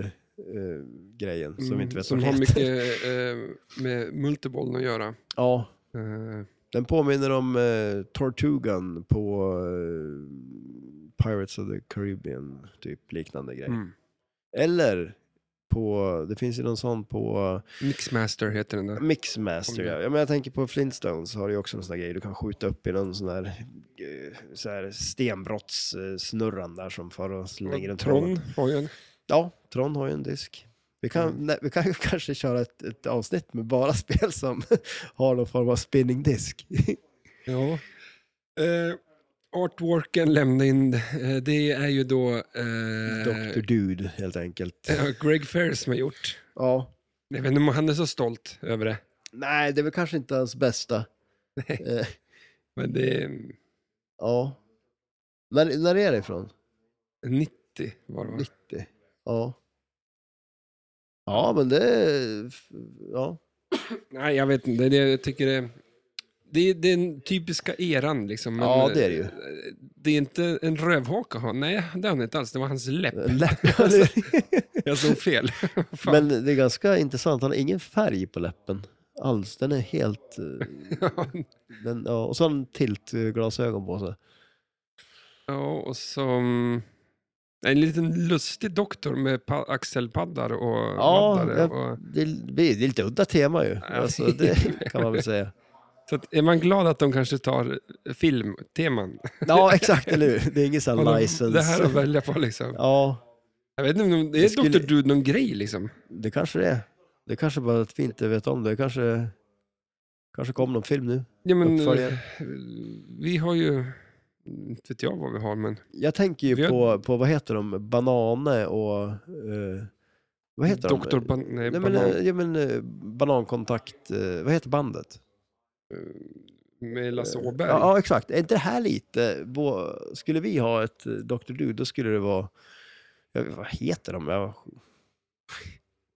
[SPEAKER 2] eh, grejen som vi inte vet
[SPEAKER 1] Mm, som
[SPEAKER 2] vad
[SPEAKER 1] har
[SPEAKER 2] den
[SPEAKER 1] mycket
[SPEAKER 2] heter.
[SPEAKER 1] eh, med multibollen att göra.
[SPEAKER 2] Ja,
[SPEAKER 1] Eh,
[SPEAKER 2] den påminner om eh, Tortugan på eh, Pirates of the Caribbean, typ liknande grej.
[SPEAKER 1] mm.
[SPEAKER 2] Eller på, det finns ju någon sån på eh,
[SPEAKER 1] Mixmaster heter den där.
[SPEAKER 2] Mixmaster,
[SPEAKER 1] Om det-
[SPEAKER 2] ja. ja men jag tänker på Flintstones har du ju också en sån där grej. Du kan skjuta upp i någon sån där, eh, så här stenbrottssnurran där som far och slänger runt
[SPEAKER 1] Tron
[SPEAKER 2] honom.
[SPEAKER 1] har ju en.
[SPEAKER 2] Ja, Tron har ju en disk. Vi kan,
[SPEAKER 1] Mm.
[SPEAKER 2] nej, vi kan kanske köra ett, ett avsnitt med bara spel som har någon form av spinning disk.
[SPEAKER 1] Ja. Eh, artworken lämnade in, eh, det är ju då eh,
[SPEAKER 2] Dr. Dude, helt enkelt.
[SPEAKER 1] eh, Greg Ferris som har gjort.
[SPEAKER 2] Ja.
[SPEAKER 1] Jag vet inte om han är så stolt över det.
[SPEAKER 2] Nej, det är väl kanske inte hans bästa. Eh,
[SPEAKER 1] Men det är
[SPEAKER 2] ja. När, när är det ifrån?
[SPEAKER 1] 90 var det va?
[SPEAKER 2] 90. Ja. Ja, men det... Ja.
[SPEAKER 1] Nej, jag vet inte. Det, jag tycker det, det, är den typiska eran. Liksom. Men,
[SPEAKER 2] Ja, det är det ju.
[SPEAKER 1] eh, Det är inte en rövhaka han Nej, det är han inte alls. Det var hans läpp.
[SPEAKER 2] Läppar. det-
[SPEAKER 1] Jag såg fel. Fan.
[SPEAKER 2] Alltså, men det är ganska intressant. Han har ingen färg på läppen alls. Den är helt... eh, Den, ja. Och så har han tiltglasögon på sig.
[SPEAKER 1] ja, och så... mm, En liten lustig doktor med pa- axelpaddar och
[SPEAKER 2] Ja,
[SPEAKER 1] vaddare
[SPEAKER 2] jag-
[SPEAKER 1] och,
[SPEAKER 2] Det är, det är lite udda tema ju. Alltså, det kan man väl säga.
[SPEAKER 1] Så att, är man glad att de kanske tar filmteman?
[SPEAKER 2] Ja, exakt. Eller hur? Det är ingen sån
[SPEAKER 1] Har
[SPEAKER 2] här
[SPEAKER 1] de
[SPEAKER 2] license.
[SPEAKER 1] Det här att välja på liksom.
[SPEAKER 2] Ja,
[SPEAKER 1] Jag vet inte om det är
[SPEAKER 2] Det skulle-
[SPEAKER 1] Dr. Dude någon grej liksom.
[SPEAKER 2] det kanske det är. Det kanske bara att vi inte vet om det. Kanske, kanske kom någon film nu.
[SPEAKER 1] Ja, men, eh,
[SPEAKER 2] Uppföljare.
[SPEAKER 1] vi har ju, inte vet jag vad vi har, men
[SPEAKER 2] Jag tänker ju
[SPEAKER 1] Vi har-
[SPEAKER 2] på, på, vad heter de, Banane och... eh, vad heter
[SPEAKER 1] Dr.
[SPEAKER 2] de?
[SPEAKER 1] Ban nej,
[SPEAKER 2] Nej, men,
[SPEAKER 1] Banan
[SPEAKER 2] eh, ja, men, eh, banankontakt, eh, vad heter bandet?
[SPEAKER 1] med Lasse Åberg.
[SPEAKER 2] eh, Ja, ja, exakt. Är inte det här lite, bo, skulle vi ha ett eh, Dr. Du, då skulle det vara, jag vet, vad heter de? Jag,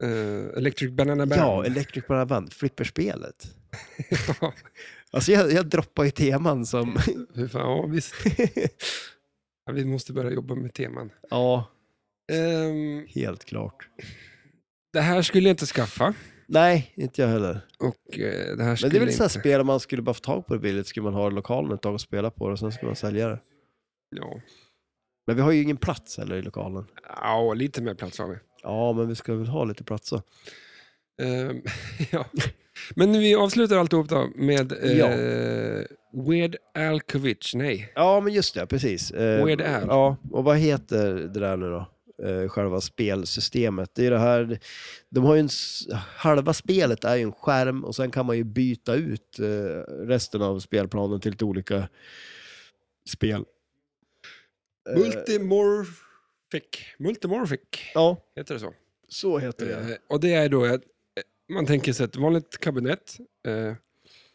[SPEAKER 1] Eh, Electric Banana Band.
[SPEAKER 2] ja, Electric Banana Band, flipperspelet. Alltså jag, jag droppar ju teman som,
[SPEAKER 1] Hur fan, ja, visst. Ja, vi måste börja jobba med teman.
[SPEAKER 2] ja,
[SPEAKER 1] Ehm,
[SPEAKER 2] helt klart.
[SPEAKER 1] det här skulle jag inte skaffa.
[SPEAKER 2] Nej, inte jag heller.
[SPEAKER 1] Och eh, det här
[SPEAKER 2] Men
[SPEAKER 1] skulle
[SPEAKER 2] det är väl
[SPEAKER 1] jag
[SPEAKER 2] ett sånt
[SPEAKER 1] inte-
[SPEAKER 2] här spel, om man skulle bara få tag på det billigt, skulle man ha lokalen ett tag och spela på det och sen skulle man sälja det.
[SPEAKER 1] Ja.
[SPEAKER 2] Men vi har ju ingen plats heller i lokalen.
[SPEAKER 1] ja, lite mer plats har vi.
[SPEAKER 2] Ja, men vi ska väl ha lite plats så.
[SPEAKER 1] Ehm, ja. Men vi avslutar alltihop då med eh,
[SPEAKER 2] Ja.
[SPEAKER 1] Weird Alkovic. Nej,
[SPEAKER 2] Ja, men just det, precis. Eh,
[SPEAKER 1] Weird Al.
[SPEAKER 2] Ja, och vad heter det där nu då? eh, själva spelsystemet. Det är det här, de har ju en, s- halva spelet är ju en skärm och sen kan man ju byta ut eh, resten av spelplanen till lite olika spel. Eh,
[SPEAKER 1] Multimorphic. Multimorphic,
[SPEAKER 2] ja,
[SPEAKER 1] heter det så?
[SPEAKER 2] så heter det.
[SPEAKER 1] Eh, Och det är då att eh, man tänker sig ett vanligt kabinett eh,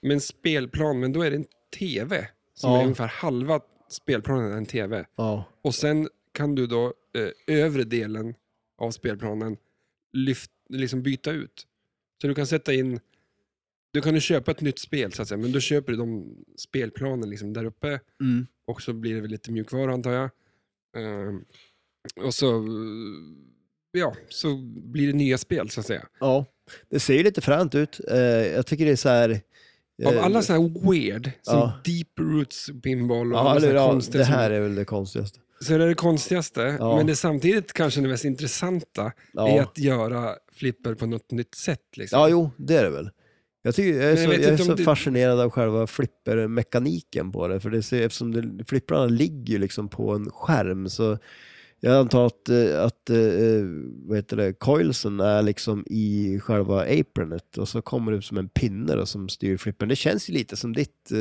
[SPEAKER 1] med en spelplan, men då är det en tv som
[SPEAKER 2] Ja.
[SPEAKER 1] är ungefär halva spelplanen är en tv.
[SPEAKER 2] Ja.
[SPEAKER 1] Och sen kan du då eh, övre delen av spelplanen lyft, liksom byta ut. Så du kan sätta in, du kan ju köpa ett nytt spel så att säga, men då köper du de spelplanen liksom där uppe
[SPEAKER 2] Mm.
[SPEAKER 1] och så blir det väl lite mjukvara antar jag. Ehm, och så, eh, ja, så blir det nya spel så att säga.
[SPEAKER 2] ja, det ser ju lite fränt ut. Eh, jag tycker det är så här...
[SPEAKER 1] Av
[SPEAKER 2] eh,
[SPEAKER 1] alla sådana här weird, som
[SPEAKER 2] Ja.
[SPEAKER 1] deep roots pinball och
[SPEAKER 2] Ja,
[SPEAKER 1] alla
[SPEAKER 2] eller,
[SPEAKER 1] sådana här
[SPEAKER 2] ja,
[SPEAKER 1] konstiga
[SPEAKER 2] det här är väl det konstigaste.
[SPEAKER 1] som, så är det det konstigaste.
[SPEAKER 2] Ja.
[SPEAKER 1] Men det är samtidigt kanske det mest intressanta är
[SPEAKER 2] Ja.
[SPEAKER 1] att göra flipper på något nytt sätt. Liksom.
[SPEAKER 2] ja, jo, det är det väl. Jag, tycker, jag är
[SPEAKER 1] jag
[SPEAKER 2] så,
[SPEAKER 1] vet
[SPEAKER 2] jag är
[SPEAKER 1] inte om
[SPEAKER 2] så
[SPEAKER 1] det-
[SPEAKER 2] fascinerad av själva flippermekaniken på det, för det ser, eftersom det, flipprarna ligger ju liksom på en skärm så jag antar att, eh, att eh, vad heter det, coilsen är liksom i själva apronet och så kommer det upp som en pinne då, som styr flippern. Det känns ju lite som ditt eh,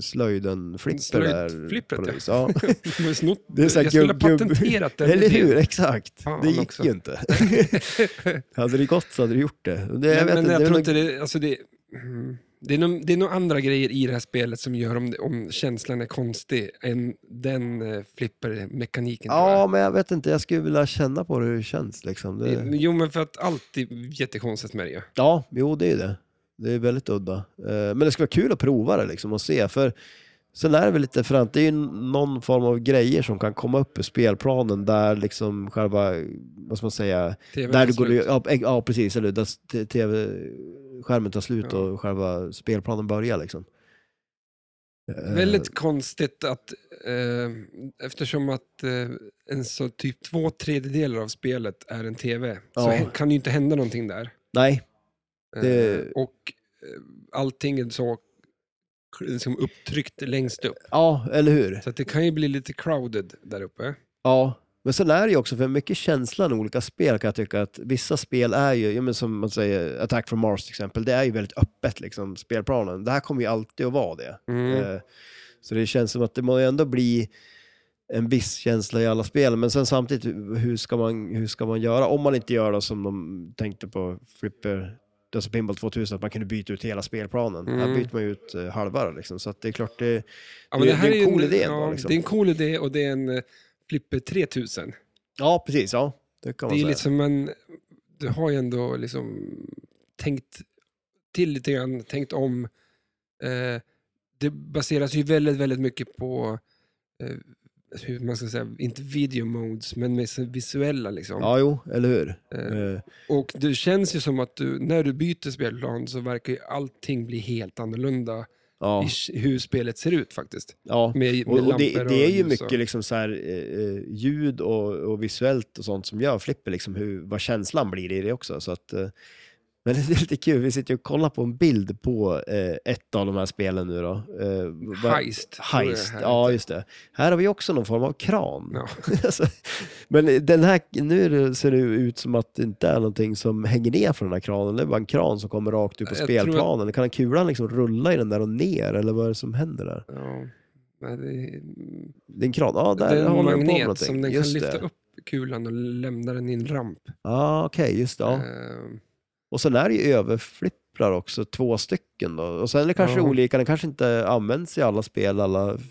[SPEAKER 2] slöjden-flipper där.
[SPEAKER 1] Slöjdflippret,
[SPEAKER 2] på något
[SPEAKER 1] ja.
[SPEAKER 2] vis. ja.
[SPEAKER 1] De har snott,
[SPEAKER 2] Det är så här
[SPEAKER 1] jag skulle ha
[SPEAKER 2] gubb- gubb-
[SPEAKER 1] patenterat den
[SPEAKER 2] Eller
[SPEAKER 1] idén.
[SPEAKER 2] hur, exakt.
[SPEAKER 1] Fan
[SPEAKER 2] det gick
[SPEAKER 1] också.
[SPEAKER 2] ju inte. hade det gått så hade du gjort det. det
[SPEAKER 1] Men,
[SPEAKER 2] jag vet
[SPEAKER 1] men
[SPEAKER 2] inte,
[SPEAKER 1] jag
[SPEAKER 2] det är
[SPEAKER 1] tror
[SPEAKER 2] nog-
[SPEAKER 1] inte det, alltså det, mm, det, är nog, det är nog andra grejer i det här spelet som gör om, det- om känslan är konstig än den eh, flippermekaniken. tror jag.
[SPEAKER 2] Ja, men jag vet inte. Jag skulle vilja känna på det hur det känns. Liksom. Det...
[SPEAKER 1] Jo, men för att allt är jättekonstigt med det ju.
[SPEAKER 2] Ja, jo det är ju det. Det är väldigt udda. Eh, Men det skulle vara kul att prova det liksom, och se. För sen är det väl lite fränt. Det är ju någon form av grejer som kan komma upp ur spelplanen där liksom själva, vad ska man säga,
[SPEAKER 1] TV
[SPEAKER 2] Där du går,
[SPEAKER 1] slut.
[SPEAKER 2] ja, eh, ja, precis. Eller där t- tv-skärmen tar slut
[SPEAKER 1] Ja.
[SPEAKER 2] och själva spelplanen börjar liksom. Eh,
[SPEAKER 1] Väldigt konstigt att, eh, eftersom att eh, en så typ två tredjedelar av spelet är en TV, så
[SPEAKER 2] Ja.
[SPEAKER 1] hä- kan det ju inte hända någonting där.
[SPEAKER 2] Nej,
[SPEAKER 1] Eh,
[SPEAKER 2] Det-
[SPEAKER 1] Och eh, allting är så liksom upptryckt längst upp.
[SPEAKER 2] ja, eller hur?
[SPEAKER 1] Så att det kan ju bli lite crowded där uppe.
[SPEAKER 2] Ja. Men sen är det ju också för mycket känslan i olika spel kan jag tycka att vissa spel är ju, ja, men som man säger, Attack from Mars till exempel, det är ju väldigt öppet liksom, spelplanen. Det här kommer ju alltid att vara det.
[SPEAKER 1] Mm.
[SPEAKER 2] Eh, Så det känns som att det må ju ändå bli en viss känsla i alla spel, men sen samtidigt, hu- hur ska man, hur ska man göra? Om man inte gör då som de tänkte på Flipper, alltså Pinball 2000, att man kunde byta ut hela spelplanen.
[SPEAKER 1] Mm.
[SPEAKER 2] Här byter man ju ut eh, halva då, liksom, så att det är klart det...
[SPEAKER 1] Ja,
[SPEAKER 2] det- det är en
[SPEAKER 1] ju
[SPEAKER 2] cool idé ändå,
[SPEAKER 1] ja,
[SPEAKER 2] liksom.
[SPEAKER 1] Det är en cool idé och det är en eh, Flipper 3000.
[SPEAKER 2] Ja, precis, ja. Det kan man
[SPEAKER 1] Det är
[SPEAKER 2] säga.
[SPEAKER 1] liksom en, du har ju ändå liksom tänkt till lite grann, tänkt om. Eh, det baseras ju väldigt, väldigt mycket på eh, hur man ska säga, inte video modes, men med så visuella liksom.
[SPEAKER 2] Ja, jo, eller hur?
[SPEAKER 1] Eh,
[SPEAKER 2] Eh,
[SPEAKER 1] och det känns ju som att du, när du byter spelplan så verkar ju allting bli helt annorlunda
[SPEAKER 2] Ja,
[SPEAKER 1] i hur spelet ser ut faktiskt.
[SPEAKER 2] ja.
[SPEAKER 1] Med, med
[SPEAKER 2] Och, och det,
[SPEAKER 1] lampor
[SPEAKER 2] det är ju
[SPEAKER 1] ljus och-
[SPEAKER 2] mycket liksom så här, eh, eh, ljud och, och visuellt och sånt som gör flipper, liksom hur, vad känslan blir i det också. Så att, eh, men det är lite kul, vi sitter ju och kollar på en bild på eh, ett av de här spelen nu då. Eh, vad-
[SPEAKER 1] Heist. tror jag
[SPEAKER 2] Heist,
[SPEAKER 1] det här
[SPEAKER 2] ja
[SPEAKER 1] heter.
[SPEAKER 2] just det. Här har vi också någon form av kran.
[SPEAKER 1] Ja.
[SPEAKER 2] Alltså, men den här, nu är det- ser det ut som att det inte är någonting som hänger ner från den här kranen. Det är bara en kran som kommer rakt ut på
[SPEAKER 1] Jag tror att-
[SPEAKER 2] spelplanen. Kan kulan liksom rulla i den där och ner, eller vad är det som händer där?
[SPEAKER 1] Ja. Nej, det,
[SPEAKER 2] Det är en kran. Ja,
[SPEAKER 1] det
[SPEAKER 2] där
[SPEAKER 1] är en
[SPEAKER 2] håller den på med
[SPEAKER 1] magnet
[SPEAKER 2] någonting.
[SPEAKER 1] som den kan
[SPEAKER 2] just
[SPEAKER 1] lyfta
[SPEAKER 2] det.
[SPEAKER 1] upp kulan och lämna den i en ramp.
[SPEAKER 2] Ja, okej, just det. Ja.
[SPEAKER 1] Ehm,
[SPEAKER 2] Och sen är det ju överflipprar också, två stycken då. Och sen är det kanske
[SPEAKER 1] Ja.
[SPEAKER 2] olika, den kanske inte används i alla spel, alla f-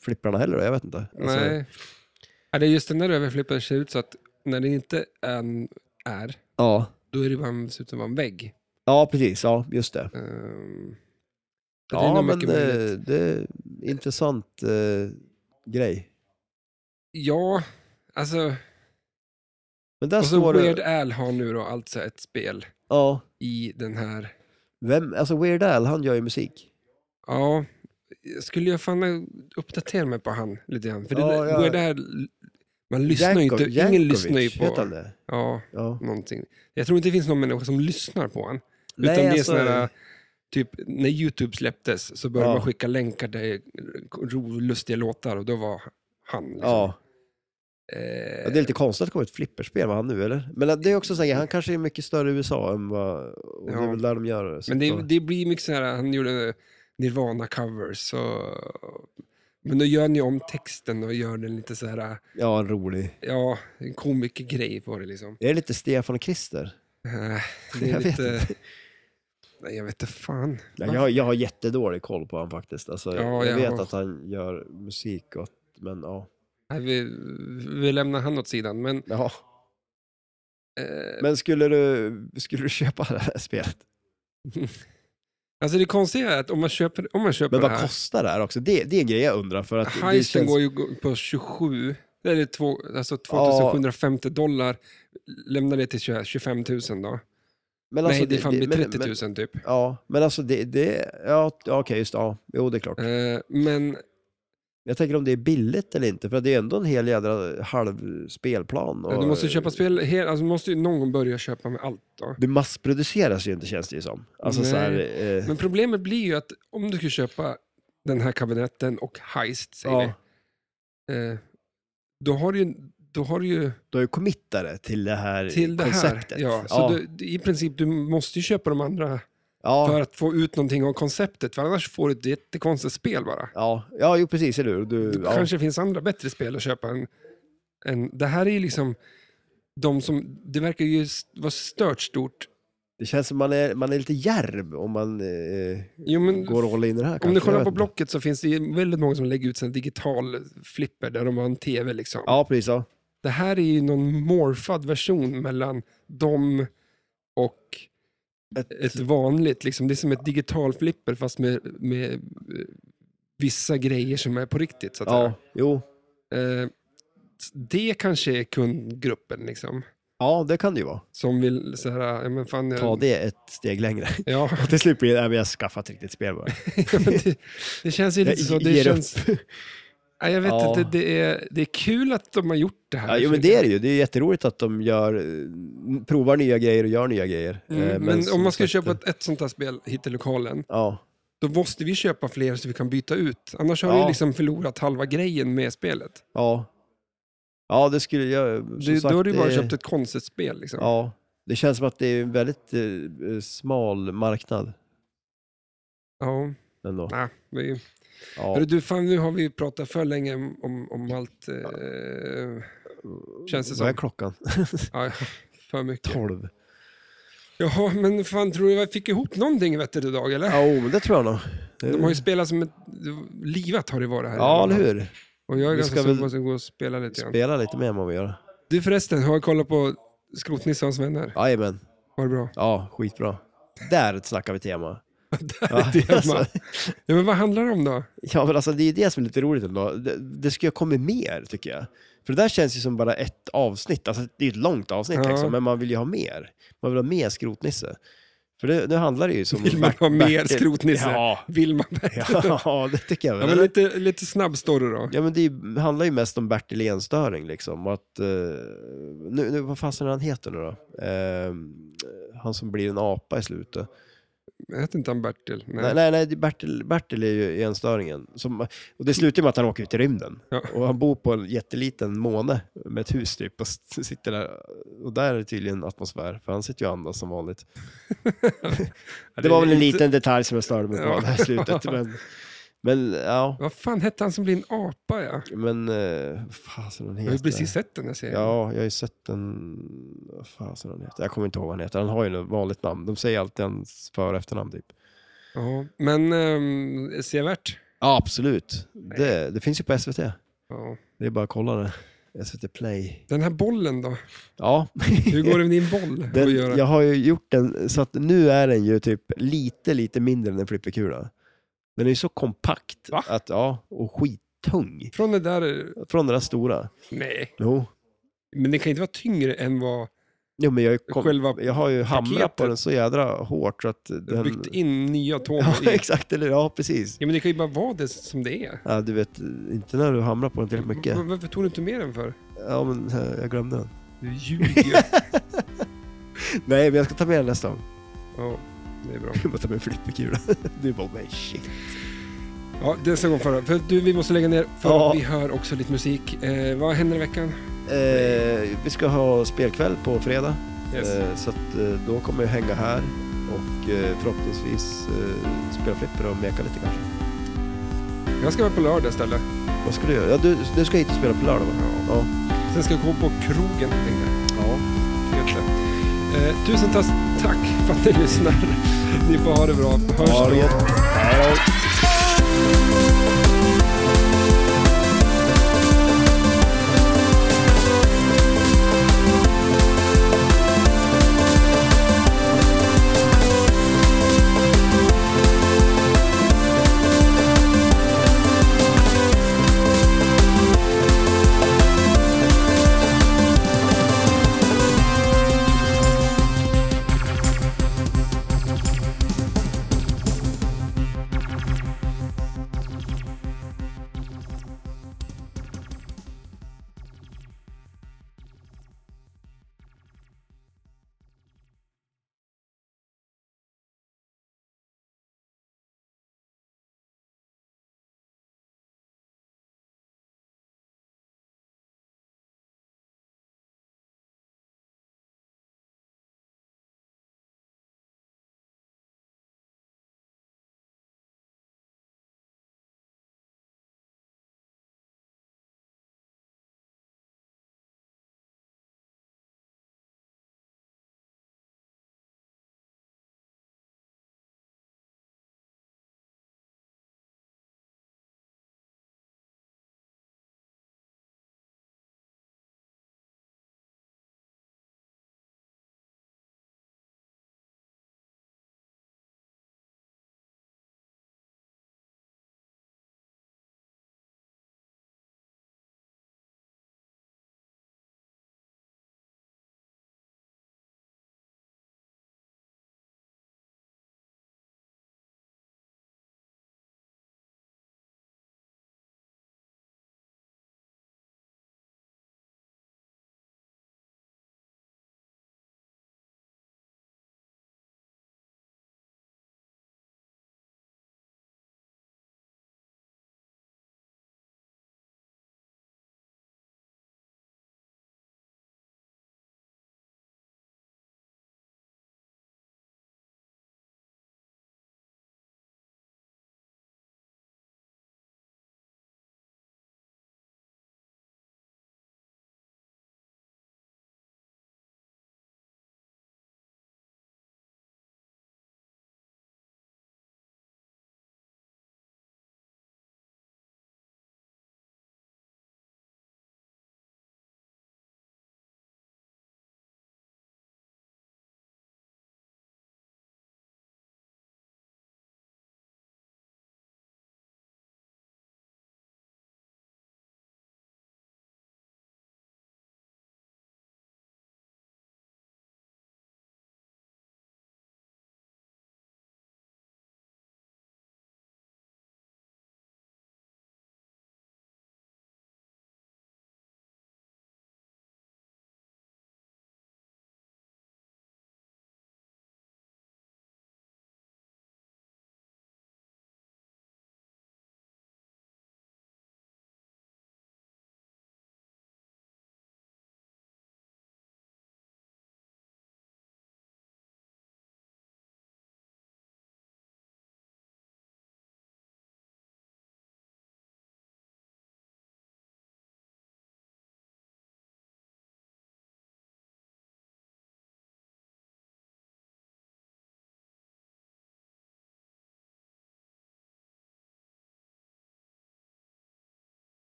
[SPEAKER 2] flipprarna heller då, jag vet inte. Alltså,
[SPEAKER 1] nej. Ja, det är just den där överflippen ser ut så att när den inte är, är
[SPEAKER 2] Ja.
[SPEAKER 1] då är det bara, ser ut som bara en vägg.
[SPEAKER 2] ja, precis, ja, just det.
[SPEAKER 1] Ehm, så det är
[SPEAKER 2] Ja,
[SPEAKER 1] nog
[SPEAKER 2] men eh,
[SPEAKER 1] mycket möjligt.
[SPEAKER 2] det, det är en intressant eh, grej.
[SPEAKER 1] Ja, alltså.
[SPEAKER 2] Men där
[SPEAKER 1] Och så
[SPEAKER 2] står
[SPEAKER 1] Alltså, Weird
[SPEAKER 2] det...
[SPEAKER 1] Al har nu då alltså ett spel
[SPEAKER 2] Ja,
[SPEAKER 1] i den här.
[SPEAKER 2] vem, alltså Weird Al, han gör ju musik.
[SPEAKER 1] Ja, skulle jag fan uppdatera mig på han lite grann? För det
[SPEAKER 2] Ja,
[SPEAKER 1] där,
[SPEAKER 2] ja.
[SPEAKER 1] Weird Al, man lyssnar ju inte,
[SPEAKER 2] Janko-
[SPEAKER 1] ingen lyssnar ju
[SPEAKER 2] Jankovic, Heter han
[SPEAKER 1] på. Mm, liksom.
[SPEAKER 2] det?
[SPEAKER 1] Ja,
[SPEAKER 2] Ja.
[SPEAKER 1] någonting. Jag tror inte det finns någon människa som lyssnar på han.
[SPEAKER 2] Nej,
[SPEAKER 1] utan det är
[SPEAKER 2] alltså-
[SPEAKER 1] sådana här, typ när YouTube släpptes så började
[SPEAKER 2] Ja.
[SPEAKER 1] man skicka länkar till ro- lustiga låtar och då var han. Liksom.
[SPEAKER 2] Ja, Ja, det är lite konstigt att det kommer ett flipperspel med han nu, eller? Men det är också så här, han kanske är mycket större i USA än vad... Och det
[SPEAKER 1] Ja.
[SPEAKER 2] är väl där de gör det. så
[SPEAKER 1] Men det,
[SPEAKER 2] att-
[SPEAKER 1] det blir mycket så här, han gjorde Nirvana-covers. Så... Men då gör han ju om texten och gör den lite så här,
[SPEAKER 2] Ja, en rolig.
[SPEAKER 1] ja, en komikergrej på det liksom.
[SPEAKER 2] Är det lite Stefan och Christer?
[SPEAKER 1] Eh, Det är
[SPEAKER 2] Jag vet
[SPEAKER 1] lite...
[SPEAKER 2] inte.
[SPEAKER 1] Nej, jag vet inte fan.
[SPEAKER 2] Nej, jag, har- jag har jättedålig koll på honom faktiskt. Alltså,
[SPEAKER 1] Ja,
[SPEAKER 2] jag,
[SPEAKER 1] jag
[SPEAKER 2] vet
[SPEAKER 1] har-
[SPEAKER 2] att han gör musik, och, men ja.
[SPEAKER 1] Nej, vi, vi lämnar han åt sidan, men...
[SPEAKER 2] Jaha.
[SPEAKER 1] Eh,
[SPEAKER 2] Men skulle du, skulle du köpa det här spelet?
[SPEAKER 1] alltså det konstiga är att om man köper, om man köper
[SPEAKER 2] Men
[SPEAKER 1] det
[SPEAKER 2] vad
[SPEAKER 1] här...
[SPEAKER 2] kostar det här också? Det, det är en grej jag undrar. För att det
[SPEAKER 1] Heisen går ju på 27, eller två, alltså 2750 dollar. Lämnar det till 20 25 000 då.
[SPEAKER 2] men alltså
[SPEAKER 1] Nej, det, fan blir
[SPEAKER 2] men-
[SPEAKER 1] 30 000
[SPEAKER 2] Men,
[SPEAKER 1] typ.
[SPEAKER 2] ja, men alltså det, det ja, t- ja, okej, just det, ja, jo det är klart.
[SPEAKER 1] Eh, men
[SPEAKER 2] Jag tänker om det är billigt eller inte, för det är ändå en hel jädra halv spelplan. Och,
[SPEAKER 1] du måste köpa spel, hel, alltså, du måste ju någon gång börja köpa med allt då.
[SPEAKER 2] eh, Det massproduceras ju inte känns det ju som. Alltså så här, eh,
[SPEAKER 1] Men problemet blir ju att om du skulle köpa den här kabinetten och Heist, säger
[SPEAKER 2] ja,
[SPEAKER 1] vi, eh, då har du ju, då har du ju
[SPEAKER 2] du har ju committare till det här
[SPEAKER 1] till det här.
[SPEAKER 2] konceptet.
[SPEAKER 1] Ja, så
[SPEAKER 2] ja,
[SPEAKER 1] Du, i princip, du måste ju köpa de andra
[SPEAKER 2] ja.
[SPEAKER 1] för att få ut någonting av konceptet, för annars får du ett jättekonstigt spel bara.
[SPEAKER 2] Ja, ja jo, precis, eller hur? Du,
[SPEAKER 1] Det
[SPEAKER 2] ja.
[SPEAKER 1] kanske finns andra bättre spel att köpa än, än det här är ju liksom de som, det verkar ju s- vara stört stort.
[SPEAKER 2] Det känns som man är, man är lite järv om man eh,
[SPEAKER 1] Jo, men
[SPEAKER 2] går all in i det här.
[SPEAKER 1] om
[SPEAKER 2] kanske,
[SPEAKER 1] du
[SPEAKER 2] jag
[SPEAKER 1] kollar
[SPEAKER 2] vet
[SPEAKER 1] på
[SPEAKER 2] inte.
[SPEAKER 1] Blocket så finns det ju väldigt många som lägger ut sina digital flipper där de har en tv liksom.
[SPEAKER 2] Ja, precis. Ja.
[SPEAKER 1] Det här är ju någon morfad version mellan dem och
[SPEAKER 2] Ett-
[SPEAKER 1] ett vanligt, liksom. det är som ett digital flipper fast med, med eh, vissa grejer som är på riktigt. Så att
[SPEAKER 2] ja, jo.
[SPEAKER 1] säga. Eh, det kanske är kundgruppen liksom,
[SPEAKER 2] Ja, det kan det ju vara.
[SPEAKER 1] som vill så här, ja, men fan, jag-
[SPEAKER 2] Ta det ett steg längre.
[SPEAKER 1] Ja,
[SPEAKER 2] Och till slut blir det, nej, men jag skaffar ett riktigt spel bara.
[SPEAKER 1] men det, det känns ju
[SPEAKER 2] Jag
[SPEAKER 1] lite så. Det
[SPEAKER 2] ger upp.
[SPEAKER 1] känns, nej, jag vet
[SPEAKER 2] Ja.
[SPEAKER 1] inte, det är, det är kul att de har gjort det här. liksom.
[SPEAKER 2] Ja, jo, men det är det ju. Det är jätteroligt att de gör, eh, provar nya grejer och gör nya grejer.
[SPEAKER 1] Mm,
[SPEAKER 2] Eh,
[SPEAKER 1] men om
[SPEAKER 2] som
[SPEAKER 1] man ska
[SPEAKER 2] sagt,
[SPEAKER 1] köpa
[SPEAKER 2] eh,
[SPEAKER 1] ett, ett sånt här spel hit till lokalen,
[SPEAKER 2] Ja,
[SPEAKER 1] då måste vi köpa fler så vi kan byta ut. Annars har vi
[SPEAKER 2] Ja.
[SPEAKER 1] liksom förlorat halva grejen med spelet.
[SPEAKER 2] ja. Ja, det skulle jag... som
[SPEAKER 1] Du,
[SPEAKER 2] sagt,
[SPEAKER 1] då har du bara
[SPEAKER 2] eh,
[SPEAKER 1] köpt ett konstigt spel. Liksom.
[SPEAKER 2] Ja, det känns som att det är en väldigt eh, smal marknad
[SPEAKER 1] Ja,
[SPEAKER 2] ändå.
[SPEAKER 1] nej, vi,
[SPEAKER 2] Ja.
[SPEAKER 1] Hörru, du, fan, nu har vi pratat för länge om, om allt. Eh, Känns det
[SPEAKER 2] Vad är
[SPEAKER 1] som.
[SPEAKER 2] klockan?
[SPEAKER 1] ja, för mycket.
[SPEAKER 2] 12.
[SPEAKER 1] Jaha, men fan, tror du jag fick ihop någonting vet du, idag, eller?
[SPEAKER 2] Ja, oh, det tror jag nog. Det-
[SPEAKER 1] De har ju spelat som ett... Livat har det varit här. i
[SPEAKER 2] Ja,
[SPEAKER 1] alla
[SPEAKER 2] eller
[SPEAKER 1] fall.
[SPEAKER 2] hur?
[SPEAKER 1] Och jag är
[SPEAKER 2] Vi
[SPEAKER 1] ganska
[SPEAKER 2] ska
[SPEAKER 1] sugen
[SPEAKER 2] väl-
[SPEAKER 1] på att gå och spela lite grann.
[SPEAKER 2] Spela lite mer än vad vi gör.
[SPEAKER 1] Du förresten, har jag kollat på Skrotnissans vänner?
[SPEAKER 2] Jajamän.
[SPEAKER 1] Var det bra?
[SPEAKER 2] Ja, skitbra. Där snackar vi tema.
[SPEAKER 1] Ja, det är
[SPEAKER 2] alltså.
[SPEAKER 1] man. ja, men vad handlar det om då?
[SPEAKER 2] Ja, men alltså det är det som är lite roligt ändå. Det, det ska ju komma mer, tycker jag. För det där känns ju som bara ett avsnitt. Alltså, det är ett långt avsnitt,
[SPEAKER 1] Ja.
[SPEAKER 2] liksom, men man vill ju ha mer. Man vill ha mer skrotnisse. För det, nu handlar det ju som...
[SPEAKER 1] Vill man
[SPEAKER 2] Bert-
[SPEAKER 1] ha mer
[SPEAKER 2] Bertil-
[SPEAKER 1] skrotnisse?
[SPEAKER 2] Ja,
[SPEAKER 1] Vill man verkligen?
[SPEAKER 2] ja, det tycker jag.
[SPEAKER 1] Ja,
[SPEAKER 2] väl.
[SPEAKER 1] men lite, lite snabb story då.
[SPEAKER 2] Ja, men det är ju- handlar ju mest om Bertil Enstöring liksom. Och att, eh, nu, nu, vad fasen är han heter nu då? Eh, han som blir en apa i slutet.
[SPEAKER 1] Jag heter inte han Bertil? Nej.
[SPEAKER 2] Nej, nej, nej det är Bertil, Bertil är ju enstöringen. Som, och det slutar ju med att han åker ut i rymden.
[SPEAKER 1] Ja.
[SPEAKER 2] Och han bor på en jätteliten måne med ett hus typ. Och s- sitter där. Och där är det tydligen atmosfär, för han sitter ju och andas som vanligt.
[SPEAKER 1] Ja,
[SPEAKER 2] Det var väl en
[SPEAKER 1] inte-
[SPEAKER 2] liten detalj som jag störde mig på
[SPEAKER 1] Ja.
[SPEAKER 2] där i slutet. Men, men ja,
[SPEAKER 1] Vad fan hette han som blir en apa? Ja?
[SPEAKER 2] men eh, fasen
[SPEAKER 1] Jag
[SPEAKER 2] han heter.
[SPEAKER 1] har ju precis sett den här serien.
[SPEAKER 2] Ja, jag har ju sett den... Vad fasen han heter? Jag kommer inte ihåg vad han heter. Han har ju något vanligt namn. De säger alltid hans för och efternamn typ.
[SPEAKER 1] Ja, Men um, sevärt.
[SPEAKER 2] Ja, absolut. Det, det finns ju på SVT.
[SPEAKER 1] Ja.
[SPEAKER 2] Det är bara att kolla det. SVT Play.
[SPEAKER 1] Den här bollen då?
[SPEAKER 2] Ja.
[SPEAKER 1] Hur går det med din boll? att
[SPEAKER 2] Den,
[SPEAKER 1] göra?
[SPEAKER 2] jag har ju gjort den så att nu är den ju typ lite, lite mindre än en flipperkula. Den är ju så kompakt
[SPEAKER 1] Va?
[SPEAKER 2] att, ja, och skittung.
[SPEAKER 1] Från det där...
[SPEAKER 2] Från den där stora.
[SPEAKER 1] Nej,
[SPEAKER 2] Jo,
[SPEAKER 1] men det kan inte vara tyngre än vad...
[SPEAKER 2] jo men jag, har ju kom,
[SPEAKER 1] Själva
[SPEAKER 2] jag har ju hamrat på
[SPEAKER 1] paketet.
[SPEAKER 2] den så jädra hårt så att den...
[SPEAKER 1] Byggt in nya atomer
[SPEAKER 2] Ja,
[SPEAKER 1] i.
[SPEAKER 2] exakt. Eller, ja, precis.
[SPEAKER 1] Ja, men det kan ju bara vara det som det är.
[SPEAKER 2] Ja, du vet, inte när du hamrar på den tillräckligt mycket.
[SPEAKER 1] Var- Varför tog du inte med den för?
[SPEAKER 2] Ja, men eh, jag glömde den.
[SPEAKER 1] Du ljuger.
[SPEAKER 2] Nej, men jag ska ta med den nästa gång.
[SPEAKER 1] ja, det är bra.
[SPEAKER 2] Jag måste ta med en flipperkula. Du bara, men shit.
[SPEAKER 1] Ja, det ska gå för. för du, vi måste lägga ner för
[SPEAKER 2] Ja.
[SPEAKER 1] vi hör också lite musik. Eh, vad händer i veckan?
[SPEAKER 2] Eh, vi ska ha spelkväll på fredag.
[SPEAKER 1] Yes.
[SPEAKER 2] Eh, så att, eh, då kommer jag hänga här och eh, förhoppningsvis eh, spela flipper och meka lite kanske.
[SPEAKER 1] Jag ska vara på lördag istället.
[SPEAKER 2] Vad ska du göra? Ja, du, du ska hit och spela på lördag va? Ja.
[SPEAKER 1] Sen ska jag gå på krogen, tänkte jag.
[SPEAKER 2] ja.
[SPEAKER 1] Helt lätt. Eh, tusen tas- tack för att ni lyssnar. Ni får ha det bra. Hörs
[SPEAKER 2] Ha det
[SPEAKER 1] då.
[SPEAKER 2] gött. Hej då.